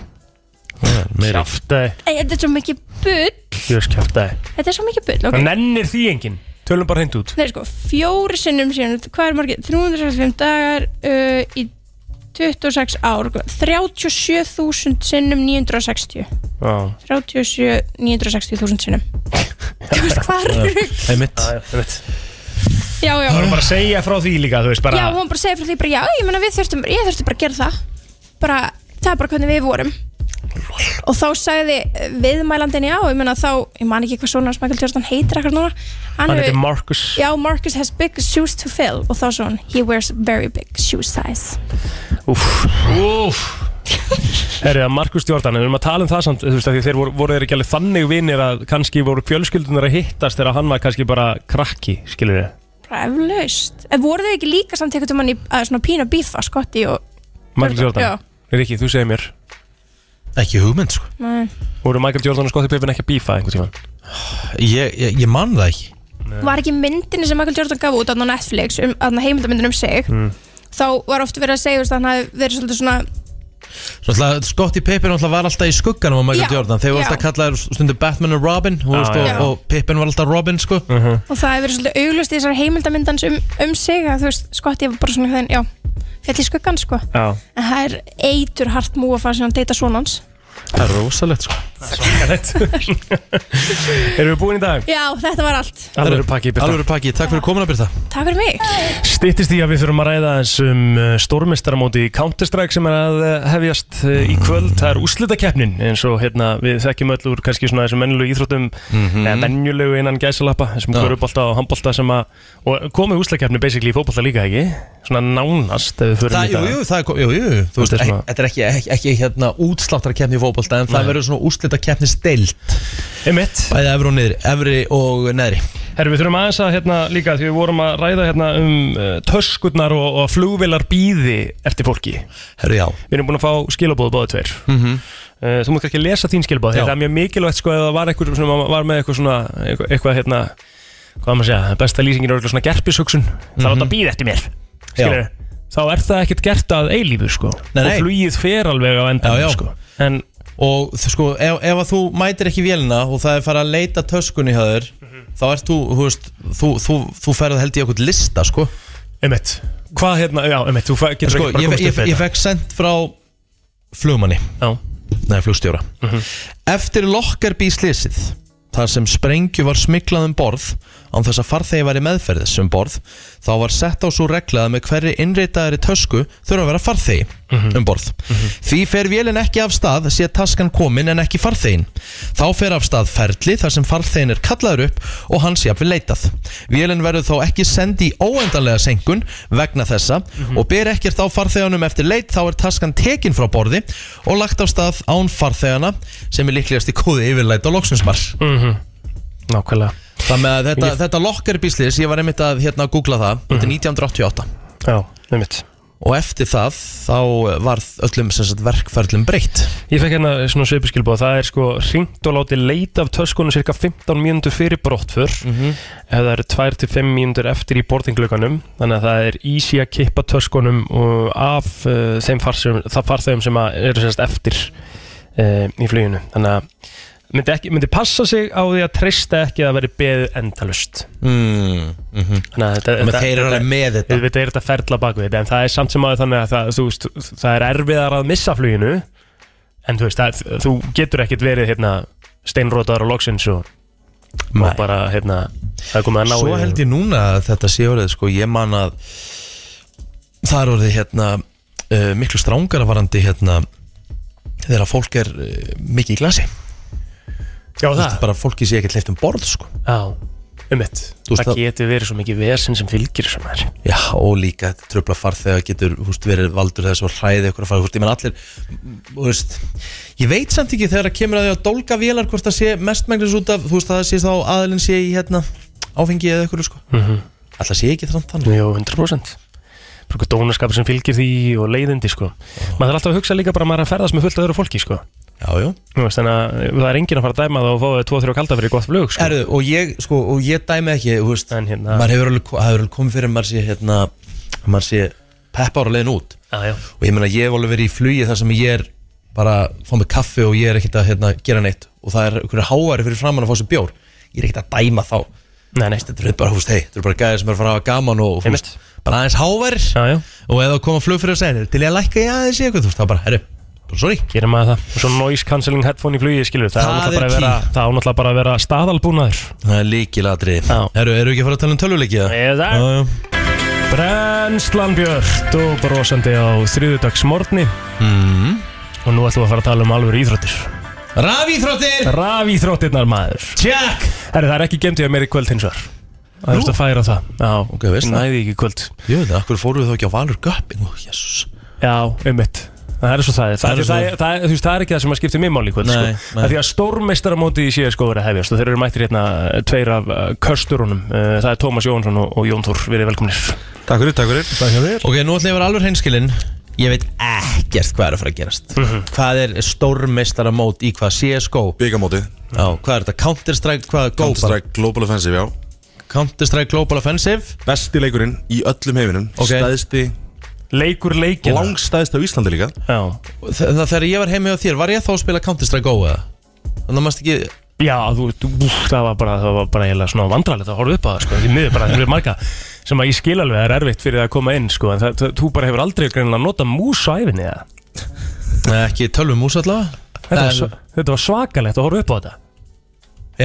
D: Meiri.
E: Kjaftaði,
I: Æ, þetta er svo mikið bull
E: ég veist kjaftaði.
I: þetta er svo mikið bull, ok
E: Það nennir því enginn. Tölum bara hreint út.
I: Nei, sko, fjóri sinnum síðan, hvað er margir? 365 dagar uh, í 26 ár, sko, hvað? 37.000 sinnum 960.
E: Já. <laughs>
I: 37.960.000 sinnum. Þú veist, hvað er
D: Einmitt.
E: Já, já, einmitt.
I: já, já
E: Það er bara að segja frá því líka, þú veist, bara
I: Já, hún bara segir frá því bara, já, ég meina við þurftum, ég þurfti bara að gera það bara, það er bara hvernig við vorum og þá sagði eh, viðmælandin já, ég meina þá, ég man ekki hvað svona Michael Jordan heitir ekkert núna
E: Hann heitir
I: hefur-
E: Marcus
I: Já, Marcus has big shoes to fill og þá svo hann, he wears very big shoe size
E: Úf Úf Herri, að Markus Jordan, en við erum að tala um það samt, þú veist, af því þeir voru, voru þeir ekki alveg þannig vinir að kannski voru fjölskyldunar að hittast þegar hann var kannski bara krakki, skilur þið?
I: bara eflaust, en voru þau ekki líka samt eitthvað um hann í að svona pína bífa skotti og,
E: Michael Jordan?
I: Já.
E: Rikki, þú segir mér,
D: Ekki hugmynd sko
I: nei,
E: voru Michael Jordan og Scottie Pippen ekki að bífa einhvern tíma?
D: Ég, ég, ég man það ekki
I: var ekki myndinni sem Michael Jordan gaf út á Netflix, um, heimildamyndin um sig
E: Mm. Hmm.
I: þá var ofta verið að segja þú veist, að hann hafi verið svolítið svona
D: Náttúrulega, Scottie Pippen náttúrulega var alltaf í skugganum á Michael
I: Já,
D: Jordan Þeir voru
I: já.
D: alltaf kallaðir stundum Batman og Robin þú veist,
E: já, Mhm.
D: og,
I: já.
D: og Pippen var alltaf Robin sko
I: og það hefur verið svolítið auglust í þessar heimildamindans um, um sig að þú veist, skott ég var bara svona þeim, já, fjall í skuggan sko
E: Já.
I: en það er eitur hart múa að fara sem hann deyta svonans
D: Það er rosalegt sko
E: <laughs> Erum við búin í dag?
I: Já, þetta var allt,
E: Alveg pakki í byrta.
D: Alvöru pakki, takk fyrir komin að byrta
I: takk fyrir mig
E: Stittist í að við þurfum að ræða eins um stórmestaramóti í Counter-Strike sem er að eh, hefjast eh, í kvöld. Það er úslitakeppnin eins og hérna, við þekkjum öll úr kannski svona þessum mennulegu íþróttum
D: Mhm.
E: eða mennulegu innan gæsalappa þessum kvörubolta og handbolta sem að og komið úslitakeppni basically í fótbolta líka ekki? Svona nánast ef við förum
D: Það,
E: í
D: jú,
E: það.
D: jú, það er, ko- jú, jú, þú veist,
E: Þetta er
D: ekki,
E: svona-
D: þetta er ekki, ekki, ekki hérna útsláttarkeppni í fótbolta en það verður svona útsláttarkeppni stilt
E: Einmitt.
D: Bæði efri og niðri, efri og neðri
E: Herru, við þurfum aðeins að hérna líka því við vorum að ræða hérna um uh, töskurnar og, og flugvilar býði eftir fólki.
D: Herru, já, Mhm.
E: Við erum búin að fá skilabóð báðu tveir mm Þú mútt kannski lesa þín skilabóð
D: Já.
E: Það er mjög mikilvægt sko ef það var eitthvað sem var með eitthvað svona eitthvað, eitthvað hérna hvað á maður að segja, besta lýsingin er eitthvað svona gerpishugsun það
D: Mhm.
E: er átt að býða eftir mér skilur, þá er það ekkert gert að eilífu sko
D: Nei, nei.
E: og flugið fer alveg á endan
D: Já, já.
E: sko en
D: og þú sko, ef, ef að þú mætir ekki vélina og það er farið að leita töskunni hjá þér
E: Mhm.
D: þá ert þú, þú veist, þú, þú, þú ferð held í okkur lista, sko
E: einmitt, hvað hérna, já einmitt þú fæ- getur
D: Sko,
E: ekki bara
D: ég,
E: komist
D: ég,
E: upp
D: ég, ég
E: þetta
D: fekk sendt frá flugmanni,
E: Já, Mhm.
D: nei, flugstjóra Eftir Lockerbie slysið þar sem sprengju var smiklað um borð án þess að farþegi væri meðferðis um borð, þá var sett á svo regla að með hverri innreitaðari tösku þurfa að vera farþegi
E: Mhm.
D: um borð Því fer vélinn ekki af stað sé taskan komin en ekki farþegin Þá fer af stað ferli þar sem farþegin er kallaður upp og hans jafnvel leitað Vélinn verður þá ekki sendi í óendanlega senkun vegna þessa og ber ekkert á farþeganum eftir leit þá er taskan tekin frá borði og lagt af stað án farþegana sem er líklegast í kóði yfirleita og loksinsmar Mhm.
E: nákvæmlega
D: Þannig að þetta, þetta lokkar bíslis, ég var einmitt að hérna googla það, þetta er 1988
E: Já, einmitt
D: og eftir það þá var öllum sem sagt, verkferlum breytt
E: Ég fekk hérna svona svipuskilbóð, það er sko ringt og látið leita af töskunum cirka 15 mínútur fyrir brottför
D: Mhm.
E: ef það eru 2-5 mínútur eftir í bortinglökanum, þannig að það er easy að kippa töskunum og af uh, þeim farsum, það farþegum sem að eru sérst eftir uh, í fluginu, þannig að myndi, ekki, myndi passa sig á því að treysta ekki að veri beðið endalust
D: mm.
E: þannig að þetta,
D: Menn þeir eru alveg með þetta
E: Við veitum að þetta er ferla bak við þetta en það er samt sem aðeins þannig að það, þú veist, það er erfiðar að missa fluginu en þú veist, það, þú getur ekkert verið hérna, steinrótaður á loksins og, og
D: Nei.
E: bara hérna, það er komið að ná
D: Svo held ég núna að þetta sé orðið sko, ég man að það er orðið hérna uh, miklu strángara varandi hérna þegar fólk er uh, mikið í glasi
E: Já, það,
D: bara fólki sé ekkert leift um borð sko
E: já, um mitt
D: Þú veist,
E: Það
D: það-
E: getur verið svo mikið vesen sem fylgir sem er
D: Já, og líka þetta tröfla farþega getur húst, verið valdur þess að hræði ykkur að fara húst, ég menn allir, húst ég veit samt ekki þegar að kemur að því að dólga vélar hvort það sé mestmenglis út af þú veist að það sé þá aðilinn sé í hérna áfengi eða ykkur sko mm sé ekki þannig þannig
E: Mhm. Jú, 100% Bara eitthvað dónaskapur sem fylgir því og leiðindi sko. maður þarf alltaf að hugsa líka bara að maður er að ferðast með fullt af öðru fólki sko.
D: Já, já
E: Þú veist, þannig að það er enginn að fara að dæma það og fá þau 2-3 kalda fyrir gott flug sko.
D: Erðu, og ég, sko, og ég dæmi ekki, þú veist,
E: En hérna-
D: maður hefur alveg, það hefur alveg komið fyrir að maður sé, hérna, að maður sé peppar á leiðin út.
E: Já, já.
D: Og ég meina, ég hef alveg verið í flugi þar sem ég er bara að fá mig kaffi og ég er ekkert að, hérna, gera neitt. Og það er einhverju háari fyrir framann að fá sér bjór. Ég er ekkert að dæma þá.
E: Nei, nei,
D: Þetta er bara, þú veist, hei, þetta er bara gæðir sem er að fara að hafa gaman og, þú veist,
E: Einmitt.
D: bara aðeins háværir.
E: Já, já.
D: Og eða koma flug fyrir að segja, til ég að lækka ég aðeins í eitthvað, þú veist, þá bara, herru,
J: sorry
E: Gerir maður það Og svo noise cancelling headphone í flugi, skilur Það,
J: Það
E: það,
J: er
E: er, er, vera,
J: key.
E: það á náttúrulega bara að vera staðalbúnaður
D: Það er líkilatri
E: Já.
D: Eru, eru ekki að fara að tala um tölvuleiki? eða?
E: Eða
D: Já, já.
E: Brennslan Björt og brosandi á þriðudags morgni
D: Mm.
E: Og nú ætlum við að fara að tala um alvöru íþróttir
D: Rafíþróttir
E: Rafíþróttirnar maður
D: Check
E: Herri, það er ekki gemd í að meira í kvöld hins vegar Það er að færa það Já,
D: Ok, veist
E: ég
D: það.
E: næði ekki í kvöld
D: Jú, það, akkur fóruðu þá ekki á Valur Göpping Jesus.
E: Já, einmitt Það er svo það, það,
D: Það
E: er,
D: er svo-
E: það, er, það, er, þú veist, það er ekki það sem að skipta mig máli í kvöld
D: Nei,
E: sko.
D: nei.
E: Það er því að stórmeistaramóti í síðan sko verið að hefjast og þeir eru mættir hérna eh, tveir af uh, kösturunum uh, Það er Tómas Jónsson og, og Jón Þór, verið velkomnir
D: Takk fyrir, takk fyrir
E: Takk fyrir
J: Ok, nú ætlum ég að vera alveg hreinskilinn Ég veit ekkert hvað er að fara að gerast
E: Mhm.
J: Hvað er stórmeistaramót í hvað CSGO
K: Byggamótið
J: Já, hvað er þetta? Counter-Strike, hvað er Counter
K: Counter-Strike Global Offensive, já
J: Counter-Strike Global Offensive
K: Besti leikurinn í öllum heiminum
J: Ok.
K: Stæðsti,
E: Leikur leikin
K: langstæðsti á Íslandi líka
E: Já,
J: Þa- það- Þegar ég var heimi á þér, var ég þá að spila Counter-Strike Go eða? Þannig að maður ekki
E: Já þú, þú, úf, það var bara, það var bara eiginlega svona vandralegt að horfa upp á það sko, því miður bara, það er marga sem að ég skil alveg að það er erfitt fyrir það að koma inn sko, en það, það, þú bara hefur aldrei greinilega nota mús á æfinni eða
J: Nei, Ekki tölvumús allavega
E: þetta, var
J: En-
E: sva- þetta var svakalegt að horfa upp á þetta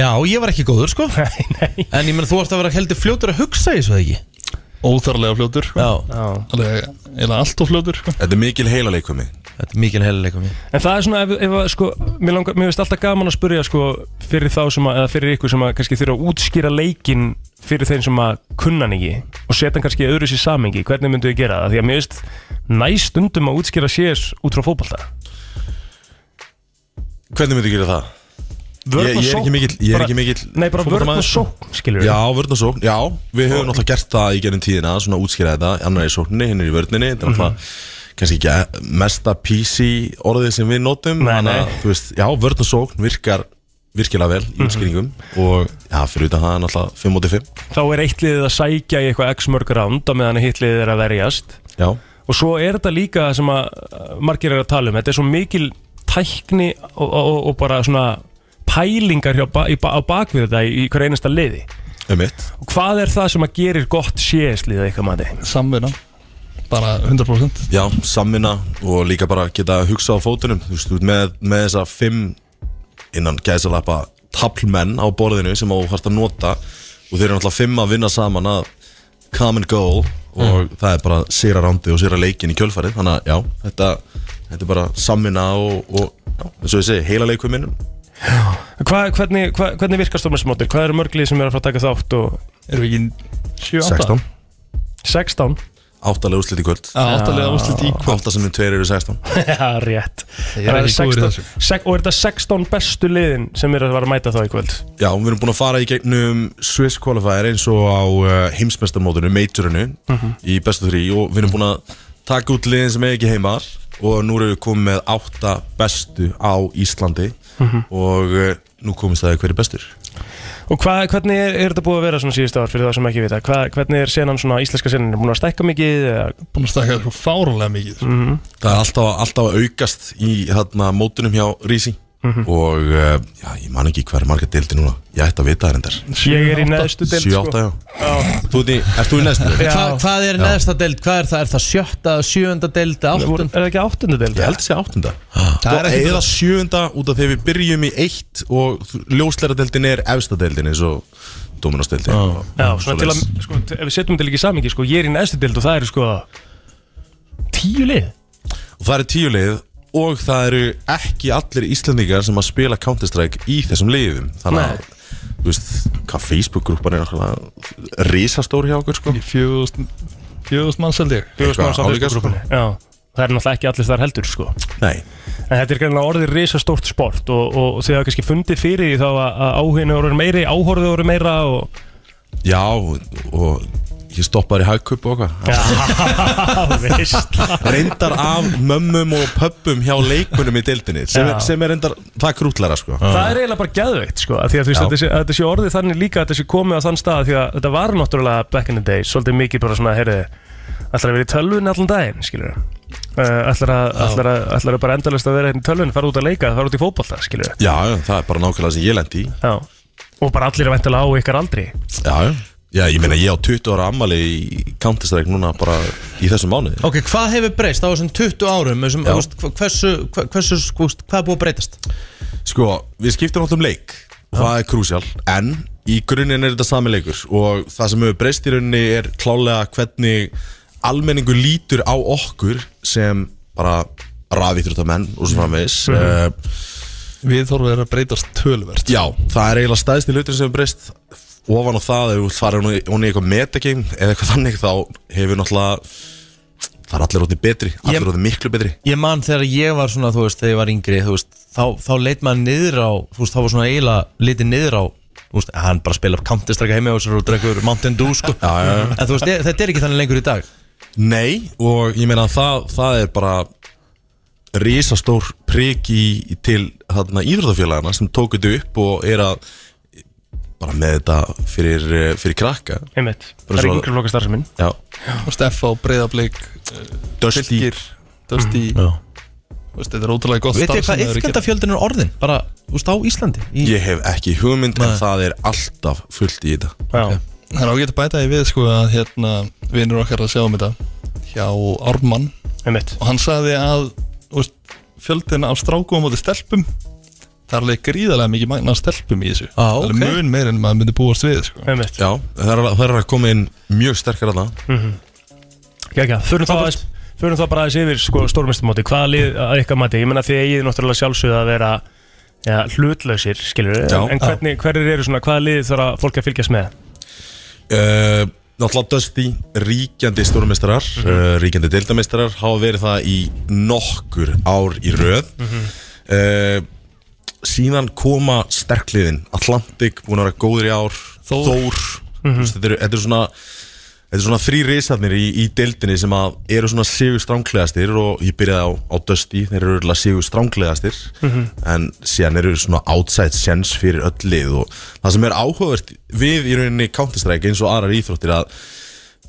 J: Já, ég var ekki góður sko
E: <laughs> Nei, nei
J: En ég menn þú ert að vera heldur fljótur að hugsa í svo ekki
L: Óþarlega fljótur sko.
J: Já,
E: Já.
L: Alveg, eða allt of fljótur sko.
K: Þetta er mikil heila leikumi
J: þetta er mikil heiluleikum ég
E: En það er svona, ef, ef að, sko, mér, langar, mér finnst alltaf gaman að spyrja sko, fyrir þá sem að, eða fyrir ykkur sem að kannski þurfa að útskýra leikin fyrir þeim sem að kunna hann ekki og setja hann kannski í öðru sér samengi, hvernig myndu ég gera það? Því að mér finnst næst stundum að útskýra sér út frá fótballta
K: Hvernig myndu gera það? Ég, ég er ekki mikill, ég er ekki mikill
E: Nei, bara vörn og sókn, skilur
K: Já, vörn og sókn, já, við höfum náttúrulega gert það í gerum tíðina, svona útskýra þetta annar í sókninni, hinn er í vörninni, þetta er
E: Mhm.
K: náttúrulega kannski ekki að- mesta PC orðið sem við notum,
E: Nei,
K: þannig að,
E: nei. Mhm.
K: þú veist, já, vörn og sókn virkar virkilega vel í útskýringum og já, fyrir utan það er náttúrulega 5 moti 5
E: Þá er eitt liðið að sækja í eitthvað x mörg ránd á meðan hitt liðið er að verjast
K: já,
E: og svo er þetta líka það sem að uh, margir er að tala um, þetta er svo mikil tækni og, og, og bara svona pælingar hjá, ba- í, ba- á bakvið þetta í, í hver einasta liði
K: um mitt
E: og hvað er það sem að gerir gott CS-lið eitthvað mati?
L: Samvinna Bara 100%
K: Já, samvinna og líka bara geta hugsað á fótunum Þú veist, þú ert með, með þessa fimm innan gæsalappa tablmenn á borðinu sem þú hægt að nota og þeir eru náttúrulega fimm að vinna saman að common goal og það er bara sýra rándi og sýra leikin í kjölfarið þannig að já, þetta, þetta er bara samvinna og, og já, eins og ég segi, heila leikum minnum
E: Hva, hvernig, hva, hvernig virkar stórmessmóttir? Hvað eru mörg lið sem eru að fara að taka þátt og
L: Erum við ekki 7-8?
K: 16,
E: 16?
K: áttalega úrslit í kvöld
L: Já, áttalega úrslit í kvöld
K: Átta sem við tveir eru
L: <laughs>
K: 16
E: <laughs> Já, rétt
L: Ég er ekki
E: Það eru
L: góður í
E: 16
L: þessu.
E: sek- Og er þetta 16 bestu liðin sem eru að fara að mæta þá í kvöld?
K: Já, við erum búin að fara í gegnum Swiss Qualifier eins og á uh, heimsmestarmótinu, majorinu
E: Mhm.
K: í bestu þrý og við erum búin að taka út liðin sem er ekki heima og nú erum við komið með átta bestu á Íslandi
E: Mhm.
K: og uh, nú komist það í hverju bestur
E: Og hva, hvernig er, er þetta búið að vera svona síðustu ár fyrir það sem ekki vita? Hva, hvernig er senan svona íslenska senan? Er búin að stækka mikið? eða- Mhm.
L: Búin að stakka sko fáránlega mikið sko.
K: Það er alltaf, alltaf að aukast í þarna, mótunum hjá Rísi
E: Mhm.
K: og uh, já, ég man ekki hver marga deildi núna ég ætti að vita það reyndar
E: Ég er í neðstu deild sko.
K: 7-8, já Þú ert í, ert þú í næstu?
J: Hva, Hvað er neðsta deild, hvað er það, er það sjötta, sjöunda deild,
E: Voru-
J: áttun
E: Er það ekki áttundu deild? Sko,
K: Ég held þessi áttunda
D: Ah.
K: Það er Sko, eða sjöunda út af þegar við byrjum í eitt og ljósleradeldin er efstadeldin eins og Dominasteldin
E: Já, svona til að, sko, t- ef við setjum til ekki samingi, sko, ég er í neðstu deild og það eru, sko, tíu lið.
K: Og það eru tíu lið og það eru ekki allir Íslandingar sem að spila Counter-Strike í þessum liðum Þannig að, þú veist, hvað Facebook-grúpan er náttúrulega risastór hjá okkur sko
L: Í 4000 4000 manns held ég
E: Fjögur smáns á
K: álíka, sko.
E: Facebookgrúpunni. Já, það er náttúrulega ekki allir þar heldur, sko.
K: Nei,
E: En þetta er greinlega orðið risastórt sport og, og, og þið hafa kannski fundið fyrir því þá að, að áhuginu voru meiri, áhorðu voru meira og...
K: já, og ég stoppaði í hagkaup og eitthvað
E: <laughs> Veist.
K: Reyndar af mömmum og pöppum hjá leikunum í deildinni sem,
E: Já.
K: er, sem er reyndar, það er krútlara sko
E: Það er eiginlega bara geðveikt sko af Því að þú veist,
K: Já.
E: þetta sé- þetta sé orðið þannig líka að Þetta sé komið á þann stað Því að þetta var náttúrulega back in the day Svolítið mikið bara svona, heyrðu Ætlar að vera í tölvun allan daginn, skilur Ætlar að, ætlar að, ætlar að bara endalist að vera hérna í tölvun Fara út að leika, fara út í fótbolta, skilur
K: Já, já, það er bara nákvæmlega sem ég lendi í
E: Já Og bara allir er væntalega á ykkar aldri
K: Já, já, já, ég meina ég á 20 ára ammali í Counter-Strike núna bara í þessum mánuði
D: Ok, hvað hefur breyst á þessum 20 árum þessum,
K: Já.
D: úst, hversu, hva- hversu, úst, hvað er búið að breytast?
K: Sko, við skiptum alltaf um leik og það er krúsjál, en í grunninn er þetta sami leikur og það sem hefur breyst í rauninni er klálega hvernig almenningu lítur á okkur sem bara rafíþjóttamenn og svo framvegis
L: Mhm.
K: mm.
L: Við þorfum að vera að breytast töluvert
K: Já, það er eiginlega stæðst í hlutin sem hefur breyst ofan á það, ef við farum hún í ofan í eitthvað metagame eða eitthvað þannig, þá hefur náttúrulega það er allir orðið betri, allir orðið miklu betri
D: Ég man þegar ég var svona, þú veist, þegar ég var yngri þú veist, þá, þá leit maður niður á þú veist, þá var svona eiginlega litið niður á þú veist, hann bara spila Counter-Strike heimi og svo drengur Mountain Dew, sko já,
K: já.
D: En þú veist, e- þetta er ekki þannig lengur í dag
K: Nei, og ég meina að það, það er bara risastór prik í, í- til þarna íþróttafélagana sem tók þetta upp og er að bara með þetta fyrir, eh, fyrir krakka
E: Einmitt.
K: Bara
E: Það er
K: svo-
E: yngur loka starfseminn
K: Já,
L: Og Steffa og Breiðablík
K: Dusty. Mm.
L: Dusty
D: Já.
L: Þú veist, Þetta er ótrúlega gott
D: Veit ég
L: starf sem þau
D: hvað
L: eru að gera.
D: yfgjöndafjöldin er orðin? Bara, þú veist, á Íslandi
K: ég hef ekki hugmynd en það er alltaf fullt í þetta
E: Já.
L: Það er ágætt að bæta því við sko að hérna vinnur okkar að sjá um þetta hjá Ármann
E: Einmitt.
L: og hann sagði að þú veist, fjöldin af strákum á móti stelpum það er alveg gríðarlega mikið magna af stelpum í þessu
D: ah,
L: Það er mun meir en maður myndi búast við sko.
E: Einmitt.
K: Já, það er, það er að koma inn mjög sterkar að það
E: Já, já, förum þá aðeins Förum þá bara aðeins yfir sko, stórmestamóti Hvaða lið að ykkar mati? Ég menna því eigið náttúrulega sjálfsögð að vera ja, hlutlausir, skilur
K: Já.
E: En hvernig, hverjir eru svona, hvaða lið þarf að fólk að fylgjast með?
K: Uh, náttúrulega Dusty, ríkjandi stórmeistarar,
A: Mhm.
K: uh, ríkjandi deildameistarar hafa verið það í nokkur ár í röð
A: Mhm.
K: uh, síðan koma sterkliðin, Atlantic búin að vera góður í ár, Þór,
A: Mhm.
K: Þú veist, þetta, eru, þetta eru svona þetta eru svona þrý risarnir í, í deildinni sem að eru svona sigur stránglegastir og ég byrjaði á, á Dusty, þeir eru örugglega sigur stránglegastir
A: Mhm.
K: en síðan eru svona outside sense fyrir öll lið og það sem er áhugavert við í rauninni Counter-Strike eins og aðrar íþróttir að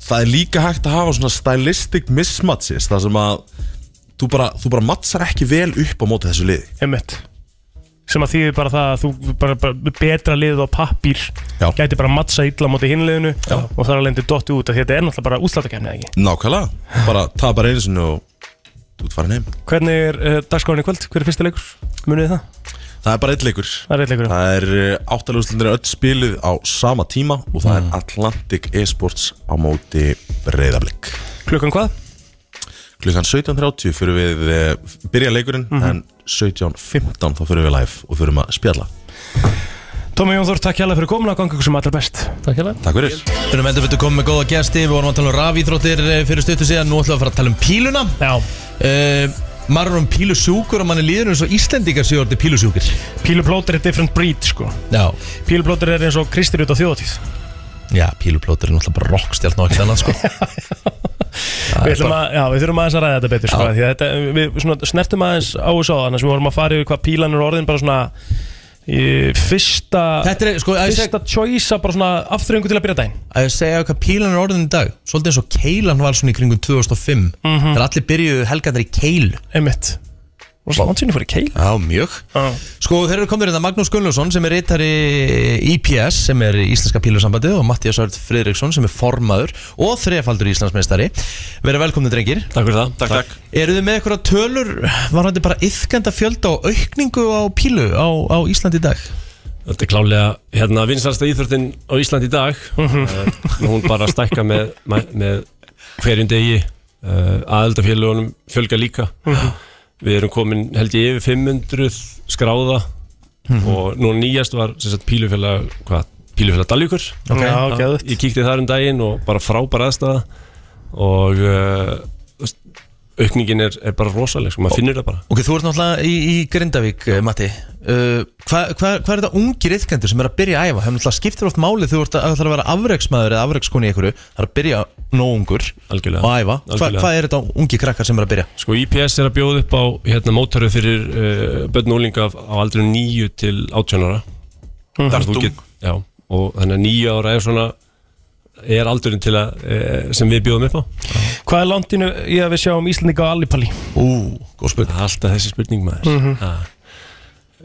K: það er líka hægt að hafa svona stylistic mismatches þar sem að þú bara, þú bara mattsar ekki vel upp á móti þessu liði
E: Einmitt sem að þýðir bara það að þú bara, bara betra liðið á pappír
K: Já.
E: gæti bara matsa illa á móti hinliðinu og þar alveg endur dotti út af því að þetta er náttúrulega bara útsláttakefni ekki
K: Nákvæmlega, bara tapar einu sinni og þú ert farin heim
E: Hvernig er uh, dagskráin í kvöld? Hver er fyrsti leikur? Munið þið það?
K: Það er bara eitt leikur
E: Það er eitt leikur
K: Það er áttaleguslindir öll spiluð á sama tíma og
E: Mm.
K: það er Atlantic Esports á móti breyðablik
E: Klukkan hvað?
K: Klukkan 17.30 fyrir við eh, byrja leikurinn en 17.15 þá fyrir við live og fyrir við að spjalla
E: Tómi Jónþór, takk hérlega fyrir komin að ganga ykkur sem allra best
L: Takk hérlega
K: Takk fyrir
D: Við erum endur betur komið með góða gesti Við vorum að tala um rafíþróttir eh, fyrir stuttu síðan Nú ætlum við að fara að tala um píluna
E: Já
D: uh, Maður er um pílusjúkur og manni líður eins og Íslendingar séu orðið pílusjúkir
E: Píluplótur er different breed sko
D: Já
E: Píluplótur er eins og kristir út á þjóðatíð
D: Já, píluplótur er náttúrulega bara rockstjarn og ekkert annað sko <laughs>
E: Við, ætlum að, já, við þurfum aðeins að ræða þetta betur sko, því að þetta, Við svona, snertum aðeins á þessu áðan þar sem við vorum að fara yfir hvað pílan er orðin bara svona í, fyrsta
D: Þetta er, sko, að ég seg-
E: fyrsta choice bara svona afturöngu til að byrja daginn
D: Að ég segja hvað pílan er orðin í dag Svolítið eins og keilan var svona í kringum 2005
E: Mhm.
D: Þegar allir byrjuðu helgarnar í keilu
E: Einmitt Og svo lansinni fór í keil
D: Já, mjög Sko, þeir eru komnir þetta Magnús Gunnlaugsson sem er reytari IPS sem er Íslenska pílursambandið og Mattias Örd Friðriksson sem er formaður og þrefaldur Íslandsmeistari Verið velkomni drengir
M: Takk fyrir það Takk, takk
D: Eru þið með eitthvað tölur, var þetta bara yfkenda fjölda og aukningu á pílu á, á Ísland í dag?
M: Þetta er klálega hérna vinsalsta íþjórtin á Ísland í dag uh, Hún bara stækka með, með, með hverjum degi uh, aðeldafélagunum fjölga líka
A: Mhm.
M: Við erum komin held ég yfir 500 skráða
A: Mhm.
M: og nú nýjast var sem sagt pílufélag hvað, pílufélag Dalvíkur
E: Ok. Já,
M: Það-
E: geðvægt.
M: Ég kíkti þar um daginn og bara frábæra aðstæða og uh, þú veist, aukningin er, er bara rosaleg sko, maður finnur það bara
D: Ok, þú ert náttúrulega í, í Grindavík, eh, Matti uh, Hvað hva, hva er þetta ungir yfkendur sem er að byrja að æfa? Það náttúrulega skiptir oft máli þú ert að, að það er að vera afreiksmaður eða afreikskoni í einhverju Það er að byrja nóungur
M: Algjörlega.
D: og æfa Hva- Hvað
M: Algjörlega.
D: er þetta ungi krakkar sem er að byrja?
M: Sko IPS er að bjóða upp á hérna, mótaru fyrir uh, börn og úlinga af- á aldrei 9 til 18 ára
E: Mhm.
M: Þar þú
E: Dung.
M: get- Já, og þannig að 9 ára er svona er aldurinn til að eh, sem við bjóðum upp á
E: Hvað er landinu í að við sjáum Íslandika á Allipalli?
D: Ú, góð spurning
M: Alltaf þessi spurning maður
E: Mhm.
M: Ha.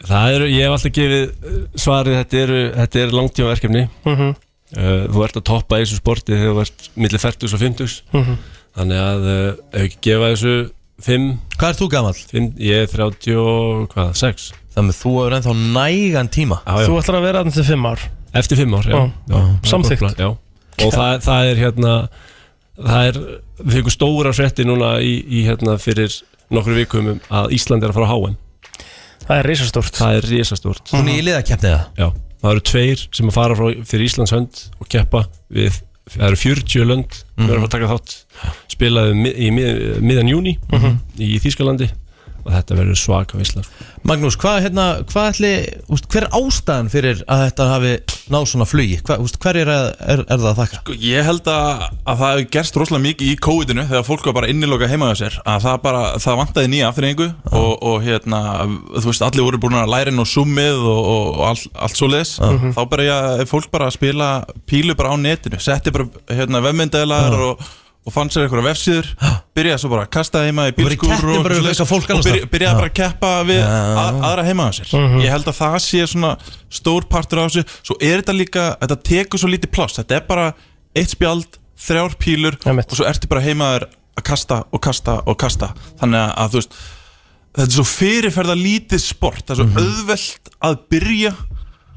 M: Það eru, ég hef alltaf gefið eh, svarið, þetta eru, þetta eru langtíma verkefni
E: Mhm.
M: uh, þú ert að toppa í þessu sporti þegar þú ert millir 40 og 50
E: Mhm.
M: þannig að uh, ef ekki gefa þessu 5
D: Hvað er þú gamall?
M: ég er 30 og hvað, 6
D: Þannig að þú hefur ennþá nægan tíma
M: já.
E: Þú ætlar að vera þannig til fimm ár
M: Eftir fimm ár, já,
E: Já.
M: já.
E: Samþykkt.
M: Já. Og það, það er hérna Það er, við fengum stóra frétti núna í, í hérna fyrir nokkru vikum um að Ísland er að fara á háin
E: Það er risastórt Mhm.
M: Það er risastórt
D: Hún er í liðakefni það?
M: Já, það eru tveir sem að fara frá, fyrir Íslands hönd og keppa við Það eru 40 lönd sem
D: Mhm.
M: eru að fara að taka þátt spilaði mið, í mið, miðan júni
D: Mhm.
M: í Þýskalandi og þetta verður svaka sko. visla
D: Magnús, hvað, hérna, hvað ætli, úst, hver er ástæðan fyrir að þetta hafi náð svona flugi? Hva, úst, hver er, að, er, er það að þakka?
L: Sko, Ég held að, að það hefur gerst rosalega mikið í COVID-inu þegar fólk var bara inniloka heima á sér að það bara, það vantaði nýja afþreyingu og, og hérna, þú veist, allir voru búin að læra inn á Zoomið og, og, og all, allt svo leis,
D: Já.
L: þá byrja fólk bara að spila pílu bara á netinu setti bara, hérna, vefmyndaðilegar og, og fann sér einhverja vefsíður byrjaði svo bara að kasta heima í
D: í
L: bílskúr
D: keppni
L: og,
D: bara við eitthvað fólk
L: og
D: annars
L: byrja,
D: staðar.
L: byrjaði
D: Já.
L: bara að keppa við
D: Já.
L: að, aðra heima á sér
D: Mhm.
L: ég held að það sé svona stór partur á þessu svo er þetta líka, þetta tekur svo lítið pláss þetta er bara eitt spjald þrjár pílur og svo ertu bara heima þér að kasta og kasta og kasta þannig að, að þú veist þetta er svo fyrirferða lítið sport það er
D: Mhm.
L: svo auðvelt að byrja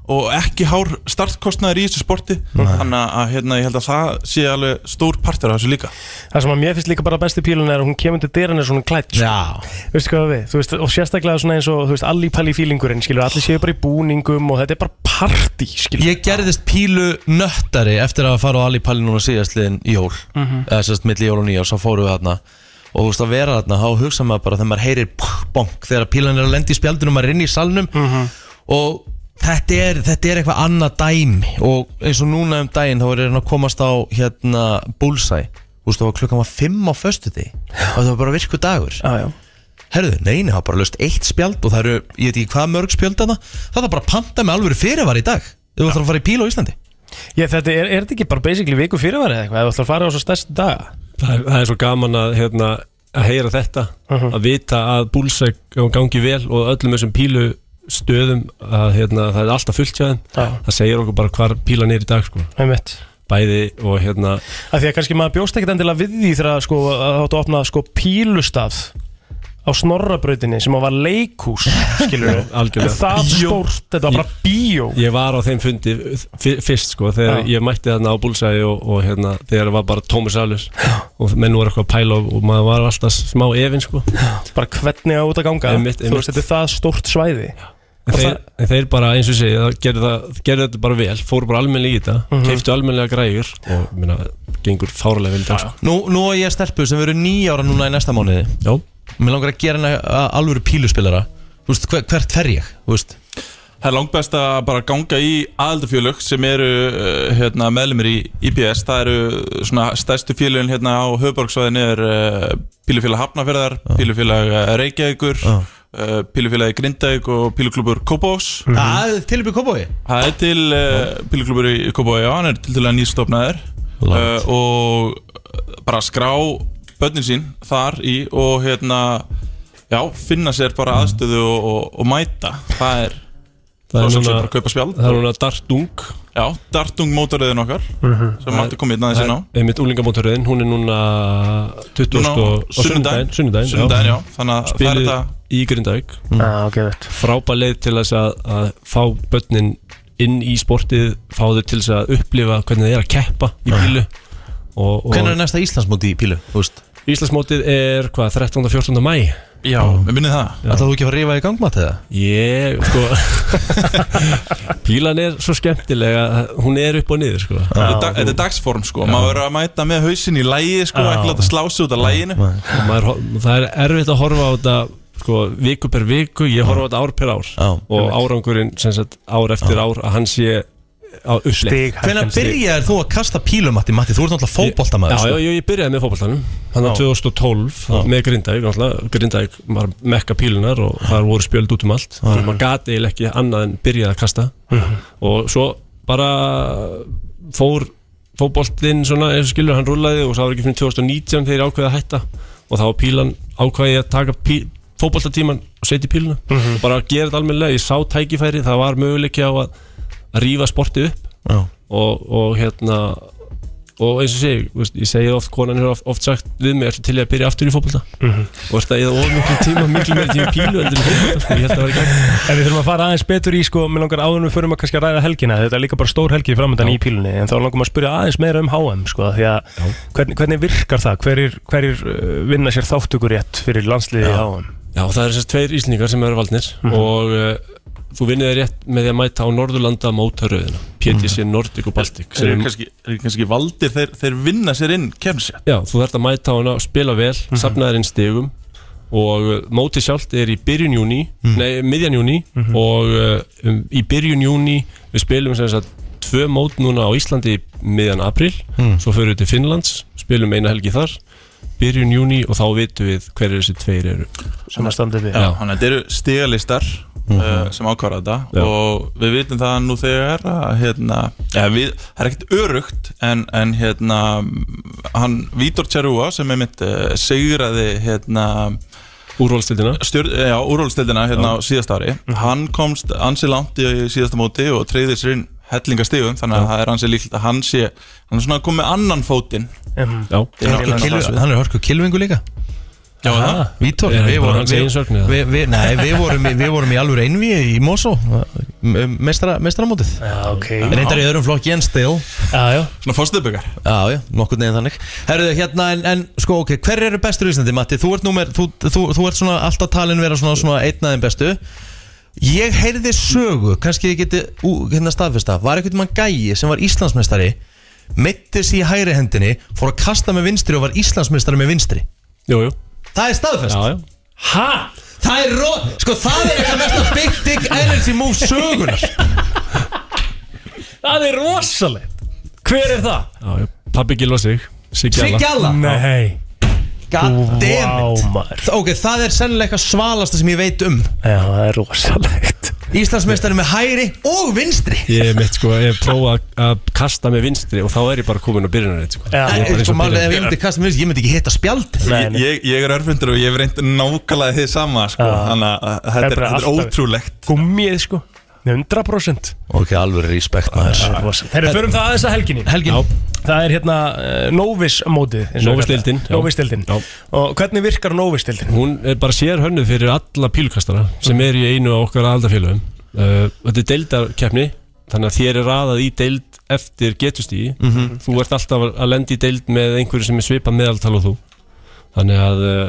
L: og ekki hár startkostnaður í þessu sporti þannig að hérna, ég held að það sé alveg stór partur af þessu líka
E: Það sem að mér finnst líka bara besti pílun er að hún kemur til dyrann er svona klætt sko. Veistu hvað við, þú veist, og sérstaklega svona eins og þú veist, allir pæli fílingurinn, skilur, allir séu bara í búningum og þetta er bara party, skilur
D: Ég gerðist pílu nöttari eftir að fara á Alipalli núna síðastliðin í jól
E: Mhm.
D: eða sérst milli jól og nýjól, svo fórum við þarna og þú veist að vera þarna, þá hugsa maður bara þegar maður heyrir bonk, þegar pílan er að lenda í spjaldinu og maður er inn í salnum
E: Mhm.
D: og þetta er, þetta er eitthvað annað dæmi og eins og núna um daginn þá er hérna að komast á hérna Bullseye, þú veist það var klukkan var 5 á föstu og það var bara virku dagur
E: ah,
D: Herðu, neini, það var bara löst eitt spjald og það eru, ég veit ekki hvað mörg spjald þarna það var bara að panta með alveg fyrirvar í dag Þú ætlar að fara í píl á Íslandi
E: Ég, þetta er, er þetta ekki bara basically viku fyrirværi eða eitthvað, ef þú ætlar að fara á svo stærst daga
M: það, er- það er svo gaman að, hérna, að heyra þetta
E: Mhm.
M: að vita að búlsæk gangi vel og öllum þessum pílu stöðum að hérna, það er alltaf fullt hjá þeim
E: Já.
M: það segir okkur bara hvar pílan er í dag sko.
E: Einmitt.
M: bæði og hérna
E: Af því að kannski maður bjóst ekkert endilega við því þegar að, sko, að það áttu að opna sko pílustaf á snorrabrautinni sem að var leikhús
M: <laughs>
E: skilur
M: Já, algjörlega.
E: það stórt, þetta var bara bíó
M: ég var á þeim fundi f- fyrst sko þegar
E: Já.
M: ég mætti þarna á búlsæði og, og hérna þegar það var bara tómur salus og menn voru eitthvað að pæla og, og maður var alltaf smá efin sko
E: bara hvernig á út að ganga
M: Einmitt,
E: þú
M: einmitt.
E: veist þetta er það stórt svæði
M: En
E: Og
M: þeir, en þeir bara eins og ég segi, það gerðu, það, gerðu þetta bara vel, fóru bara almennilega í þetta, mm
E: Mhm.
M: keiftu almennilega græjur og minna, gengur fárlega vel í dag. sko.
D: Nú, nú á ég stelpu sem verður nýja ára núna í næsta mánuði
M: Já
D: Mér langar að gera henni alveg píluspilara Þú veist, hver, hvert fer ég, þú veist
L: Það er langbest að bara ganga í aðaldarfjölög sem eru uh, hérna, meðlumir í IPS Það eru uh, svona stærstu fjölugun hérna á höfuborgsvæðinu er uh, Pílufélag Hafnafjörðar, Pílufélag uh, Reykjavíkur,
D: Já.
L: uh, Pílufélag Grindavík og Píluklubur Kópós
D: Það er til upp í kópói
L: Það er til uh, Píluklubur í Kópói, já, hann er til dæla nýstofnaður uh, og bara skrá börnin sín þar í og hérna, já, finna sér bara aðstöðu og, og, og mæta Það er
M: Það er
L: þá sem
M: núna-
L: sé bara að kaupa spjald
M: það er núna Dartung
L: Já, Dartung mótoröðin okkar
M: Mhm.
L: sem mætti komið hérna aðeins inn á
M: Einmitt úlingamótoröðin, hún er núna 20.
L: Núna á
M: og- á
L: sunnudaginn.
M: sunnudaginn, sunnudaginn,
L: Sunnudaginn, já, þannig að það er
M: Spilið
L: þetta-
M: í Grindavík
E: Mm. Ah, okay,
M: Frábær leið til þess að, að fá börnin inn í sportið, fá þau til þess að upplifa hvernig það er að keppa í pílu og, og
D: Hvernig er næsta Íslandsmóti í pílu, þú veist
M: Íslandsmótið er hvað, 13. og 14. mæ
L: Já, við minnið það
D: Ætlar þú ekki að fara að rífa í gangmat eða?
M: Ég, sko <laughs> Pílan er svo skemmtilega Hún er upp og niður, sko
L: Þetta er dag- þetta er dagsform sko, maður verður að mæta með hausinn í lægi sko,
M: Já.
L: ekki láta slá sig út af læginu
M: Og maður, hor- Það er erfitt að horfa á þetta sko, viku per viku, ég horfa á þetta ár per ár
D: Já.
M: og árangurinn sem sagt ár eftir ár að hann sé á uppleið
D: Hvernig byrjaði þú að kasta pílum, Matti? Matti, þú ert náttúrulega fótboltamaður
M: Já,
D: sko.
M: já, já, ég byrjaði með fótballtanum Þannig að
D: Já.
M: 2012
D: Já.
M: með Grindavík náttúrulega, Grindavík var mekka pílunar og það voru spjöld út um allt Þannig að maður gati eiginlega ekki annað en byrjaði að kasta
E: Mhm.
M: Og svo bara fór fótboltinn svona eins og skilur hann rúlaði og það var ekki fyrir 2019 þegar ég ákveði að hætta og þá var pílan ákveði ég að taka pí, fótboltatíman og setja í píluna
E: Mhm.
M: og bara gera þetta almennilega, ég sá tækifæri það var möguleiki á að, að rífa sportið upp
D: Já.
M: og, og hérna og eins og segi, þú veist, ég segi oft konan hefur oft, oft sagt við mig, ertu til í að byrja aftur í fótbolta
E: Mhm.
M: og veist að ég það of miklu tíma miklu meiri tíma í pílu heldur en í fótbolta ég held að það var í gang
E: En við þurfum að fara aðeins betur í sko, með langar áður en við förum að kannski að ræða helgina þetta er líka bara stór helgi framöndan í pílunni en þá langar maður að spyrja aðeins meira um HM sko, því að hvernig, hvernig virkar það hverjir, hverjir uh, vinna sér þáttökur rétt fyrir landsliði í HM
M: Já, það eru þessar tveir íslendingar sem eru valdnir
L: Mhm.
M: og uh, þú vinnir þér rétt með því að mæta á Norðurlanda mótaröðina PTC Nordic og Baltic
L: Þeir Mhm. eru kannski, er kannski valdir, þeir, þeir vinna sér Mhm. inn kemsja
M: Já, þú þarft að mæta á hana, spila vel, mm -hmm. sapna þér inn stigum og uh, mótið sjálft er í byrjun júni,
L: Mhm.
M: nei, miðjan júni og uh, um, í byrjun júni við spilum sem sagt tvö mót núna á Íslandi í miðjan april
D: Mm.
M: svo förum við til Finnlands, spilum eina helgi þar byrjun júni og þá vitum við hverju þessi tveir eru
E: Samanstandið við.
L: Já, þannig að þetta eru stigalistar
M: Mhm.
L: uh, sem ákvarða þetta
M: Já.
L: og við vitum það nú þegar að hérna, ja, við, það er ekkert örugt en, en hérna hann Vítor Tjarúa sem er mitt uh, segraði hérna
M: Úrvalstildina
L: Stjör, Já, úrvalstildina hérna
M: Já. Mhm.
L: á síðast ári Hann komst ansi langt í síðasta móti og treyði sér inn hellingastigum þannig að
M: Já.
L: það er ansi líkt að hann sé hann er svona komið með annan fótinn
D: Já. Hann er ekki kilvi- hann er hörku kilvingu líka
L: Já, það
D: Vítor,
L: Er
D: við
L: hann bara
D: vorum
L: hans
D: við,
L: eigin sögn, eða?
D: við, við, nei, við, vorum, í- við vorum í alvöru einví í Mosó mestramótið
E: okay.
D: reyndar í öðrum flokki en stil
E: já, já.
L: svona fórstuðbyggar
D: já, já, nokkur neginn þannig Herðu, hérna, en, en sko, ok, hver eru bestur í Íslandi, Matti? Þú ert, númer, þú, þú, þú ert svona alltaf talin vera svona, svona einn aðeim bestu Ég heyrði sögu, kannski ég geti ú, hérna staðfesta, var einhvern mann gæi sem var Íslandsmeistari meittir sig í hægri hendinni, fór að kasta með vinstri og var Íslandsmeistari með vinstri
M: Jú, jú
D: Það er staðfest Já,
M: já Hæ?
D: Það er ró... Sko, það er eitthvað mesta big dick energy move sögunar
E: Það er rosalegt Hver er það?
M: Já, já. Pabbi Gilva sig Sigjala
D: Sigjalla?
E: Nei
D: God
E: Vá,
D: damn
E: maður.
D: it Ok, það er sennilega eitthvað svalasta sem ég veit um
E: Já, það er rosalegt
D: Íslandsmeistari með hægri og vinstri
M: Ég er mitt sko, ég prófa að kasta með vinstri og þá er ég bara komin á byrjunarreit sko.
D: En,
M: Ég er bara eins
D: sko,
M: og
D: málið,
M: byrjunar-
D: ef ég myndi kasta mér, ég myndi ekki hitta spjald
L: Ég, ég, ég er örfundur og ég hef reynd nákvæmlega þið sama sko. Þannig að
E: Það
L: þetta er,
E: bara
L: þetta er
E: alltaf-
L: ótrúlegt
E: Gummið sko 100%
D: Ok, alveg respekt maður
E: Það er rosa. Þeirri, förum það aðeins að helginni
D: Helginni
E: Það er hérna uh, Novis mótið eins og
M: Novice
E: það
M: deildin,
E: kallar.
M: já.
E: Novice deildin Og hvernig virkar Novis deildin?
M: Hún er bara sér hönnuð fyrir alla pílkastara sem er í einu af okkar aldarfélögum uh, Þetta er deildarkeppni þannig að þér er raðað í deild eftir getustígi
D: Mhm.
M: Þú ert alltaf að lenda í deild með einhverju sem er svipað meðaltal og þú Þannig að uh,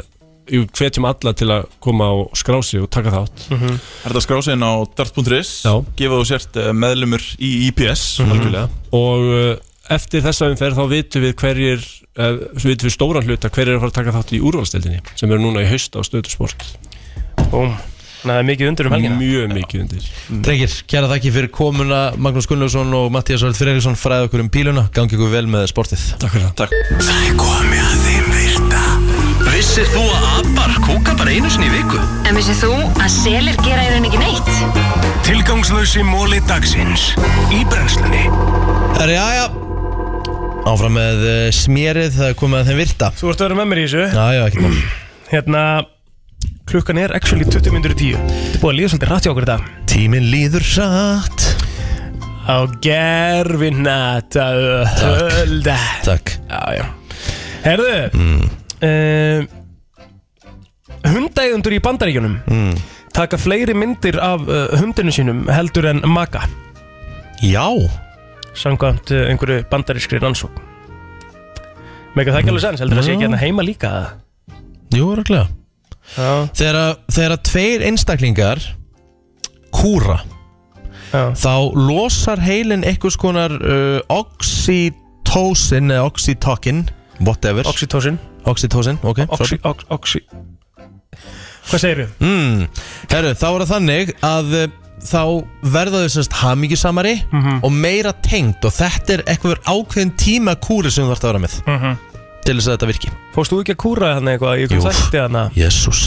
M: við hvetjum alla til að koma og skrá sig og taka þátt
L: Það
E: Mhm.
L: er þetta skrásin á dart.is Gefa þú sért eh, meðlumur í IPS
E: Mhm.
M: Algjörlega. og uh, eftir þessa umferð þá vitum við hverjir uh, vitum við stóran hluta hverjir er að fara að taka þátt í úrvalstildinni sem eru núna í hausta á stöðusport
E: Búm, það er mikið undir um helgina.
M: Mjög mikið undir
D: Drengir, kæra þakki fyrir komuna Magnús Gunnlaugsson og Mattias Vörð Freirisson fræði okkur um píluna, gangi ykkur vel með sportið
M: Takk fyrir
L: Takk
H: Það er komið að þeim virta Vissir þú að abar kúka bara einu sinni í viku?
C: En vissið þú að selir gera í raun ekki neitt?
H: Tilgangslösi móli dagsins Í brennslunni
D: Herra, já, já Áfram með uh, smérið, það er komið að þeim virta
E: Þú ert að vera með mér í þessu
D: Já, já, ekki mál
E: Hérna Klukkan er actually 20 minnur í 10 Þetta er búið að líða svolítið hratt hjá okkur í dag
D: Tíminn líður hratt
E: Á gerfinat Hölda
D: Takk
E: Já, já Herðu mm. Hundægundur í bandaríkjunum
D: mm.
E: taka fleiri myndir af uh, hundinu sínum heldur en maka
D: Já
E: Samkvæmt uh, einhverju bandarískri rannsók Mega það ekki
D: Mm.
E: alveg sens, heldur það sé ekki hérna heima líka
D: Jú, röglega Þegar að- þegar að tveir einstaklingar kúra
E: Já.
D: þá losar heilin einhvers konar uh, oxytocin eða oxytokin whatever
E: Oxytocin
D: Oxytocin, ok
E: Oxy, ox, oxy Hvað segir við?
D: Mm. Herru, þá er það þannig að uh, þá verða þau semst hamingjusamari
E: Mhm.
D: og meira tengd og þetta er eitthvað ákveðin tíma kúri sem þú þarfst að vera með
E: Mhm.
D: til þess að þetta virki
E: Fórst þú ekki að kúra hann eitthvað? Ég kom
D: Jú.
E: sætti hann
D: Jésús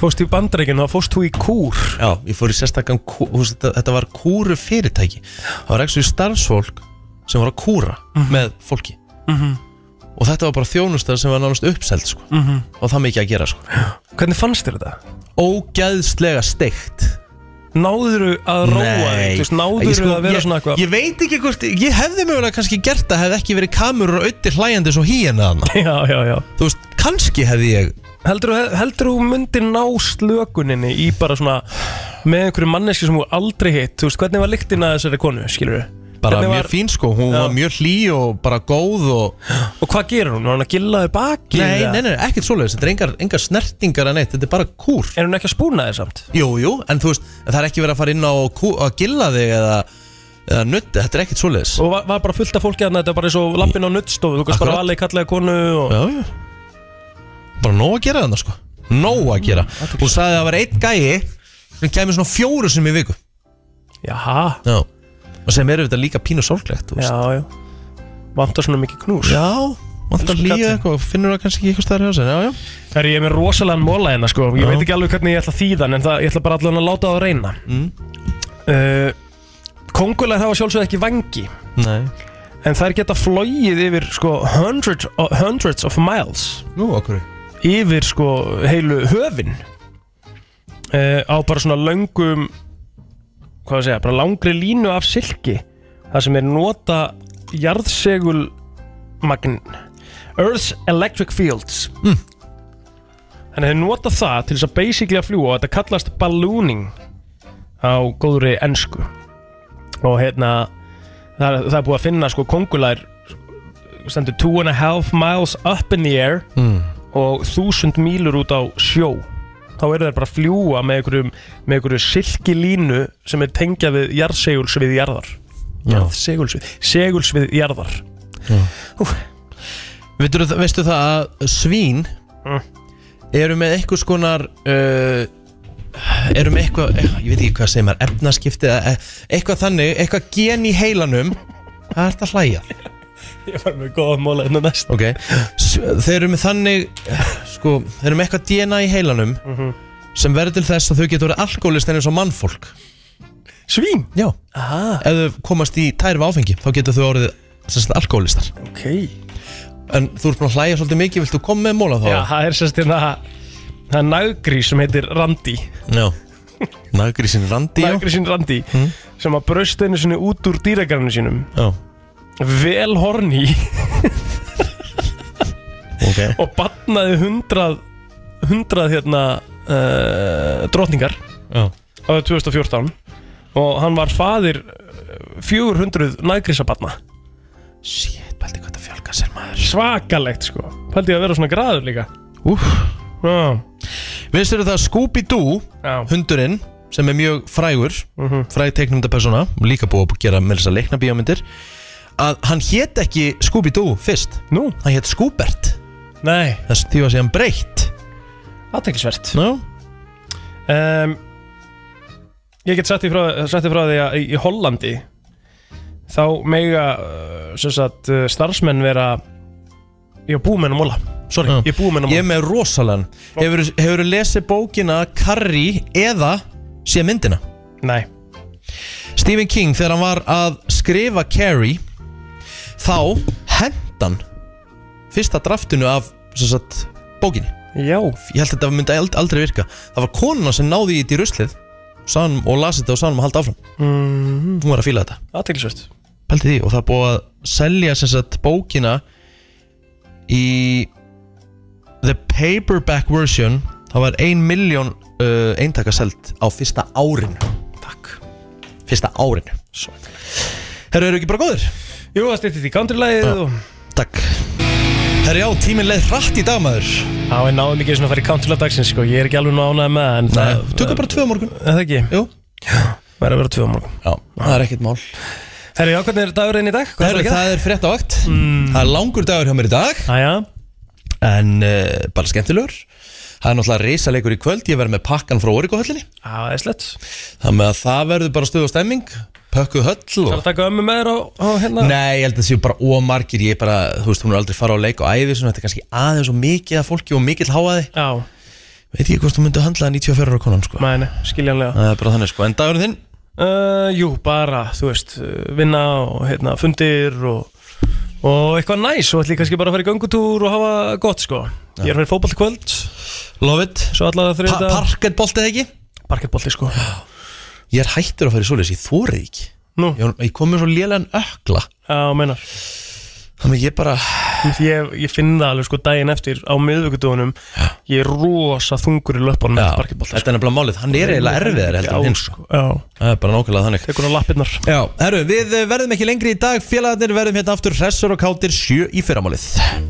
E: Fórst í bandaríkinu og fórst þú í kúr
D: Já, ég fór í sérstakann kú- þú veist, þetta, þetta var kúru fyrirtæki Það var ekki starfsfólk sem var að kúra með fólki
E: Mhm.
D: Og þetta var bara þjónustar sem var nánast uppselt sko.
E: Mhm.
D: Og það mikið að gera sko.
E: Hvernig fannst þér þetta?
D: Ógæðslega steikt
E: náðuru að róa þig, þú veist, náðuru
D: Ég sko-
E: að vera
D: ég,
E: svona eitthvað
D: Ég veit ekki hvort, ég hefði mögulega kannski gert það hefði ekki verið kamurur og auðvitað hlæjandi svo híjana þarna
E: Já, <laughs> já, já
D: Þú veist, kannski hefði ég
E: Heldur þú heldur þú myndir ná slökuninni í bara svona með einhverju manneski sem þú aldrei hitt þú veist, hvernig var lyktin að þessari konu, skilur þú?
D: Bara mjög fín sko, hún var mjög hlý og bara góð og
E: Og hvað gerir hún? Var hún að gilla þau baki?
D: Nei,
E: eða?
D: nei, nei, ekkert svoleiðis, þetta er engar, engar snertingar að neitt, þetta er bara kúr
E: Er hún ekki að spúna þér samt?
D: Jú, jú, en þú veist, það er ekki verið að fara inn á og kú, að gilla þig eða, eða nutti, þetta er ekkert svoleiðis
E: Og var, var bara fullt af fólki þarna, þetta var bara eins og lappin á nuttstofu, þú kannst bara
D: Akkurat.
E: valið kallega konu og...
D: Já, já bara nóg að gera þarna sko nóg að
E: Mm,
D: gera hún sagði að það var einn gæi sem kemur svona fjóru sem í viku
E: jaha
D: já. og sem eru þetta líka pínu sorglegt
E: já, já vantar svona mikið knús
D: já, vantar líka eitthvað finnur það kannski ekki eitthvað stærri hjá sér já, já
E: Það er ég er með rosalega móla hérna sko Ég
D: Já.
E: veit ekki alveg hvernig ég ætla að þýða hann, En það, ég ætla bara allan að láta það að reyna mm. uh, Kongulegar hafa sjálfsögð ekki vangi
D: Nei.
E: En þær geta flogið yfir sko hundreds, hundreds of miles
D: Nú, okkur
E: Yfir sko heilu höfin uh, Á bara svona löngum Hvað að segja, bara langri línu af silki Það sem er nota jarðsegul magn Earth's Electric Fields mm. Þannig að þeir nota það til þess að basically að fljúa og þetta kallast ballooning á góðri ensku og hérna það er, það er búið að finna sko kongulær stendur two and a half miles up in the air
D: Mm.
E: og þúsund mílur út á sjó þá eru þær bara að fljúa með einhverjum, með einhverju silkilínu sem er tengjað við jarðsegulsvið jarðar
D: Já.
E: jarðsegulsvið segulsvið jarðar
D: Veitur, veistu það að svín eru með einhvers konar uh, eru með eitthvað eh, ég veit ekki hvað segir maður, efnaskipti eða eh, eitthvað þannig, eitthvað gen í heilanum það er þetta að hlæja
E: ég var með góða móla hérna næst
D: okay. S- þeir eru með þannig eh, sko, þeir eru með eitthvað DNA í heilanum
E: Mhm.
D: sem verður til þess að þau getur verið alkoholist en eins og mannfólk
E: Svín?
D: Já,
E: Aha.
D: ef þau komast í tærfa áfengi þá getur þau orðið sem sagt, alkoholistar
E: okay.
D: En þú ert búin að hlæja svolítið mikið, viltu koma með móla þá?
E: Já, það er sérst hérna það er nagri sem heitir Randi
D: Já Nagrísin Randi já.
E: Nagrísin Randi
D: Mm.
E: sem að braust einu sinni út úr dýragarinu sínum
D: Já.
E: vel horni
D: okay.
E: og batnaði hundrað hundrað hérna uh, drotningar
D: Já.
E: árið 2014 og hann var faðir eh, 400 nagrísabatna
D: Shit, pældi hvað það fjölga sér maður
E: Svakalegt sko, pældi að vera svona graður líka
D: Úf
E: Já
D: Viðst eru það Scooby-Doo Hundurinn sem er mjög frægur
E: Mhm.
D: Fræg teiknumdapersona Líka búið að gera með þess að leikna bíómyndir Að hann hét ekki Scooby-Doo fyrst
E: Nú?
D: Hann hét Scoobert
E: Nei
D: Þess því var síðan breytt
E: Aðteklisvert
D: Já
E: um, Ég get sagt því frá, sagt því frá því að í, í Hollandi þá mega uh, sem sagt, uh, starfsmenn vera ég er búið með hennar móla Sorry, ég er búið með hennar móla
D: Ég er með rosalan Hefur, hefur lesið bókina Carrie eða sé myndina?
E: Nei
D: Stephen King þegar hann var að skrifa Carrie þá hendan fyrsta draftinu af sem sagt, bókinni
E: Já.
D: ég held að þetta myndi ald- aldrei virka það var konuna sem náði í þetta í ruslið sann og lasi þetta og sann um að halda áfram
E: mm,
D: hún var að fíla þetta
E: Aðteklisvert
D: Pældi því, og það er búið að selja sem sagt, bókina í the paperback version það var 1 miljón uh, eintaka seld á fyrsta árinu takk fyrsta árinu herru, eru ekki bara góðir?
E: Jú, það styrtið í countrylæðið og...
D: takk herru, já, tíminn leið hratt í dag maður
E: Já, ég náðu mikið svona að fara í countrylæð dagsins sko. ég er ekki alveg náðað með það, en það
D: tökum bara tvö á morgun
E: Er það ekki?
D: Jú
E: Verður að vera tvö á morgun
D: Já, það er ekkert mál
E: Herri, já, hvernig er dagurinn í dag? Hvað
D: Herru,
E: ætlarðu að gera? Mm.
D: það er frétt á vakt Það er langur dagur hjá mér í dag
E: Aja.
D: En uh, bara skemmtilegur Það er náttúrulega reysalegur í kvöld Ég verð með pakkan frá Origo-höllinni
E: Já, eðslegt
D: Þannig að það verður bara stuð og stemming Pökkuð höll
E: Það
D: og...
E: er að taka ömmu með þér á, á hérna
D: Nei, ég held að það séu bara ómargir Ég er bara, þú veist, hún er aldrei fara á leik og æði Svona þetta er kannski aðeins og mikið af fólki og mikill háaði
E: Já
D: Veit ég hvort þú myndi að handla 94 ára konan, sko
E: Mæni, skiljanlega
D: Það er bara þannig, sko En dagurinn þinn?
E: Uh, jú, bara, þú veist, uh, vinna og hérna, fundir og, og eitthvað næs og ætlum ég kannski bara að fara í göngutúr og hafa gott sko Ég er að fara í fótboll í kvöld
D: Love it
E: Svo allavega þriðið
D: Pa- Parkettbolti eða ekki?
E: Parkettbolti sko
D: Ég er hættur að fara í svoleiðis, ég þórið ekki
E: Nú.
D: Ég, ég kom með svo lélegan ökla
E: Já, meinar
D: Þannig ég bara
E: ég, ég finn það alveg sko daginn eftir á miðvöggudugunum Ég er rosa þungur í löpunum með sparkibólt
D: Þetta er nefnilega málið, hann er eiginlega erfiðar heldur en hinn sko.
E: sko. Já,
D: Það er bara nákvæmlega þannig
E: Tekur á lappirnar
D: Já, herru, við eh, verðum ekki lengri í dag Félagarnir verðum hérna aftur hressur og kátir sjö í fyrramálið